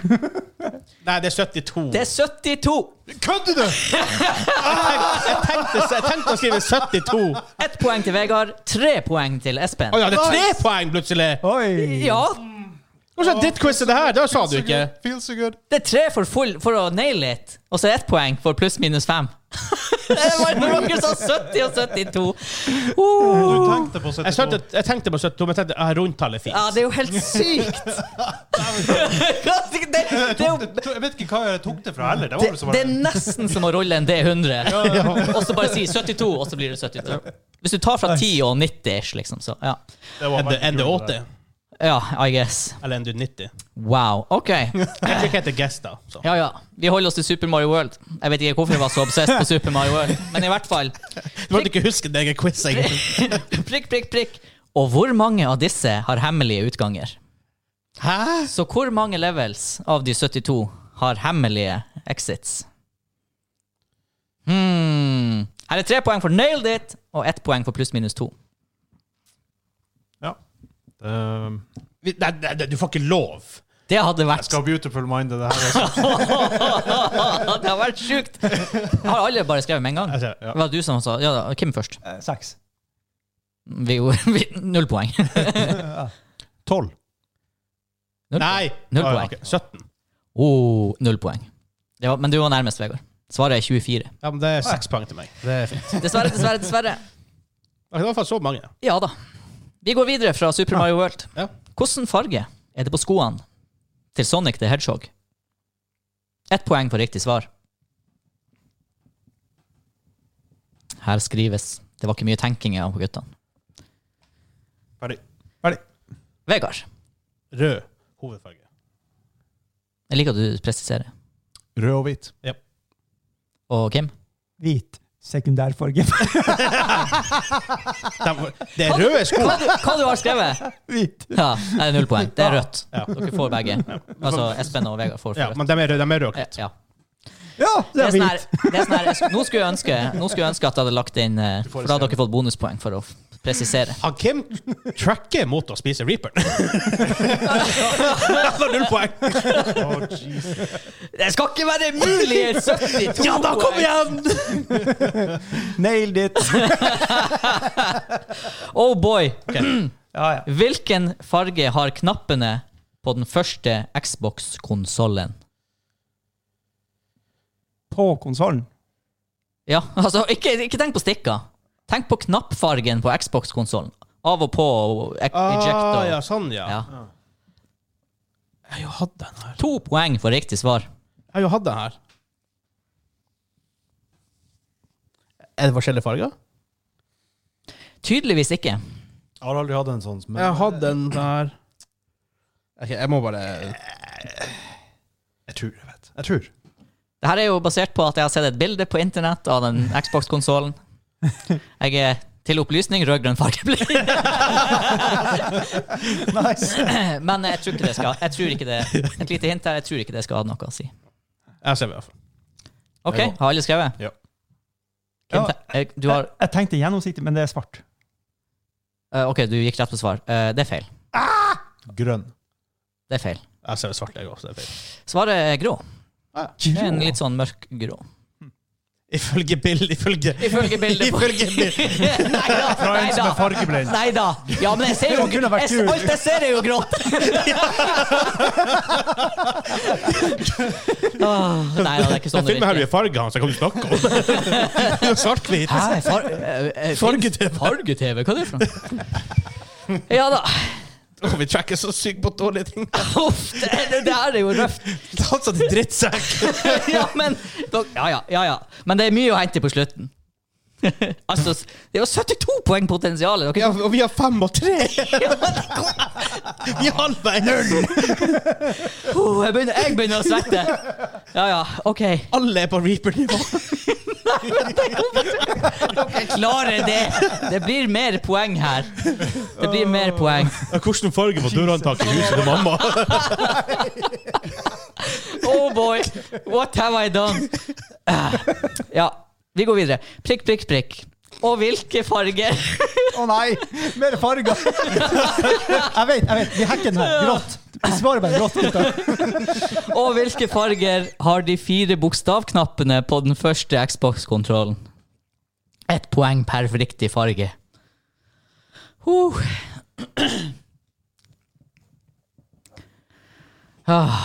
Speaker 1: nei, det er 72.
Speaker 2: Det er 72!
Speaker 1: Kødder du?! jeg, tenkte, jeg tenkte å skrive 72. Å
Speaker 2: Ett poeng til Vegard, tre poeng til Espen.
Speaker 1: ja, det er tre poeng plutselig!
Speaker 5: Oi!
Speaker 2: Ja,
Speaker 1: Hvordan er ditt quiz er det her? Da sa du ikke.
Speaker 4: Feels so good.
Speaker 2: Det er tre for, full, for å naile it, og så ett poeng for pluss-minus fem. det var noen som sa 70 og 72. Uh.
Speaker 4: Du tenkte på 72.
Speaker 1: Jeg, skjønte, jeg tenkte på 72, men jeg tenkte ah, rundtallet er fint.
Speaker 2: Ja, det er jo helt sykt! det, det, det, er jo-
Speaker 4: Jeg tror- Jeg vet ikke hva jeg tok det fra heller. Det var
Speaker 2: det,
Speaker 4: vel som
Speaker 2: det
Speaker 4: bare
Speaker 2: er nesten som å rulle en D100, og så bare si 72, og så blir det 72. Hvis du tar fra 10 og 90-ish, liksom, så ja.
Speaker 4: det var
Speaker 1: Er det-
Speaker 4: veldig
Speaker 1: Er det
Speaker 4: kult, det
Speaker 1: 80?
Speaker 2: Ja, I guess.
Speaker 1: Eller er det 90?
Speaker 2: Wow. OK.
Speaker 1: Jeg fikk hete Guess, da. Så.
Speaker 2: Ja, ja. Vi holder oss til Super Mario World. Jeg vet ikke hvorfor jeg var så obsessed på Super Mario World, men i hvert fall.
Speaker 1: Du måtte ikke huske det eget quiz, egentlig.
Speaker 2: Prikk, prikk, prikk. Og hvor mange av disse har hemmelige utganger?
Speaker 1: Hæ?
Speaker 2: Så hvor mange levels av de 72 har hemmelige exits? Hmm. Her er tre poeng for nailed it, og ett poeng for pluss-minus to.
Speaker 4: Ja. Ehm,
Speaker 1: Vi- Nei, nei, nei, du får ikke lov.
Speaker 2: Det hadde
Speaker 4: jeg
Speaker 2: vært
Speaker 4: skal ha beautiful mind det her. altså.
Speaker 2: Det hadde vært sjukt! Har alle bare skrevet med en gang?
Speaker 1: Altså,
Speaker 2: Det var du som sa Ja, da, Kim først.
Speaker 5: Eh, Seks.
Speaker 2: Vi, vi, null poeng.
Speaker 4: Tolv.
Speaker 2: Null
Speaker 1: Nei!
Speaker 2: Null
Speaker 1: Ah,
Speaker 2: poeng.
Speaker 1: ok, 17.
Speaker 2: Oh, null poeng. Det var, men du var nærmest, Vegard. Svaret er 24.
Speaker 1: Ja, men det er seks poeng til meg. Det er fint.
Speaker 2: Dessverre, dessverre, dessverre.
Speaker 1: Det er i hvert fall så mange.
Speaker 2: Ja da. Vi går videre fra Super Mario World.
Speaker 1: Ja.
Speaker 2: Hvilken farge er det på skoene til Sonic the Hedgehog? Ett poeng for riktig svar. Her skrives. Det var ikke mye tenking av guttene.
Speaker 4: Ferdig.
Speaker 5: Ferdig.
Speaker 2: Vegard,
Speaker 1: Rød hovedfarge.
Speaker 2: jeg liker at du presiserer.
Speaker 4: Rød og hvit.
Speaker 1: Ja.
Speaker 2: Og Kim?
Speaker 5: Hvit sekundærfarge.
Speaker 1: De- Det er røde sko.
Speaker 2: Hva, du- hva du har skrevet?
Speaker 5: Hvit.
Speaker 2: Ja, det er null poeng. Det er rødt.
Speaker 1: Ja.
Speaker 2: Dere får begge. Altså Espen og Vegard får for
Speaker 1: Ja,
Speaker 2: rødt.
Speaker 1: men de er røde. De er røde.
Speaker 2: Ja, ja.
Speaker 5: Ja,
Speaker 2: Det
Speaker 5: det
Speaker 2: er
Speaker 5: er
Speaker 2: sånn
Speaker 5: hvit.
Speaker 2: her, det er sånn her, jeg sk- nå, skulle jeg ønske, nå skulle jeg ønske at jeg hadde lagt inn eh, For da hadde dere fått bonuspoeng for å f- presisere.
Speaker 1: Han Kim tracker mot å spise Reaper. Han har null poeng.
Speaker 2: Det skal ikke være mulig! 72
Speaker 1: Ja da, kom
Speaker 2: poeng.
Speaker 1: igjen!
Speaker 5: Nailed it.
Speaker 2: Oh boy!
Speaker 5: Ja, ja.
Speaker 2: Hvilken farge har knappene på den første Xbox-konsollen?
Speaker 5: På konsollen.
Speaker 2: Ja, altså, ikke, ikke tenk på stikka. Tenk på knappfargen på Xbox-konsollen. Av og på og e- eject
Speaker 1: Ah,
Speaker 2: og
Speaker 1: ja, sånn, ja.
Speaker 2: ja.
Speaker 1: Jeg har jo hatt den her.
Speaker 2: To poeng for riktig svar.
Speaker 1: Jeg har jo hatt den her. Er det forskjellige farger?
Speaker 2: Tydeligvis ikke.
Speaker 4: Jeg har aldri hatt en sånn. Men
Speaker 1: Jeg har hatt den der. Ok, jeg må bare
Speaker 4: jeg tror jeg vet. Jeg tror.
Speaker 2: Det her er jo basert på at jeg har sett et bilde på internett av den Xbox-konsollen. Jeg er til opplysning rød-grønn fargeblind,
Speaker 5: Nice.
Speaker 2: men jeg tror ikke det skal Jeg tror ikke det Et lite hint her, jeg tror ikke det skal ha noe å si.
Speaker 1: Jeg ser i hvert fall.
Speaker 2: OK, har alle skrevet?
Speaker 4: Ja.
Speaker 2: Kim,
Speaker 5: Ja.
Speaker 2: te- eh, du har
Speaker 5: Jeg, jeg tenkte gjennomsiktig, men det er svart.
Speaker 2: eh, OK, du gikk rett på svar. Eh, Det er feil.
Speaker 4: Grønn.
Speaker 2: Det er feil.
Speaker 1: Jeg ser svart, jeg også. Det er feil.
Speaker 2: Svaret er grå. Det er En
Speaker 5: Grå.
Speaker 2: litt sånn mørk grå.
Speaker 1: Ifølge bildet Ifølge
Speaker 2: Ifølge bildet på
Speaker 1: Ifølge bildet.
Speaker 2: Nei da!
Speaker 4: Fra en som er fargeblind.
Speaker 2: Nei da! Ja, men jeg ser jo
Speaker 5: Det kunne vært
Speaker 2: jeg, ser-
Speaker 5: gul.
Speaker 2: Alt jeg ser, er jo grått! Åh, nei da, det er ikke sånn
Speaker 1: Den
Speaker 2: det
Speaker 1: filmen her
Speaker 2: virker.
Speaker 1: er farga hans, jeg kan ikke snakke om. Svart-hvit.
Speaker 2: Hæ? Far, eh, eh,
Speaker 1: Farge-TV.
Speaker 2: Farge-TV? Hva er det for noe? Ja da.
Speaker 1: Å, vi tracker så sykt på dårlige ting.
Speaker 2: Uff, det, det, det her er jo røft.
Speaker 1: Han satt i drittsekk.
Speaker 2: Ja, men ja, ja, ja, ja. Men det er mye å hente på slutten. altså, det var 72 poeng potensial. Dere
Speaker 1: Ja, og vi har fem og tre! vi er halvveis!
Speaker 2: Oh, jeg, begynner, jeg begynner å svette. Ja, ja, OK.
Speaker 1: Alle er på Reaper-nivå.
Speaker 2: Jeg klarer det. Det blir mer poeng her. Det blir mer poeng.
Speaker 1: Hvilken farge var dørhåndtaket i huset til mamma?
Speaker 2: Oh boy, what have I done? Eh, Ja, vi går videre. Prikk, prikk, prikk. Og hvilke farger?
Speaker 5: Å nei! Mer farger! jeg vet, jeg vet. Vi hacker den her. Grått. Vi svarer bare grått, gutter.
Speaker 2: Og hvilke farger har de fire bokstavknappene på den første Xbox-kontrollen? Ett poeng per riktig farge. Huh. Ah,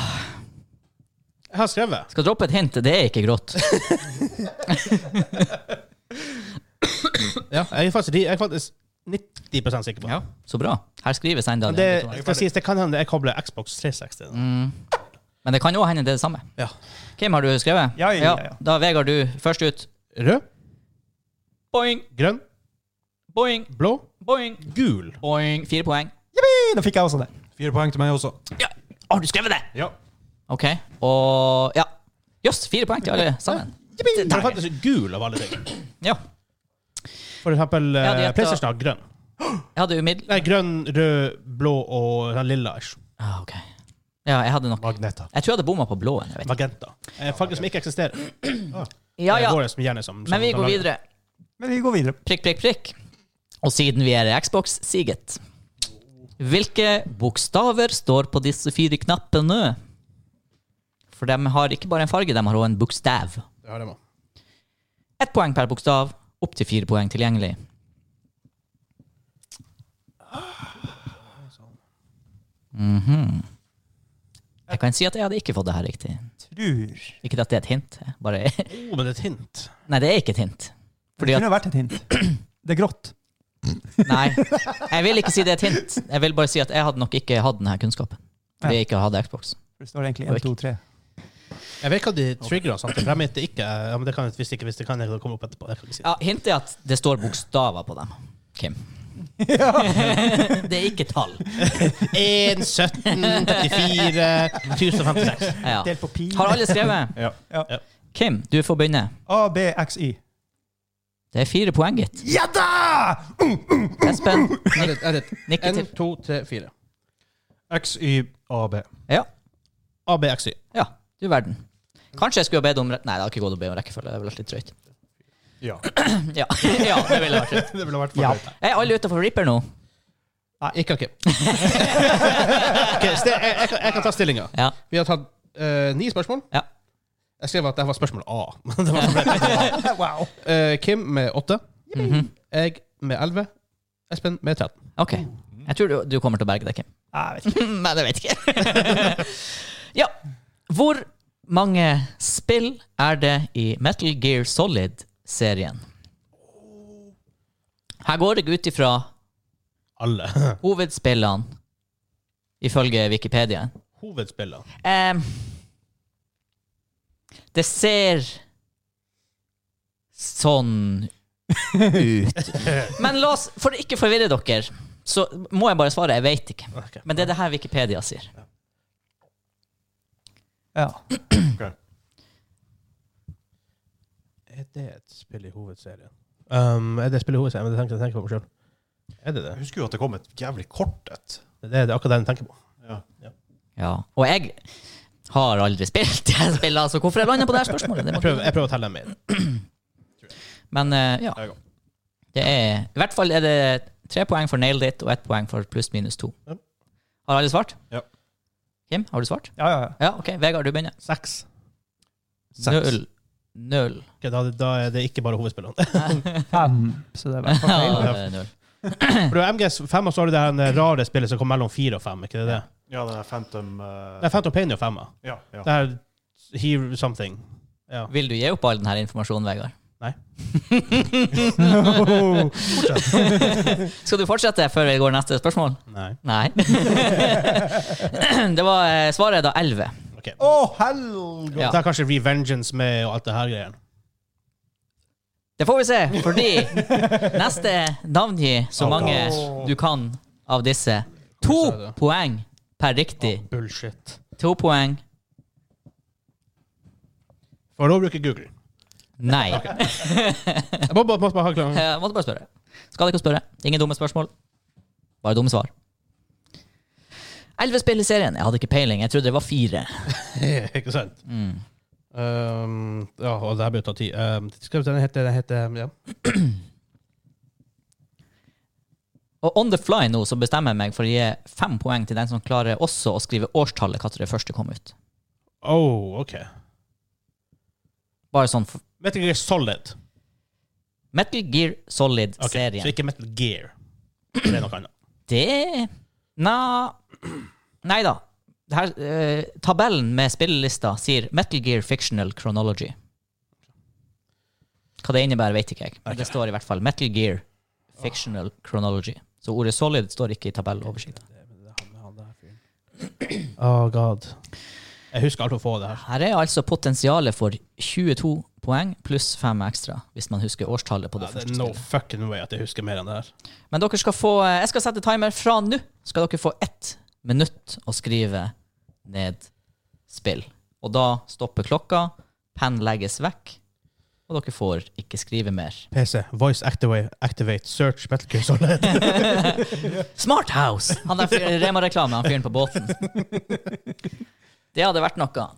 Speaker 1: Jeg har skrevet.
Speaker 2: skal droppe et hint. Det er ikke grått.
Speaker 1: Ja, jeg er faktisk, jeg er faktisk 90 sikker på det.
Speaker 2: Ja, Så bra. Her skrives enda
Speaker 1: Men
Speaker 2: det. Mm.
Speaker 1: det skal sies, det kan hende jeg kobler Xbox 360.
Speaker 2: Men det kan jo hende det er det samme.
Speaker 1: Ja.
Speaker 2: Kim, har du skrevet?
Speaker 5: Ja, ja, ja, ja.
Speaker 2: Da Vegard, du først ut.
Speaker 1: Rød,
Speaker 2: Boing,
Speaker 1: grønn,
Speaker 2: boing,
Speaker 1: blå,
Speaker 2: boing.
Speaker 1: gul.
Speaker 2: Boing. Fire poeng.
Speaker 5: Jippi! Da fikk jeg også det.
Speaker 4: Fire poeng til meg også.
Speaker 2: Ja. Har du skrevet det?
Speaker 4: Ja.
Speaker 2: OK. Og ja. Jøss, fire poeng til alle sammen.
Speaker 1: Det er faktisk gul av alle ting.
Speaker 2: Ja.
Speaker 1: For eksempel eh,
Speaker 2: Ja, de heter-
Speaker 1: PlayStation har grønn.
Speaker 2: Jeg hadde umiddelbart
Speaker 1: Nei, grønn, rød, blå og den lilla. ish.
Speaker 2: ah, OK. Ja, jeg hadde nok
Speaker 4: Magneta.
Speaker 2: Jeg tror jeg hadde bomma på blåen. Jeg vet. ikke.
Speaker 1: Magenta. Eh, farger som ikke eksisterer.
Speaker 2: Ja,
Speaker 1: Det
Speaker 2: ja.
Speaker 1: er våre som gjerne som, som
Speaker 2: Men vi
Speaker 1: kan
Speaker 2: går
Speaker 1: lage-
Speaker 2: videre.
Speaker 5: Men vi går videre.
Speaker 2: Prikk, prikk, prikk. Og siden vi er i Xbox, Siget. Hvilke bokstaver står på disse fire knappene? For de har ikke bare en farge, de har òg en bokstav.
Speaker 1: Det har jeg med.
Speaker 2: Ett poeng per bokstav, opp til fire poeng tilgjengelig. Mhm. Jeg kan si at jeg hadde ikke fått det her riktig.
Speaker 5: Tror.
Speaker 2: Ikke at det er et hint. jeg Bare,
Speaker 1: Oh, men det er et hint.
Speaker 2: nei, det er ikke et hint. Fordi
Speaker 5: Det
Speaker 2: at,
Speaker 5: kunne vært et hint. Det er grått.
Speaker 2: nei, jeg vil ikke si det er et hint. Jeg vil bare si at jeg hadde nok ikke hatt denne kunnskapen. Fordi jeg ikke hadde Xbox.
Speaker 5: For Det står egentlig 1, 2, 3.
Speaker 1: Jeg vet hva de trigger og sånt. For jeg mente ikke ja, men det kan jeg visst ikke, hvis det kan jeg komme opp etterpå. Jeg kan ikke si det.
Speaker 2: Ja, Hintet er at det står bokstaver på dem. Kim. det er ikke tall.
Speaker 1: 1, 17, 34, 1056.
Speaker 2: Ja.
Speaker 5: Delt på pi.
Speaker 2: Har alle skrevet?
Speaker 4: Ja.
Speaker 5: Ja.
Speaker 2: Kim, du får begynne.
Speaker 5: A, B, X, Y.
Speaker 2: Det er fire poeng, gitt.
Speaker 5: Ja da!
Speaker 2: Espen. Nik
Speaker 1: Edit, edit.
Speaker 2: nikke til.
Speaker 1: 1, 2, 3, 4.
Speaker 4: XYAB.
Speaker 2: Ja.
Speaker 1: ABXY.
Speaker 2: ja. Du verden. Kanskje jeg skulle ha bedt om re- Nei, det har ikke gått å be om rekkefølge. Det ville vært litt drøyt.
Speaker 4: Ja.
Speaker 2: Ja, ja det ville vært drøyt.
Speaker 1: Det ville vært
Speaker 5: Ja.
Speaker 2: Er alle utenfor Ripper nå?
Speaker 1: Ikke Kim. jeg, jeg, kan- jeg kan ta stillinga.
Speaker 2: Ja.
Speaker 1: Vi har tatt eh, ni spørsmål.
Speaker 2: Ja.
Speaker 1: Jeg skrev at det var spørsmål A. Men det var så bredt.
Speaker 5: Wow.
Speaker 1: Eh, Kim med åtte. Jeg med elleve. Espen med 13.
Speaker 2: OK. Jeg tror du, du kommer til å berge deg, Kim.
Speaker 5: Jeg vet ikke.
Speaker 2: Nei, det vet jeg ikke. ja. Hvor mange spill er det i Metal Gear Solid-serien? Her går jeg ut ifra
Speaker 1: Alle.
Speaker 2: hovedspillene ifølge Wikipedia.
Speaker 1: Hovedspiller.
Speaker 2: Ehm, det ser sånn ut. Men la oss, for å ikke forvirre dere, så må jeg bare svare jeg vet ikke.
Speaker 1: Ok.
Speaker 2: Men det er det her Wikipedia sier.
Speaker 5: Ja.
Speaker 4: Ok.
Speaker 1: Er det et spill i hovedserien? Um, er det et spill i hovedserien? Men det tenker jeg tenker på meg sjøl. Er det det?
Speaker 4: Jeg husker jo at det kom et jævlig kort et.
Speaker 1: Det er det akkurat den jeg tenker på.
Speaker 4: Ja.
Speaker 2: Ja. Og jeg har aldri spilt de her spillene, så hvorfor jeg lander på det her spørsmålet? Det
Speaker 1: Jeg
Speaker 2: må-
Speaker 1: prøver, jeg prøver å telle dem inn.
Speaker 2: Men eh, ja,
Speaker 4: Jeg går.
Speaker 2: det er I hvert fall er det tre poeng for nailed it og ett poeng for pluss-minus to.
Speaker 1: Ja.
Speaker 2: Har alle svart?
Speaker 4: Ja.
Speaker 2: Kim, har du svart?
Speaker 5: Ja, ja, ja.
Speaker 2: Ja, OK. Vegard, du begynner.
Speaker 1: Seks.
Speaker 2: Null. Null.
Speaker 1: Ok, da, da er det ikke bare hovedspillerne.
Speaker 5: Fem. Så det er i hvert fall
Speaker 2: Ja,
Speaker 5: feil.
Speaker 2: det er null.
Speaker 1: For du har MGS5, og så har du det her eh, rare spillet som kom mellom fire og fem. Ikke det det?
Speaker 4: Ja, den er Phantom eh,
Speaker 1: Nei, Phantom Pain er jo femma.
Speaker 4: Ja. ja.
Speaker 1: Det her Here Something. Ja.
Speaker 2: Vil du gi opp all denne informasjonen, Vegard?
Speaker 1: Nei.
Speaker 2: Skal du fortsette før vi går neste spørsmål?
Speaker 1: Nei.
Speaker 2: Nei. det var eh, svaret da 11.
Speaker 1: Ok.
Speaker 5: Å, helg...
Speaker 2: Ja.
Speaker 1: Det er kanskje Revengeance med og alt det her greien.
Speaker 2: Det får vi se, fordi neste navngi så mange du kan av disse. To poeng per riktig.
Speaker 1: Bullshit.
Speaker 2: To poeng
Speaker 1: For nå bruker jeg Google.
Speaker 2: nei.
Speaker 1: Jeg må, bare- må bare ha klar.
Speaker 2: Jeg måtte bare spørre. Skal ikke spørre. Ingen dumme spørsmål. Bare dumme svar. Elleve spill i serien. Jeg hadde ikke peiling. Jeg trodde det var fire.
Speaker 1: ikke sant? Um, ja, og det her bør ta tid. Um, skal vi se, den heter, den heter ehm, ja.
Speaker 2: Og on the fly nå så bestemmer jeg meg for å gi fem poeng til den som klarer også å skrive årstallet når det første kom ut.
Speaker 1: Oh, ok.
Speaker 2: Bare sånn for
Speaker 1: Metal Gear Solid.
Speaker 2: Metal Gear
Speaker 1: Ok, Så
Speaker 2: Solid-serien.
Speaker 1: ikke Metal Gear. Det er noe annet.
Speaker 2: Det Na Nei da. det her, eh, tabellen med spillelista sier Metal Gear Fictional Chronology. Hva det innebærer, vet ikke jeg. Men det står i hvert fall Metal Gear Fictional Chronology. Så ordet solid står ikke i tabelloversikten.
Speaker 1: Oh god. Jeg husker alt å få det her.
Speaker 2: Her er altså potensialet for 22 poeng pluss 5 ekstra, hvis man husker årstallet på det
Speaker 1: Ja, det
Speaker 2: første
Speaker 1: er no
Speaker 2: spillet.
Speaker 1: fucking way at jeg husker mer enn det her.
Speaker 2: Men dere skal få eh, Jeg skal sette timer fra nå. Skal dere få ett minutt å skrive ned spill. Og da stopper klokka, penn legges vekk, og dere får ikke skrive mer.
Speaker 1: PC, Voice Activate, activate Search, Metal Gear Solid.
Speaker 2: Smart House! Han der fyr- Rema-reklame, han fyren på båten. Det hadde vært noe.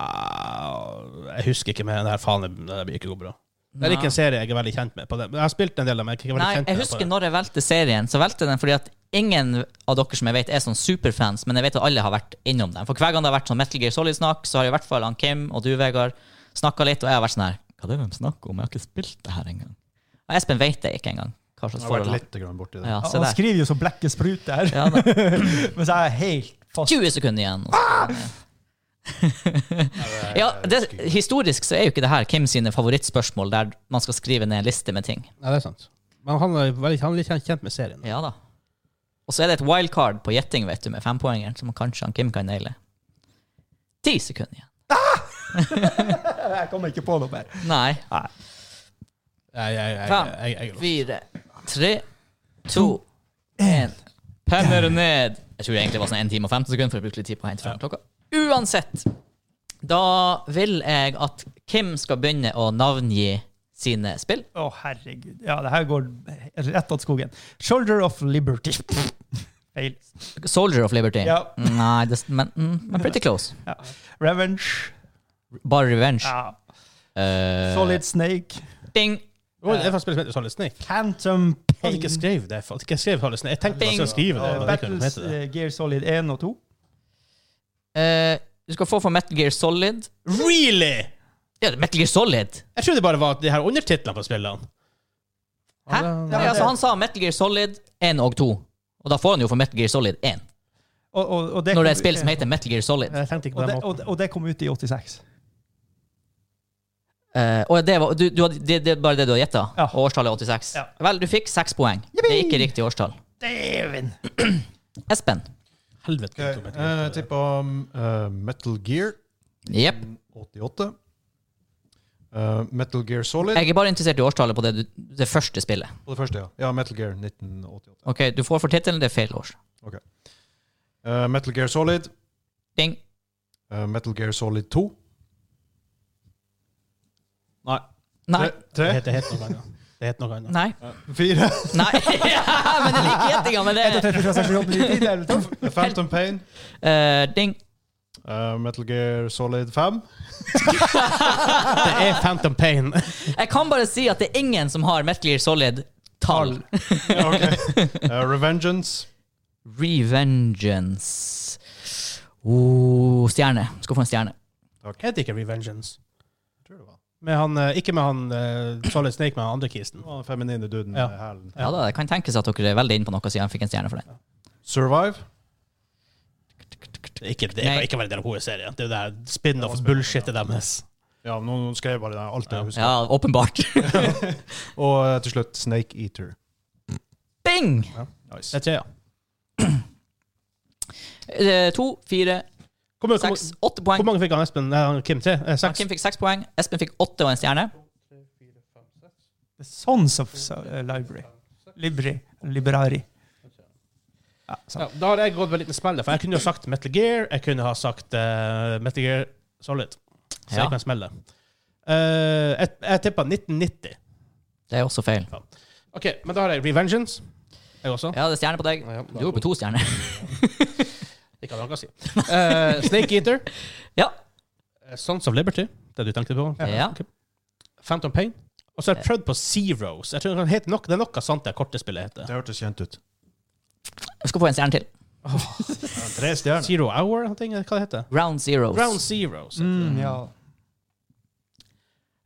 Speaker 1: Ah, jeg husker ikke mer enn det her. Faen, det det blir ikke gå bra. Det er ikke en serie jeg er veldig kjent med. på det. Men Jeg har spilt en del av dem. Jeg, er ikke veldig
Speaker 2: Nei,
Speaker 1: kjent
Speaker 2: jeg
Speaker 1: med
Speaker 2: husker
Speaker 1: det.
Speaker 2: når jeg valgte serien, så valgte jeg den fordi at ingen av dere som jeg vet er sånn superfans, men jeg vet at alle har vært innom den. For hver gang det har vært sånn Metal Gear Solid-snakk, så har i hvert fall han Kim og du, Vegard, snakka litt, og jeg har vært sånn her Hva er det de snakker om? Jeg har ikke spilt det her engang. Og Espen vet det ikke engang. Hva slags
Speaker 4: Jeg har vært
Speaker 2: forhold han
Speaker 4: litt grann borti det.
Speaker 2: ja, se
Speaker 5: Han
Speaker 2: der.
Speaker 5: skriver jo så blekket sprute her,
Speaker 2: Ja, da.
Speaker 5: mens jeg er helt fast.
Speaker 2: 20 sekunder igjen. og så- ja, det, historisk så er jo ikke det her Kim sine favorittspørsmål, der man skal skrive ned en liste med ting.
Speaker 1: Nei, det er sant. Men han er, veldig, han er litt kjent med serien.
Speaker 2: Ja da. Og så er det et wildcard på gjetting, vet du, med fempoengeren, som kanskje han Kim kan naile. Ti sekunder igjen.
Speaker 5: Jeg kommer ikke på noe mer.
Speaker 2: Nei.
Speaker 1: Jeg, jeg, jeg,
Speaker 2: Fem,
Speaker 1: jeg, jeg, jeg, jeg,
Speaker 2: fire, tre, to, én. Penner ned. Jeg tror det egentlig var sånn 1 time og 15 sekunder, for jeg brukte litt tid på å hente fram klokka. Uansett, da vil jeg at Kim skal begynne å navngi sine spill.
Speaker 5: Å, herregud. Ja, det her går rett åt skogen. Shoulder of Liberty. Feil.
Speaker 2: Soldier of Liberty.
Speaker 5: Ja.
Speaker 2: Nei, det, men, mm, men pretty close.
Speaker 5: Ja. Revenge.
Speaker 2: Bare revenge.
Speaker 5: Ja.
Speaker 2: Eh,
Speaker 5: Solid Snake.
Speaker 2: Ding.
Speaker 1: Å, det er faktisk spilt som heter Solid Snake.
Speaker 5: Phantom
Speaker 1: Jeg hadde ikke
Speaker 5: Pain.
Speaker 1: skrevet det. Jeg, ikke skrev Solid Snake. jeg tenkte jeg skulle skrive det.
Speaker 5: Eh,
Speaker 1: Men det er ikke noe som
Speaker 5: Battles
Speaker 1: heter det.
Speaker 5: eh, Gear Solid 1 og 2.
Speaker 2: Eh, du skal få for Metal Gear Solid.
Speaker 1: Really?!
Speaker 2: Ja, Metal Gear Solid!
Speaker 1: Jeg trodde det bare var de her undertitlene på spillene.
Speaker 2: Hæ?
Speaker 1: Ja, det-
Speaker 2: Nei, altså, han sa Metal Gear Solid 1 og 2. Og da får han jo for Metal Gear Solid 1.
Speaker 5: Og, og, og
Speaker 2: Når det er
Speaker 5: det kom- eh,
Speaker 2: et spill som heter Metal Gear Solid.
Speaker 1: Jeg tenkte ikke
Speaker 5: og
Speaker 1: på
Speaker 5: det,
Speaker 1: den måten.
Speaker 5: og, det- og det kom ut i 86.
Speaker 2: Eh, og det, var, du, du, hadde- det, det er bare det du har gjetta?
Speaker 5: Ja.
Speaker 2: Og årstallet er 86?
Speaker 5: Ja.
Speaker 2: Vel, du fikk seks poeng. Det er ikke riktig årstall.
Speaker 5: Dæven!
Speaker 2: Espen.
Speaker 1: Helvete.
Speaker 4: Okay.
Speaker 1: Tom, jeg tenkte
Speaker 4: Eh, Jeg
Speaker 1: på det.
Speaker 4: tippa Metal Gear
Speaker 2: Jepp.
Speaker 4: 88. Eh, Metal Gear Solid
Speaker 2: Jeg er bare interessert i årstallet på det, du, det første spillet.
Speaker 4: på det første, ja. Ja, Metal Gear 1988.
Speaker 2: Ok, Du får for tittelen, det er feil års.
Speaker 4: Ok. Eh, Metal Gear Solid.
Speaker 2: Ding.
Speaker 4: eh, Metal Gear Solid 2. Nei.
Speaker 2: Nei.
Speaker 1: Det
Speaker 4: Tre.
Speaker 1: heter helt noe annet. Det heter noe annet.
Speaker 2: Nei.
Speaker 4: Fire.
Speaker 2: Nei. ja, men jeg liker gjettinga, men det
Speaker 4: Phantom Pain.
Speaker 2: Eh, Ding.
Speaker 4: eh, Metal Gear Solid 5.
Speaker 1: Det er Phantom Pain.
Speaker 2: Jeg kan bare si at det er ingen som har Metal Gear Solid-tall.
Speaker 4: eh, Revengeance.
Speaker 2: Revengeance. Oh, stjerne. Skal få en stjerne.
Speaker 1: Heter ikke Revengeance.
Speaker 4: Tror det var.
Speaker 1: Med han, eh, ikke med han eh, Solid Snake, men han andre kisten.
Speaker 4: Det var Den feminine duden
Speaker 1: Ja.
Speaker 4: med hælen.
Speaker 2: Ja da, Det kan tenkes at dere er veldig inne på noe siden jeg fikk en stjerne for den.
Speaker 4: Survive.
Speaker 1: Det er ikke, det kan
Speaker 2: Nei.
Speaker 1: ikke være en del av hovedserien. Det er jo det her spin-off-bullshitet deres.
Speaker 4: Ja, nå nå skrev jeg bare det, alt jeg husker.
Speaker 2: Ja, åpenbart.
Speaker 4: Og eh, til slutt Snake Eater.
Speaker 2: Bing!
Speaker 1: Det
Speaker 4: Nice.
Speaker 1: er tre, ja.
Speaker 2: Eh, To, fire,
Speaker 1: Hvor, mange-
Speaker 2: seks,
Speaker 1: hvor,
Speaker 2: åtte
Speaker 1: hvor
Speaker 2: poeng.
Speaker 1: mange fikk han Espen? Nei, han Kim tre? Eh,
Speaker 2: Ja,
Speaker 1: seks?
Speaker 2: Kim fikk seks poeng. Espen fikk åtte og en stjerne.
Speaker 5: The Sons of Sa- eh, Library. Libri. Liberari. Ja, sant.
Speaker 1: Ja, da har jeg gått med en liten smell, for jeg kunne jo sagt Metal Gear. Jeg kunne ha sagt eh, Metal Gear Solid. Så
Speaker 2: Ja.
Speaker 1: jeg kan smelle. Eh, jeg jeg tippa 1990.
Speaker 2: Det er også feil.
Speaker 1: OK, men da har jeg Revengeance. Jeg også.
Speaker 2: Ja, det er stjerne på deg.
Speaker 1: Ja,
Speaker 2: Du er på to stjerner.
Speaker 1: Ikke at han kan si. Eh, Snake Eater.
Speaker 2: Ja.
Speaker 1: Eh, Sons of Liberty. Det du tenkte på.
Speaker 2: Ja.
Speaker 1: Ok. Phantom Pain. Og så har jeg prøvd på Zeros. Jeg tror det, heter nok, det er noe sant det kortespillet heter.
Speaker 4: Det hørtes kjent ut.
Speaker 2: Jeg skal få en stjerne til.
Speaker 4: Tre stjerner.
Speaker 1: Zero Hour, noe, ting, hva det heter
Speaker 2: Round zeros.
Speaker 1: Round Zeros.
Speaker 5: Mm, ja.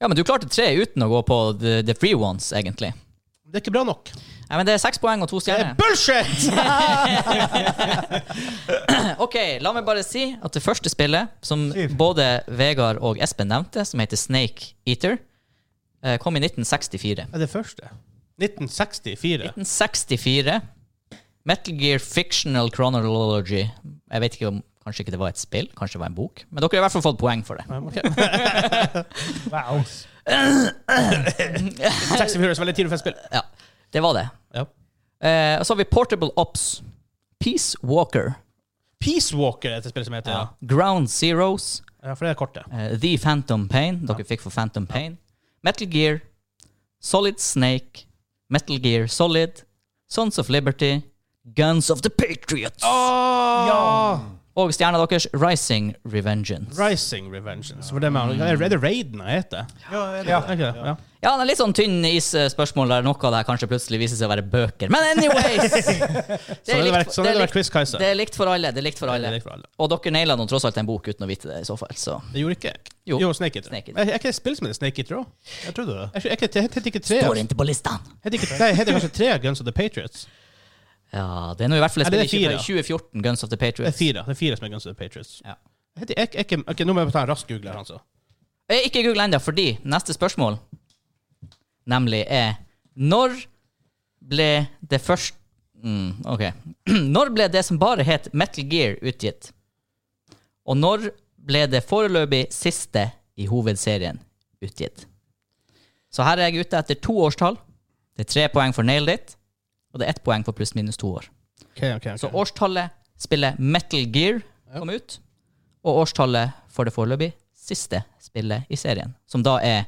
Speaker 2: Ja, men du klarte tre uten å gå på the, the free ones, egentlig.
Speaker 1: Det er ikke bra nok.
Speaker 2: Nei, men det er seks poeng og to
Speaker 1: Det er
Speaker 2: stjerner.
Speaker 1: bullshit!
Speaker 2: Ok, la meg bare si at det første spillet, som
Speaker 5: Siv.
Speaker 2: både Vegard og Espen nevnte, som heter Snake Eater, eh, kom i 1964.
Speaker 1: Er det første? 1964.
Speaker 2: 1964. Metal Gear Fictional Chronology. Jeg vet ikke om Kanskje ikke det var et spill, kanskje det var en bok. Men dere har i hvert fall fått poeng for det.
Speaker 5: Wow.
Speaker 1: 64 er så veldig tidlig for et spill.
Speaker 2: Ja, Det var det.
Speaker 1: Ja.
Speaker 2: Eh, og så har vi Portable Ops. Peace Walker.
Speaker 1: Peace Walker er et spill som heter ja.
Speaker 2: Ground Zeroes.
Speaker 1: ja, for det er kortet.
Speaker 2: Eh, The Phantom Pain. Dere fikk for Phantom Pain. Metal Gear. Solid Snake. Metal Gear Solid. Sons of Liberty. Guns of the Patriots.
Speaker 1: Ah,
Speaker 2: Og stjerna deres, Rising Revengeance.
Speaker 1: Rising Revengeance. For det med, er det Raiden jeg heter?
Speaker 5: Ja.
Speaker 1: Er ikke det? Ja.
Speaker 2: Ja, det er litt sånn tynn is-spørsmål der noe av det her kanskje plutselig viser seg å være bøker. Men anyways! Det
Speaker 1: Sånn hadde det vært,
Speaker 2: for-
Speaker 1: sånn hadde det vært
Speaker 2: likt-
Speaker 1: Quiz Kaiser.
Speaker 2: det er likt for alle. Det er likt for
Speaker 1: Det
Speaker 2: alle.
Speaker 1: er likt for alle.
Speaker 2: Og dere naila nå tross alt en bok uten å vite det, i så fall. Så.
Speaker 1: Det gjorde ikke jeg.
Speaker 2: Jo.
Speaker 1: jo Snake Eater.
Speaker 2: Snake Eater.
Speaker 1: Er er ikke det et spill som heter Snake Eater òg?
Speaker 4: Jeg trodde det.
Speaker 1: Jeg heter ikke tre
Speaker 2: Står ikke på listene!
Speaker 1: heter ikke, Nei, heter kanskje tre Guns of the Patriots?
Speaker 2: Ja, det er nå i hvert fall et
Speaker 1: Ja, det er
Speaker 2: spill i
Speaker 1: fire.
Speaker 2: 2014, Guns of the
Speaker 1: Det er
Speaker 2: Patriots.
Speaker 1: fire. Det er fire som er Guns of the Patriots.
Speaker 2: Ja.
Speaker 1: Heter, jeg, jeg, ok, nå må jeg ta en rask googler, altså.
Speaker 2: Eh, Ikke google ennå, fordi neste spørsmål nemlig er Når ble det først mm, OK. Når ble det som bare het Metal Gear, utgitt? Og når ble det foreløpig siste i hovedserien utgitt? Så her er jeg ute etter to årstall. Det er tre poeng for nailed it, og det er ett poeng for pluss-minus to år.
Speaker 1: Ok, ok, ok.
Speaker 2: Så årstallet spillet Metal Gear kom ut, og årstallet for det foreløpig siste spillet i serien, som da er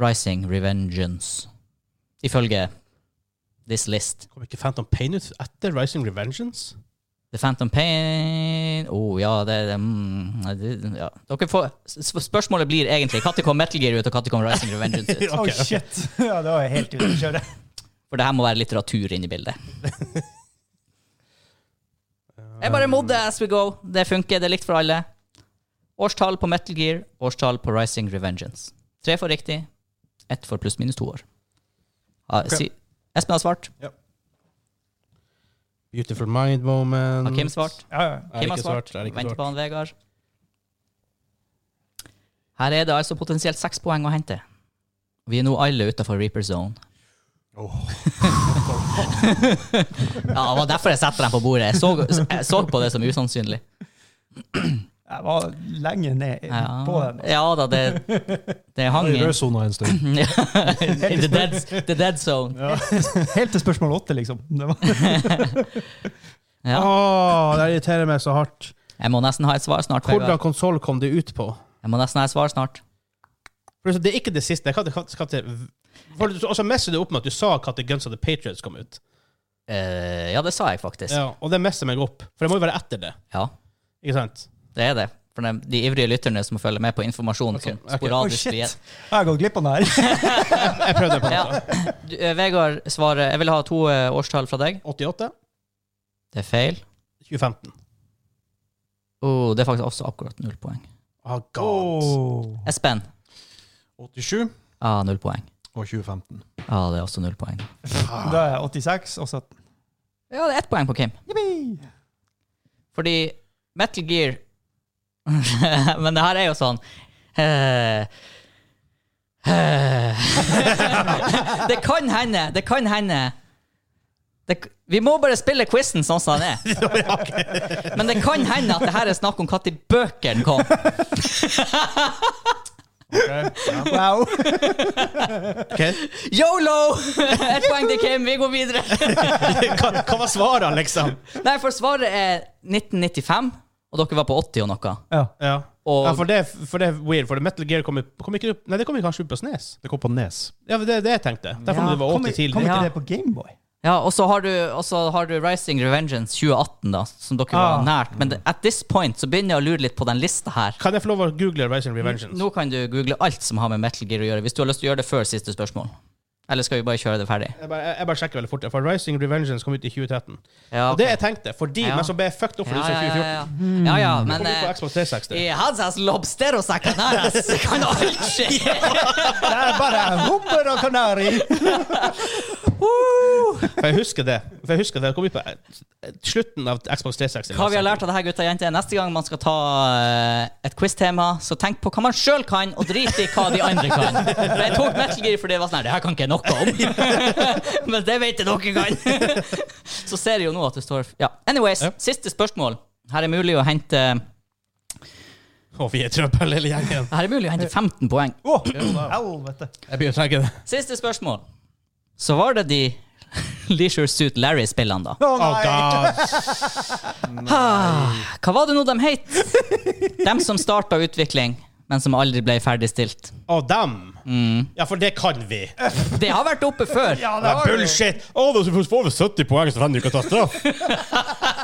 Speaker 2: Rising Revengeance, ifølge this list.
Speaker 1: Kom ikke Phantom Pain ut etter Rising Revengeance?
Speaker 2: The Phantom Pain Å oh, ja, det, det, mm, det ja. Dere får, sp- Spørsmålet blir egentlig når kom Metal Gear ut, og når kom Rising Revengeance ut?
Speaker 1: Ok,
Speaker 5: Oh,
Speaker 1: ok.
Speaker 5: shit. Ja, det var jeg helt ute å kjøre.
Speaker 2: For det her må være litteratur inne i bildet. Jeg bare modde as we go. Det funker, det er likt for alle. Årstall på Metal Gear, årstall på Rising Revengeance. Tre for riktig, ett for pluss minus to år. Ah, si, Espen har svart.
Speaker 1: Beautiful Mind Moment.
Speaker 2: Har Kim svart?
Speaker 5: Ja, ja.
Speaker 1: Mm. Er det
Speaker 2: Kim har
Speaker 1: ikke svart?
Speaker 2: svart.
Speaker 1: Er det ikke
Speaker 2: Venter
Speaker 1: svart?
Speaker 2: på han Vegard. Her er det altså potensielt seks poeng å hente. Vi er nå alle utafor Reaper Zone. ja, det var derfor jeg setter dem på bordet. Jeg så, jeg så på det som usannsynlig.
Speaker 5: Jeg var lenge ned
Speaker 2: Ja,
Speaker 5: på den.
Speaker 2: ja da, det, det hang
Speaker 4: I
Speaker 2: i
Speaker 4: rødsona en stund.
Speaker 2: in the dead, the dead zone.
Speaker 5: Helt til spørsmål åtte, liksom. Det var
Speaker 2: Ja.
Speaker 1: Åh, det irriterer meg så hardt.
Speaker 2: Jeg må nesten ha et svar snart.
Speaker 1: Hvordan
Speaker 2: Vegard.
Speaker 1: konsoll kom det ut på?
Speaker 2: Jeg må nesten ha et svar snart.
Speaker 1: For det er ikke det siste. Jeg kan, kan, kan, til- for, og så messer du opp med at du sa at The Guns of the Patriots kom ut.
Speaker 2: Eh, ja, det sa jeg faktisk.
Speaker 1: Ja, og det messer meg opp. For det må jo være etter det.
Speaker 2: Ja,
Speaker 1: Ikke sant?
Speaker 2: det er det. For de, de ivrige lytterne som følger med på informasjon som
Speaker 1: ok.
Speaker 5: Oi,
Speaker 2: sporadisk
Speaker 5: shit.
Speaker 2: blir
Speaker 5: Jeg har gått glipp av den her.
Speaker 1: Jeg prøvde på altså.
Speaker 2: Ja. Du, eh, Vegard svarer Jeg vil ha to eh, årstall fra deg.
Speaker 1: 88,
Speaker 2: Det er feil.
Speaker 1: 2015.
Speaker 2: Oh, det er faktisk også akkurat null poeng.
Speaker 1: Oh, God.
Speaker 5: Oh.
Speaker 2: Espen.
Speaker 4: 87
Speaker 2: Ah, null poeng.
Speaker 4: og 2015.
Speaker 2: Ah, det er også null poeng.
Speaker 5: Da er jeg 86 og 17.
Speaker 2: Ja, det er ett poeng på Kim.
Speaker 5: Yippee!
Speaker 2: Fordi Metal Gear Men det her er jo sånn eh, eh. Det kan hende, det kan hende det, k- Vi må bare spille quizen sånn som den er. Men det kan hende at det her er snakk om når bøkene kom.
Speaker 5: Wow.
Speaker 1: Ok.
Speaker 2: Yolo! Ett poeng til Kim, vi går videre.
Speaker 1: hva, hva var svaret, liksom?
Speaker 2: Nei, for svaret er 1995, og dere var på 80 og noe.
Speaker 5: Ja.
Speaker 1: Ja.
Speaker 2: Og-
Speaker 1: ja for, det, for det er weird, for Metal Gear kom, jo- kom ikke opp Nei, det kom jo kanskje ut på Snes.
Speaker 4: Det kom på Nes.
Speaker 1: Ja, det er det jeg tenkte. Derfor ja,
Speaker 2: Ja,
Speaker 1: det var
Speaker 5: Kom,
Speaker 1: 80
Speaker 5: i-
Speaker 1: tidlig.
Speaker 5: kom ikke
Speaker 2: Ja.
Speaker 5: det på Gameboy?
Speaker 2: Ja, og så har, du- og så har du Rising Revengeance 2018, da, som dere
Speaker 5: Ah.
Speaker 2: var nært. Men det, at this point så begynner jeg å lure litt på den lista her.
Speaker 1: Kan jeg få lov å google Rising Revengeance?
Speaker 2: Nå kan du google alt som har med Metal Gear å gjøre, hvis du har lyst til å gjøre det før siste spørsmål. Eller skal vi bare kjøre det ferdig?
Speaker 1: Jeg bare, jeg bare sjekker veldig fort. For Rising Revengeance kom ut i 2013.
Speaker 2: Ja,
Speaker 1: Og det jeg tenkte, fordi,
Speaker 2: Ja.
Speaker 1: men som ble fucked opp fordi
Speaker 2: ja,
Speaker 1: ja,
Speaker 2: ja, ja,
Speaker 1: 2014.
Speaker 2: ja. ja, ja men
Speaker 1: Kom ut
Speaker 2: eh,
Speaker 1: på Xbox 360.
Speaker 2: I Hansas lobster og sakanaras så kan alt skje!
Speaker 5: Det er bare hummer og kanari!
Speaker 1: For jeg husker det. For jeg husker det. Det kom ut på eh, slutten av Xbox 360.
Speaker 2: Hva vi har lært av det her, gutta og jenter, er neste gang man skal ta eh, et quiz-tema, så tenk på hva man sjøl kan, og drit i hva de andre kan. For jeg tok Metal Gear fordi det var sånn her, det her kan ikke jeg noe om. Men det vet jeg dere kan. så ser jeg jo nå at det står Ja. Anyways,
Speaker 1: Ja.
Speaker 2: siste spørsmål. Her er mulig å hente
Speaker 1: Og vi er i trøbbel, hele gjengen.
Speaker 2: Her er mulig å hente 15 poeng.
Speaker 5: Helvete.
Speaker 1: Jeg begynner å trenge det.
Speaker 2: Siste spørsmål. Så var det de Leisure Suit Larry-spillene, da.
Speaker 5: Å
Speaker 1: Oh,
Speaker 5: nei!
Speaker 1: God.
Speaker 2: Ah, hva var det nå de het? Dem som starta utvikling, men som aldri ble ferdigstilt.
Speaker 1: Og dem.
Speaker 2: Mm.
Speaker 1: Ja, for det kan vi.
Speaker 2: Det har vært oppe før.
Speaker 5: Ja,
Speaker 1: Det
Speaker 5: det
Speaker 1: er
Speaker 5: var-
Speaker 1: bullshit! Å, da skal du få over 70 poeng, altså. så kan du ikke ta straff.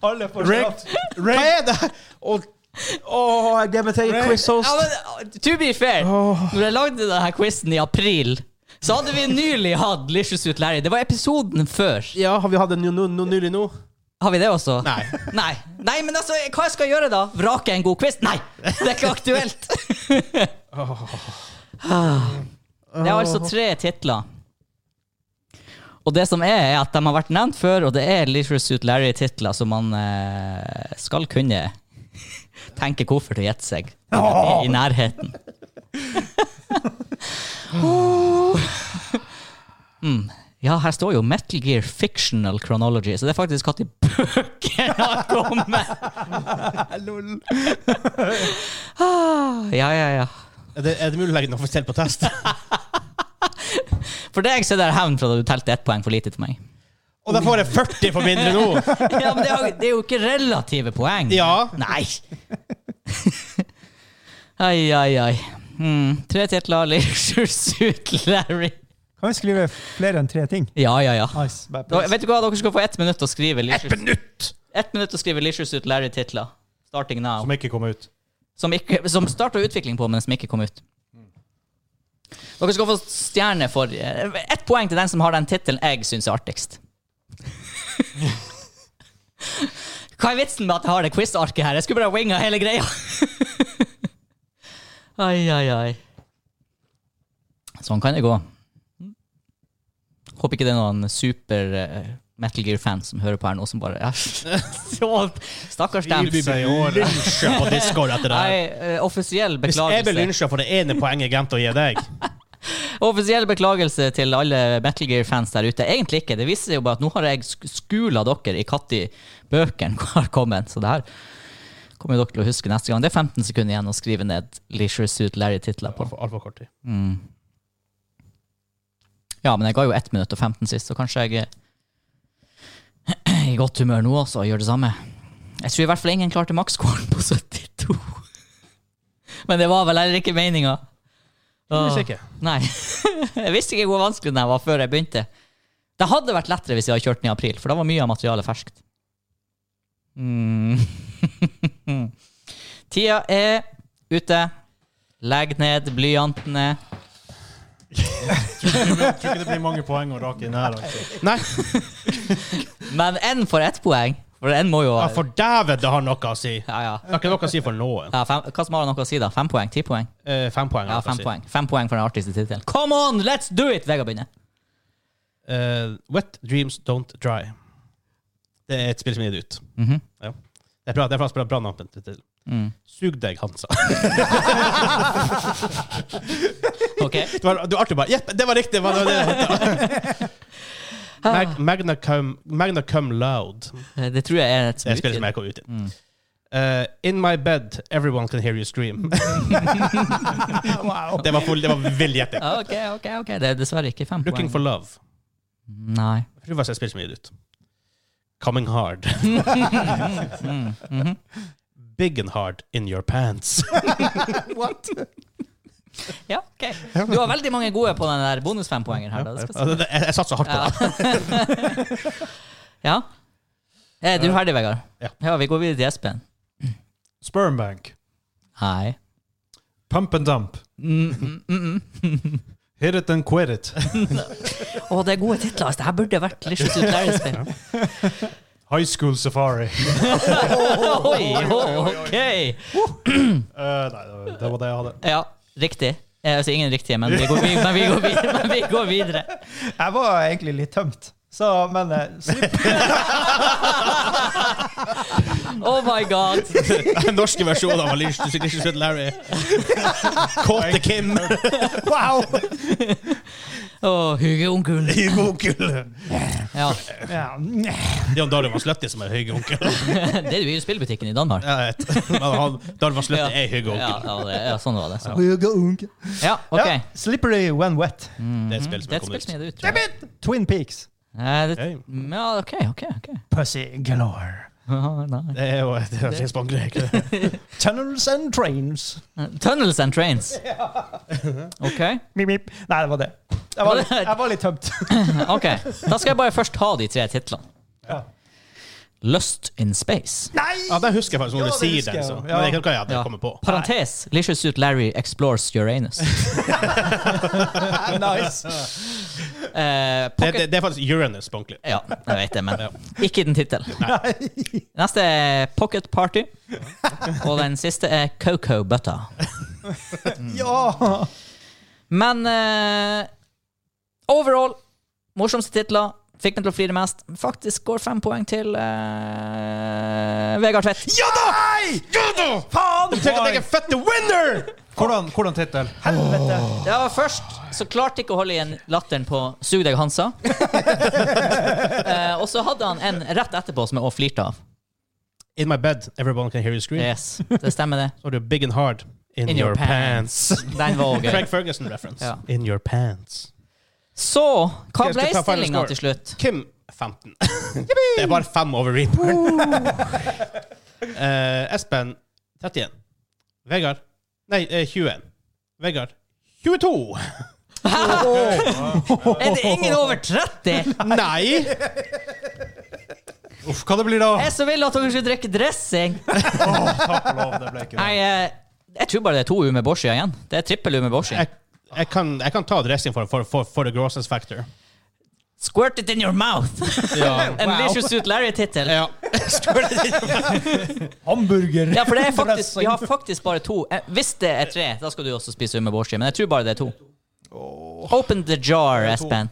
Speaker 5: Alle får
Speaker 1: Rigged. Hva er det? Og
Speaker 5: Åh, jeg glemmer til quiz host.
Speaker 2: Ja, men, uh, to be fair, når jeg lagde denne quizen i april, så hadde vi nylig hatt Licious Ut Larry. Det var episoden før.
Speaker 1: ja, har vi hatt en ny- no- no- nylig nå?
Speaker 2: Har vi det også?
Speaker 1: Nei.
Speaker 2: Nei, Nei men altså, hva jeg skal jeg gjøre da? Vrake en god quiz? Nei! Det er ikke aktuelt. Det er altså tre titler. Og det som er, er at de har vært nevnt før, og det er Licious Ut Larry-titler som man eh, skal kunne tenke hvorfor til å gjette seg i, i nærheten. Mm. Ja, her står jo Metal Gear Fictional Chronology, så det er faktisk hva de bøkene har kommet. Ah, ja, ja, ja.
Speaker 1: Er det, er det mulig å legge den offisielt på test?
Speaker 2: For deg så er det hevn fra da du telte ett poeng for lite for meg.
Speaker 1: Og da får jeg 40 for mindre nå!
Speaker 2: Ja, men det er, jo- det er jo ikke relative poeng.
Speaker 1: Ja.
Speaker 2: Nei. Ai, ai, ai. Mm, tre titler, Leisure Suit Larry.
Speaker 5: Kan vi skrive flere enn tre ting?
Speaker 2: Ja, ja, ja.
Speaker 5: Nice. Bare
Speaker 2: Da,
Speaker 5: press.
Speaker 2: vet du hva, dere skal få ett minutt å skrive Leisure Ett minutt å skrive Leisure Suit Larry-titler. Starting now.
Speaker 4: Som ikke kom ut.
Speaker 2: Som, ikke- som starta utvikling på, men som ikke kom ut. Dere skal få stjerne for eh, Ett poeng til den som har den tittelen jeg syns er artigst. Hva er vitsen med at jeg har det quiz-arket her? Jeg skulle bare winga hele greia. ai, ai, ai. Sånn kan det gå. Håper ikke det er noen super eh, Metal Gear-fans som hører på her nå, som bare ja, så- Stakkars dem.
Speaker 1: Vi blir lynsja på Discord etter det her.
Speaker 2: Nei, eh, offisiell
Speaker 1: Hvis jeg blir
Speaker 2: beklagelse.
Speaker 1: lynsja for det ene poenget jeg glemte å gi deg
Speaker 2: Offisiell beklagelse til alle Metal Gear-fans der ute. Egentlig ikke. Det viser jo bare at nå har jeg sk- skula dere i når bøkene har kommet. Så det her kommer jo dere til å huske neste gang. Det er 15 sekunder igjen å skrive ned Leisure Suit Larry-titler på.
Speaker 1: Altfor altfor kort tid.
Speaker 2: Ja, men jeg ga jo 1 minutt og 15 sist, så kanskje jeg er i godt humør nå også og gjør det samme. Jeg tror i hvert fall ingen klarte maksscoren på 72. Men det var vel heller ikke meninga. Ah.
Speaker 1: Hvis ikke.
Speaker 2: Nei. jeg visste ikke hvor vanskelig den her var før jeg begynte. Det hadde vært lettere hvis jeg hadde kjørt den i april, for da var mye av materialet ferskt. Mm. Tida er ute. Legg ned blyantene.
Speaker 4: Tror ikke det blir mange poeng å rake inn her. Altså.
Speaker 1: Nei,
Speaker 2: Men én får ett poeng, for én må jo
Speaker 1: ja, for dæven, det har noe å si! Det
Speaker 2: ja, ja.
Speaker 1: har ikke noe å si for noen.
Speaker 2: Ja, fem, hva som har noe å si, da? Fem poeng? Ti poeng?
Speaker 1: Eh, fem poeng.
Speaker 2: Ja,
Speaker 1: har noe å
Speaker 2: fem
Speaker 1: si.
Speaker 2: poeng. Fem poeng for den artigste tittelen. Come on, let's do it! Vegard begynner.
Speaker 1: Eh, Wet Dreams Don't Dry. Det er et spill som er gitt ut.
Speaker 2: Mhm.
Speaker 1: ja. Det er bra, det er bra, bra, bra navn til- til.
Speaker 2: Mm.
Speaker 1: Sug deg, Hansa.
Speaker 2: Ok.
Speaker 1: Det var, du var artig bare Jepp, det var riktig! Det var, det var, det var. Mag, magna, cum, magna cum loud.
Speaker 2: Det tror jeg er et
Speaker 1: Det er et spill som jeg kom ut i. Eh, in my bed, everyone can hear you scream.
Speaker 5: Wow.
Speaker 1: det var full, det var vill gjetting.
Speaker 2: Ok, ok, ok. Det er dessverre ikke fem
Speaker 1: Looking
Speaker 2: poeng.
Speaker 1: for love.
Speaker 2: Nei.
Speaker 1: Jeg tror det var et spill som er gitt ut. Coming hard. Big and hard in your pants.
Speaker 2: Ja, ok. Du har veldig mange gode på den der bonusfempoengeren her. Da. Det skal
Speaker 1: Ja, det- det- Jeg, jeg satser hardt på det.
Speaker 2: jeg si. ja. Eh, Er du ferdig, Vegard?
Speaker 1: Ja.
Speaker 2: ja. Vi går videre til Espen.
Speaker 4: Spermbank.
Speaker 2: Hei.
Speaker 4: Pump and dump. Hit it and quit it.
Speaker 2: Å, det er gode titler. Altså. Det her burde vært Licious Utlæringsspill.
Speaker 4: High School Safari.
Speaker 2: Oi, OK!
Speaker 4: Eh, nei, det var- det var det jeg hadde.
Speaker 2: Ja, riktig. Eh, Altså ingen riktige, men vi går, vi, men vi går, videre, men vi går videre.
Speaker 5: Jeg var egentlig litt tømt. Så, men eh, super.
Speaker 2: Oh my god!
Speaker 1: Den norske versjonen av Alice to Secret Larry. Kåte Kim.
Speaker 5: Wow!
Speaker 2: Å, Hugeonkel.
Speaker 1: Høye onkel.
Speaker 2: Ja,
Speaker 5: Ja. nye.
Speaker 1: Det er han Darwin Sletti som er høye onkel.
Speaker 2: det er jo i spillbutikken i Danmark.
Speaker 1: Jeg vet. Men han, Darwin Sletti er høye
Speaker 2: Ja,
Speaker 1: onkel.
Speaker 2: ja, det, ja, sånn var det. Så.
Speaker 5: Ja,
Speaker 2: Ja, OK.
Speaker 5: slippery when wet.
Speaker 1: Det er et spill som
Speaker 2: Det
Speaker 1: er
Speaker 2: er et spill
Speaker 1: kommet ut.
Speaker 2: som er det ut, tror jeg.
Speaker 5: Twin Peaks.
Speaker 2: Eh, det, ja, OK, OK. ok.
Speaker 5: Pussy galore.
Speaker 2: Ah, nei.
Speaker 1: Det er jo det er jo en spangle, ikke det?
Speaker 5: Tunnels and trains.
Speaker 2: Tunnels and trains. OK.
Speaker 5: Mip, mip. Nei, det var det. Jeg
Speaker 2: var
Speaker 5: var,
Speaker 2: det.
Speaker 5: litt- jeg var litt tømt.
Speaker 2: Ok, da skal jeg bare først ha de tre titlene. Lust in Space.
Speaker 1: Ja, det husker jeg faktisk når
Speaker 5: Ja,
Speaker 1: du
Speaker 5: det
Speaker 1: sier
Speaker 5: husker
Speaker 1: den.
Speaker 5: jeg
Speaker 1: Så.
Speaker 5: jo.
Speaker 1: Men
Speaker 5: Ja.
Speaker 1: jeg kan ikke ja, det
Speaker 2: Ja.
Speaker 1: kommer på.
Speaker 2: Parentes. Licious Suit Larry explores Uranus.
Speaker 5: nice.
Speaker 2: Eh,
Speaker 1: Det,
Speaker 2: pocket...
Speaker 1: det, det er faktisk Uranus på ordentlig.
Speaker 2: Ja, jeg vet det, men ikke i den tittelen. Neste er Pocket Party. Og den siste er Coco Butta.
Speaker 1: Mm.
Speaker 5: Ja.
Speaker 2: Men eh, overall, morsomste titler. Fikk meg til å flire mest. Faktisk går fem poeng til eh, Vegard Tvedt.
Speaker 1: Ja da! Ja da!
Speaker 5: Faen!
Speaker 1: Tenk at jeg er fette winner!
Speaker 4: Hvordan, hvordan tittel?
Speaker 5: Helvete.
Speaker 2: Ja, først så klarte jeg ikke å holde igjen latteren på Sug deg, Hansa. eh, og så hadde han en rett etterpå som jeg òg flirte av.
Speaker 1: In my bed, everyone can hear you scream.
Speaker 2: Yes, det stemmer, det.
Speaker 1: Så har du big and hard. In,
Speaker 2: In your
Speaker 1: your, pants.
Speaker 2: Den var òg gøy.
Speaker 1: Craig Ferguson-reference.
Speaker 2: Ja.
Speaker 1: In your pants.
Speaker 2: Så hva
Speaker 1: Jeg skal
Speaker 2: ble
Speaker 1: ta final
Speaker 2: stillinga
Speaker 1: score.
Speaker 2: til slutt?
Speaker 1: Kim 15. det er bare fem over Reaperen. Eh, Espen 31. Vegard Nei, eh, 21. Vegard 22.
Speaker 2: Er det ingen over 30?
Speaker 1: Nei!
Speaker 4: Uff, hva det blir da?
Speaker 2: Jeg så ville at dere skulle drikke dressing.
Speaker 4: Takk og lov, det ble ikke
Speaker 2: Nei,
Speaker 4: det.
Speaker 2: eh, jeg tror bare det er to Ume Borsia igjen. Det er trippel Ume Borsia.
Speaker 1: Jeg, jeg, kan, jeg kan ta dressing for, for, for, for the grossest factor.
Speaker 2: Squirt it in your mouth!
Speaker 1: Ja.
Speaker 2: En Licious Suit Larry-tittel.
Speaker 1: ja.
Speaker 5: Hamburger.
Speaker 2: Ja, for det er faktisk,
Speaker 5: Dressing.
Speaker 2: vi har faktisk bare to. Eh, Hvis det er tre, da skal du også spise umeboshi, men jeg tror bare det er to. Open the jar, Espen.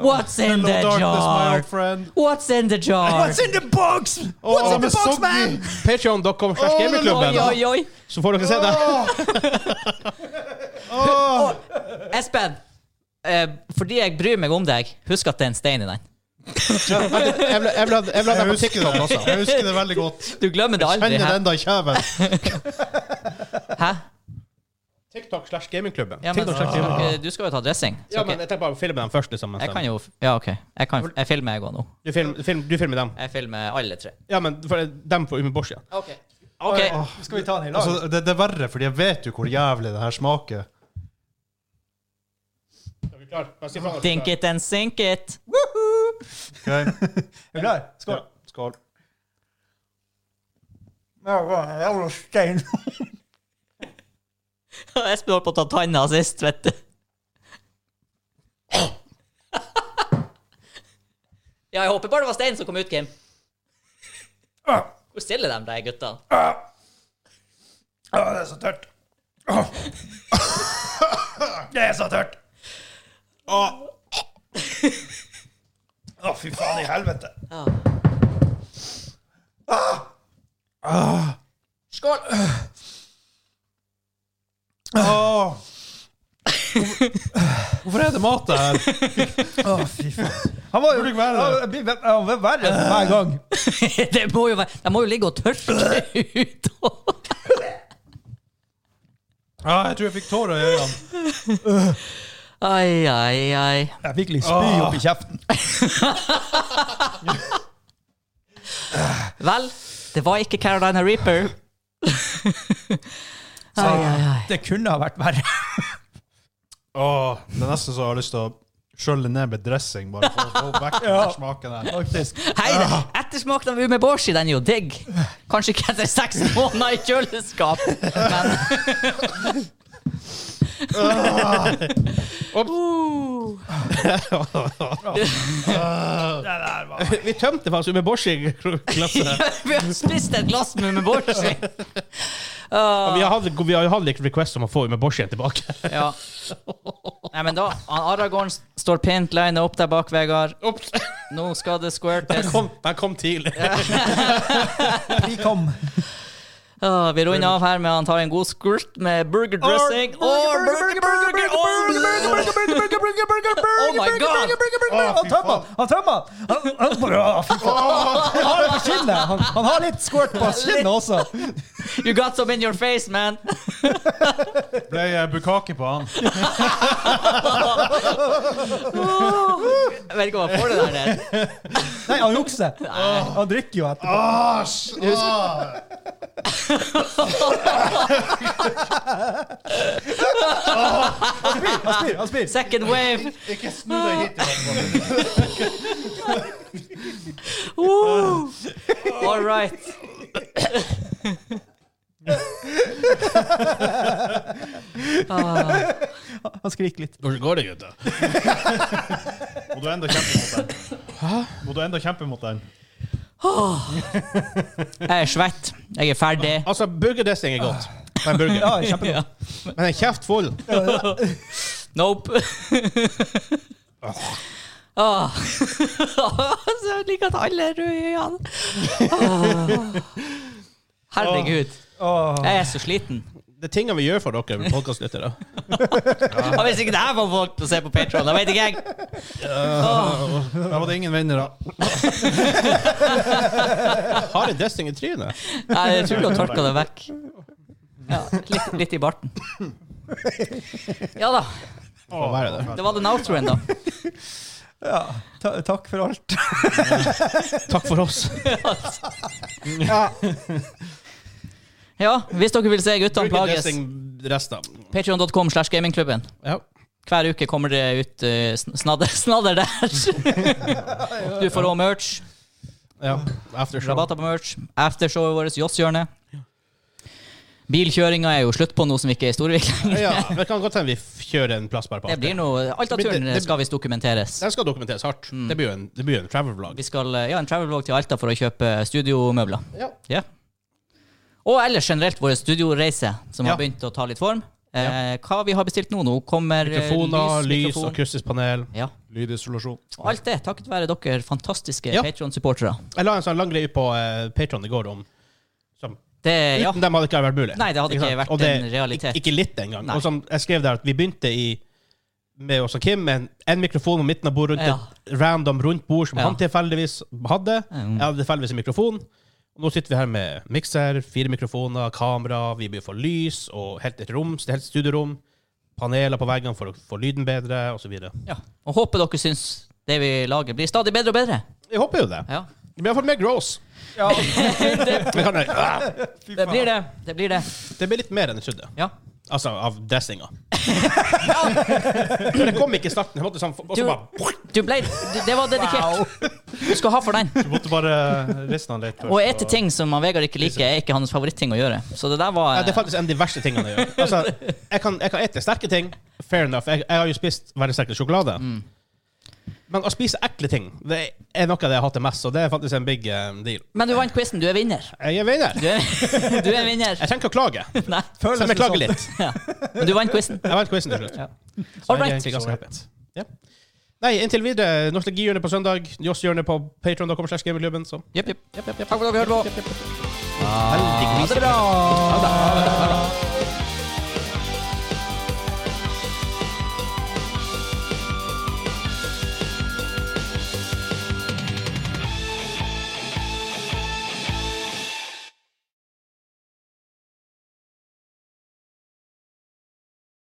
Speaker 2: What's in
Speaker 4: Hello
Speaker 2: the
Speaker 4: darkness, my
Speaker 2: jar?
Speaker 4: old friend.
Speaker 2: What's in the jar?
Speaker 5: What's in the box?
Speaker 1: What's
Speaker 4: in the box, man?
Speaker 1: Patreon.com slash
Speaker 2: Oi,
Speaker 1: gamingklubben.
Speaker 2: oi, oi.
Speaker 1: Så får dere se det.
Speaker 2: Espen, eh, fordi jeg bryr meg om deg, husk at det er en stein i den.
Speaker 1: Jeg vil jeg vil ha jeg vil ha
Speaker 4: Jeg
Speaker 1: det på
Speaker 4: husker
Speaker 1: TikTok
Speaker 4: det,
Speaker 1: også.
Speaker 4: jeg husker det veldig godt.
Speaker 2: Du glemmer det aldri.
Speaker 4: Kjenner
Speaker 2: Hæ?
Speaker 4: den da i kjeven.
Speaker 2: Hæ?
Speaker 1: TikTok slash gamingklubben.
Speaker 2: Ja, men,
Speaker 1: TikTok slash gamingklubben.
Speaker 2: ok, du skal jo ta dressing. så
Speaker 1: Ja,
Speaker 2: ok.
Speaker 1: men jeg tenker bare å filme dem først. liksom. mens
Speaker 2: Jeg kan
Speaker 1: de-
Speaker 2: jo Ja, OK. Jeg, kan, jeg filmer jeg òg nå.
Speaker 1: Du, film, film, du filmer dem.
Speaker 2: Jeg filmer alle tre.
Speaker 1: Ja, men for, dem på Umi Bosch, ja.
Speaker 2: OK. Ok.
Speaker 5: Skal vi ta den i lag?
Speaker 4: Altså, det, det er verre, fordi jeg vet jo hvor jævlig det her smaker.
Speaker 1: Er vi klar? Bare si fra når du er
Speaker 2: Dink
Speaker 1: klar.
Speaker 2: it and sink it.
Speaker 4: Ok?
Speaker 5: Er du klar? Skål.
Speaker 4: Skål.
Speaker 5: Jævla stein.
Speaker 2: Espen holdt på å ta tanna sist, vet du. ja, jeg håper bare det var Stein som kom ut, Kim. Hvor stiller de deg, gutta?
Speaker 5: Å, det er så tørt. Det er så tørt. Å, Å, fy faen i helvete.
Speaker 2: Skål!
Speaker 4: Åh. Hvorfor er det mat det her?
Speaker 5: Å, fy faen. Han var jo
Speaker 4: Burde ikke være der.
Speaker 5: Han blir ver- Han blir verre hver gang.
Speaker 2: det må jo være De må jo ligge og tørke ut.
Speaker 4: Ah, jeg tror jeg fikk tårer i øynene.
Speaker 2: ai, ai, ai.
Speaker 5: Jeg fikk litt spy opp i kjeften.
Speaker 2: Vel, det var ikke Carolina Reaper. ai, ai, ai.
Speaker 5: Det kunne ha vært verre.
Speaker 4: Åh, det er nesten så jeg har lyst til å skjølle ned med dressing, bare for å få vekk den her smaken her.
Speaker 5: Faktisk.
Speaker 2: Hei, det- ettersmaken av umeboshi, den er jo digg. Kanskje ikke etter seks måneder i kjøleskap, men
Speaker 1: Vi tømte faktisk Umeboshi-glasset.
Speaker 2: Vi har spist et glass med Umeboshi!
Speaker 1: Og Vi har hatt- vi har jo hatt litt request om å få Umeboshien tilbake.
Speaker 2: Ja. Nei, men da, han Aragorn står pent lina opp der bak, Vegard.
Speaker 1: Ops.
Speaker 2: Nå skal det squirtes.
Speaker 1: Den kom, den kom tidlig.
Speaker 5: Vi kom.
Speaker 2: Ah, vi runder av her med han tar en god squirt med burger dressing. Åh, burger, burger, burger, burger, burger, Oh my god!
Speaker 5: Han tømmer! Han tømmer! Han, han, Bra, fy faen. han har det på skinnet! Han, han har litt squirt på skinnet også.
Speaker 2: You got some in your face, man!
Speaker 4: Ble jeg bukake på han?
Speaker 2: Jeg vet ikke hva jeg får det der ned.
Speaker 5: Nei, han jukser. Han drikker jo etterpå. Han spyr. Han spyr.
Speaker 2: Second wave.
Speaker 6: Ikke snu deg hit. i hvert fall.
Speaker 2: Woo! All right.
Speaker 5: Han skriker litt.
Speaker 1: Hvordan går det, gutter?
Speaker 4: Må du enda kjempe mot den? Må du enda kjempe mot den?
Speaker 2: Jeg er svett. Jeg er ferdig.
Speaker 1: Altså, burgerdressing er godt. Men, burger.
Speaker 5: Ja, kjempegodt.
Speaker 2: Ja.
Speaker 1: Men en kjeft full.
Speaker 2: Nope. Åh. Så jeg liker at alle er røde i øynene. Åh. Herregud.
Speaker 5: Åh.
Speaker 2: Jeg er så sliten.
Speaker 1: Det er tingene vi gjør for dere, podkastlyttere.
Speaker 2: Og hvis ikke det her var folk til å se på Patron, da vet ikke jeg.
Speaker 4: Der var det ingen venner, da.
Speaker 1: Har jeg dressing i trynet?
Speaker 2: Nei, Jeg tror du har tørka det vekk. Ja, litt, litt i barten. Ja da.
Speaker 1: Får være det.
Speaker 2: Det var den outroen, da.
Speaker 5: Ja, ta, takk for alt.
Speaker 1: Takk for oss.
Speaker 2: Ja, hvis dere vil se guttene plages,
Speaker 1: Burgerdressing-rester.
Speaker 2: patreon.com slash gamingklubben.
Speaker 1: Ja.
Speaker 2: Hver uke kommer det ut eh, sn- snadder, snadder der. Du får òg merch.
Speaker 1: ja. Aftershow.
Speaker 2: Rabatter på merch. Aftershowet vårt, Jåsshjørnet. Bilkjøringa er jo slutt på nå som ikke er i Storvik lenger.
Speaker 1: Ja, det kan godt hende vi kjører en plass bare på
Speaker 2: Det
Speaker 1: after.
Speaker 2: blir noe, alt av
Speaker 1: Det blir-
Speaker 2: turen eh,
Speaker 1: det- det-
Speaker 2: skal visst dokumenteres.
Speaker 1: Den skal dokumenteres hardt. Det blir jo en, det blir jo en travel-vlog.
Speaker 2: Mm. Vi skal eh, ja, en travel-vlog til Alta for å kjøpe studiomøbler.
Speaker 1: Ja.
Speaker 2: Ja. Og ellers generelt vår studioreise, som
Speaker 1: Ja.
Speaker 2: har begynt å ta litt form. Eh, hva vi har bestilt nå? Nå kommer eh,
Speaker 1: Mikrofoner, lys
Speaker 2: mikrofon.
Speaker 1: og akustisk panel.
Speaker 2: ja.
Speaker 4: Lydisolasjon.
Speaker 2: Og Alt det takket være dere fantastiske
Speaker 1: Ja.
Speaker 2: Patreon-supportere.
Speaker 1: Jeg la en sånn lang greie på uh, Patron i går om som,
Speaker 2: Det,
Speaker 1: Uten
Speaker 2: Eh, ja.
Speaker 1: dem hadde ikke det vært mulig.
Speaker 2: Nei, det hadde ikke
Speaker 1: sant?
Speaker 2: vært
Speaker 1: Og det-
Speaker 2: en realitet.
Speaker 1: ik- Ikke litt engang.
Speaker 2: Nei.
Speaker 1: Og som jeg skrev der, at vi begynte i med oss og Kim med en, en mikrofon på midten av bordet rundt
Speaker 2: Ja.
Speaker 1: et random rundt bord som
Speaker 2: Ja.
Speaker 1: han tilfeldigvis hadde. Jeg hadde tilfeldigvis en mikrofon. Og nå sitter vi her med mikser, fire mikrofoner, kamera, vi bør få lys og helt et rom, helt studierom. Paneler på veggene for å få lyden bedre, osv.
Speaker 2: Ja. Og håper dere syns det vi lager, blir stadig bedre og bedre.
Speaker 1: Jeg håper jo det.
Speaker 2: Ja.
Speaker 1: Vi har fått mer gross.
Speaker 5: Ja,
Speaker 1: Vi kan, ah,
Speaker 2: Det blir det. Det blir det.
Speaker 1: det blir litt mer enn jeg trodde.
Speaker 2: Ja.
Speaker 1: Altså, av dressinga. For det kom ikke i starten. Jeg måtte sånn, og så bare
Speaker 2: Du ble du, Det var dedikert. Du skal ha for den.
Speaker 4: Du måtte bare riste han litt. først,
Speaker 2: Og ete ting som han Vegard ikke liker, er ikke hans favoritting å gjøre. Så det der var
Speaker 1: Nei, det er faktisk en av de verste tingene jeg gjør. Altså, jeg kan, jeg kan ete sterke ting. Fair enough. Jeg, jeg har jo spist veldig sterk sjokolade.
Speaker 2: Mm.
Speaker 1: Men å spise ekle ting det er noe av det jeg har hatt det mest, og det er faktisk en big eh, deal.
Speaker 2: Men du vant quizen. Du er vinner.
Speaker 1: Jeg er vinner.
Speaker 2: Du er, du er vinner.
Speaker 1: Jeg trenger ikke å klage,
Speaker 2: Nei.
Speaker 1: selv om jeg klager litt.
Speaker 2: Ja. Men du vant quizen.
Speaker 1: Jeg vant quizen til slutt.
Speaker 2: sånn.
Speaker 1: Så
Speaker 2: Ja.
Speaker 1: jeg er
Speaker 2: All right.
Speaker 1: egentlig ganske happy. Ja. Nei, inntil videre. Nostalgihjørnet på søndag. Joss-hjørnet på patron.com. slash gamingklubben, så.
Speaker 2: Jepp, jepp. Takk for at dere hørte på.
Speaker 1: Veldig grisete.
Speaker 5: bra.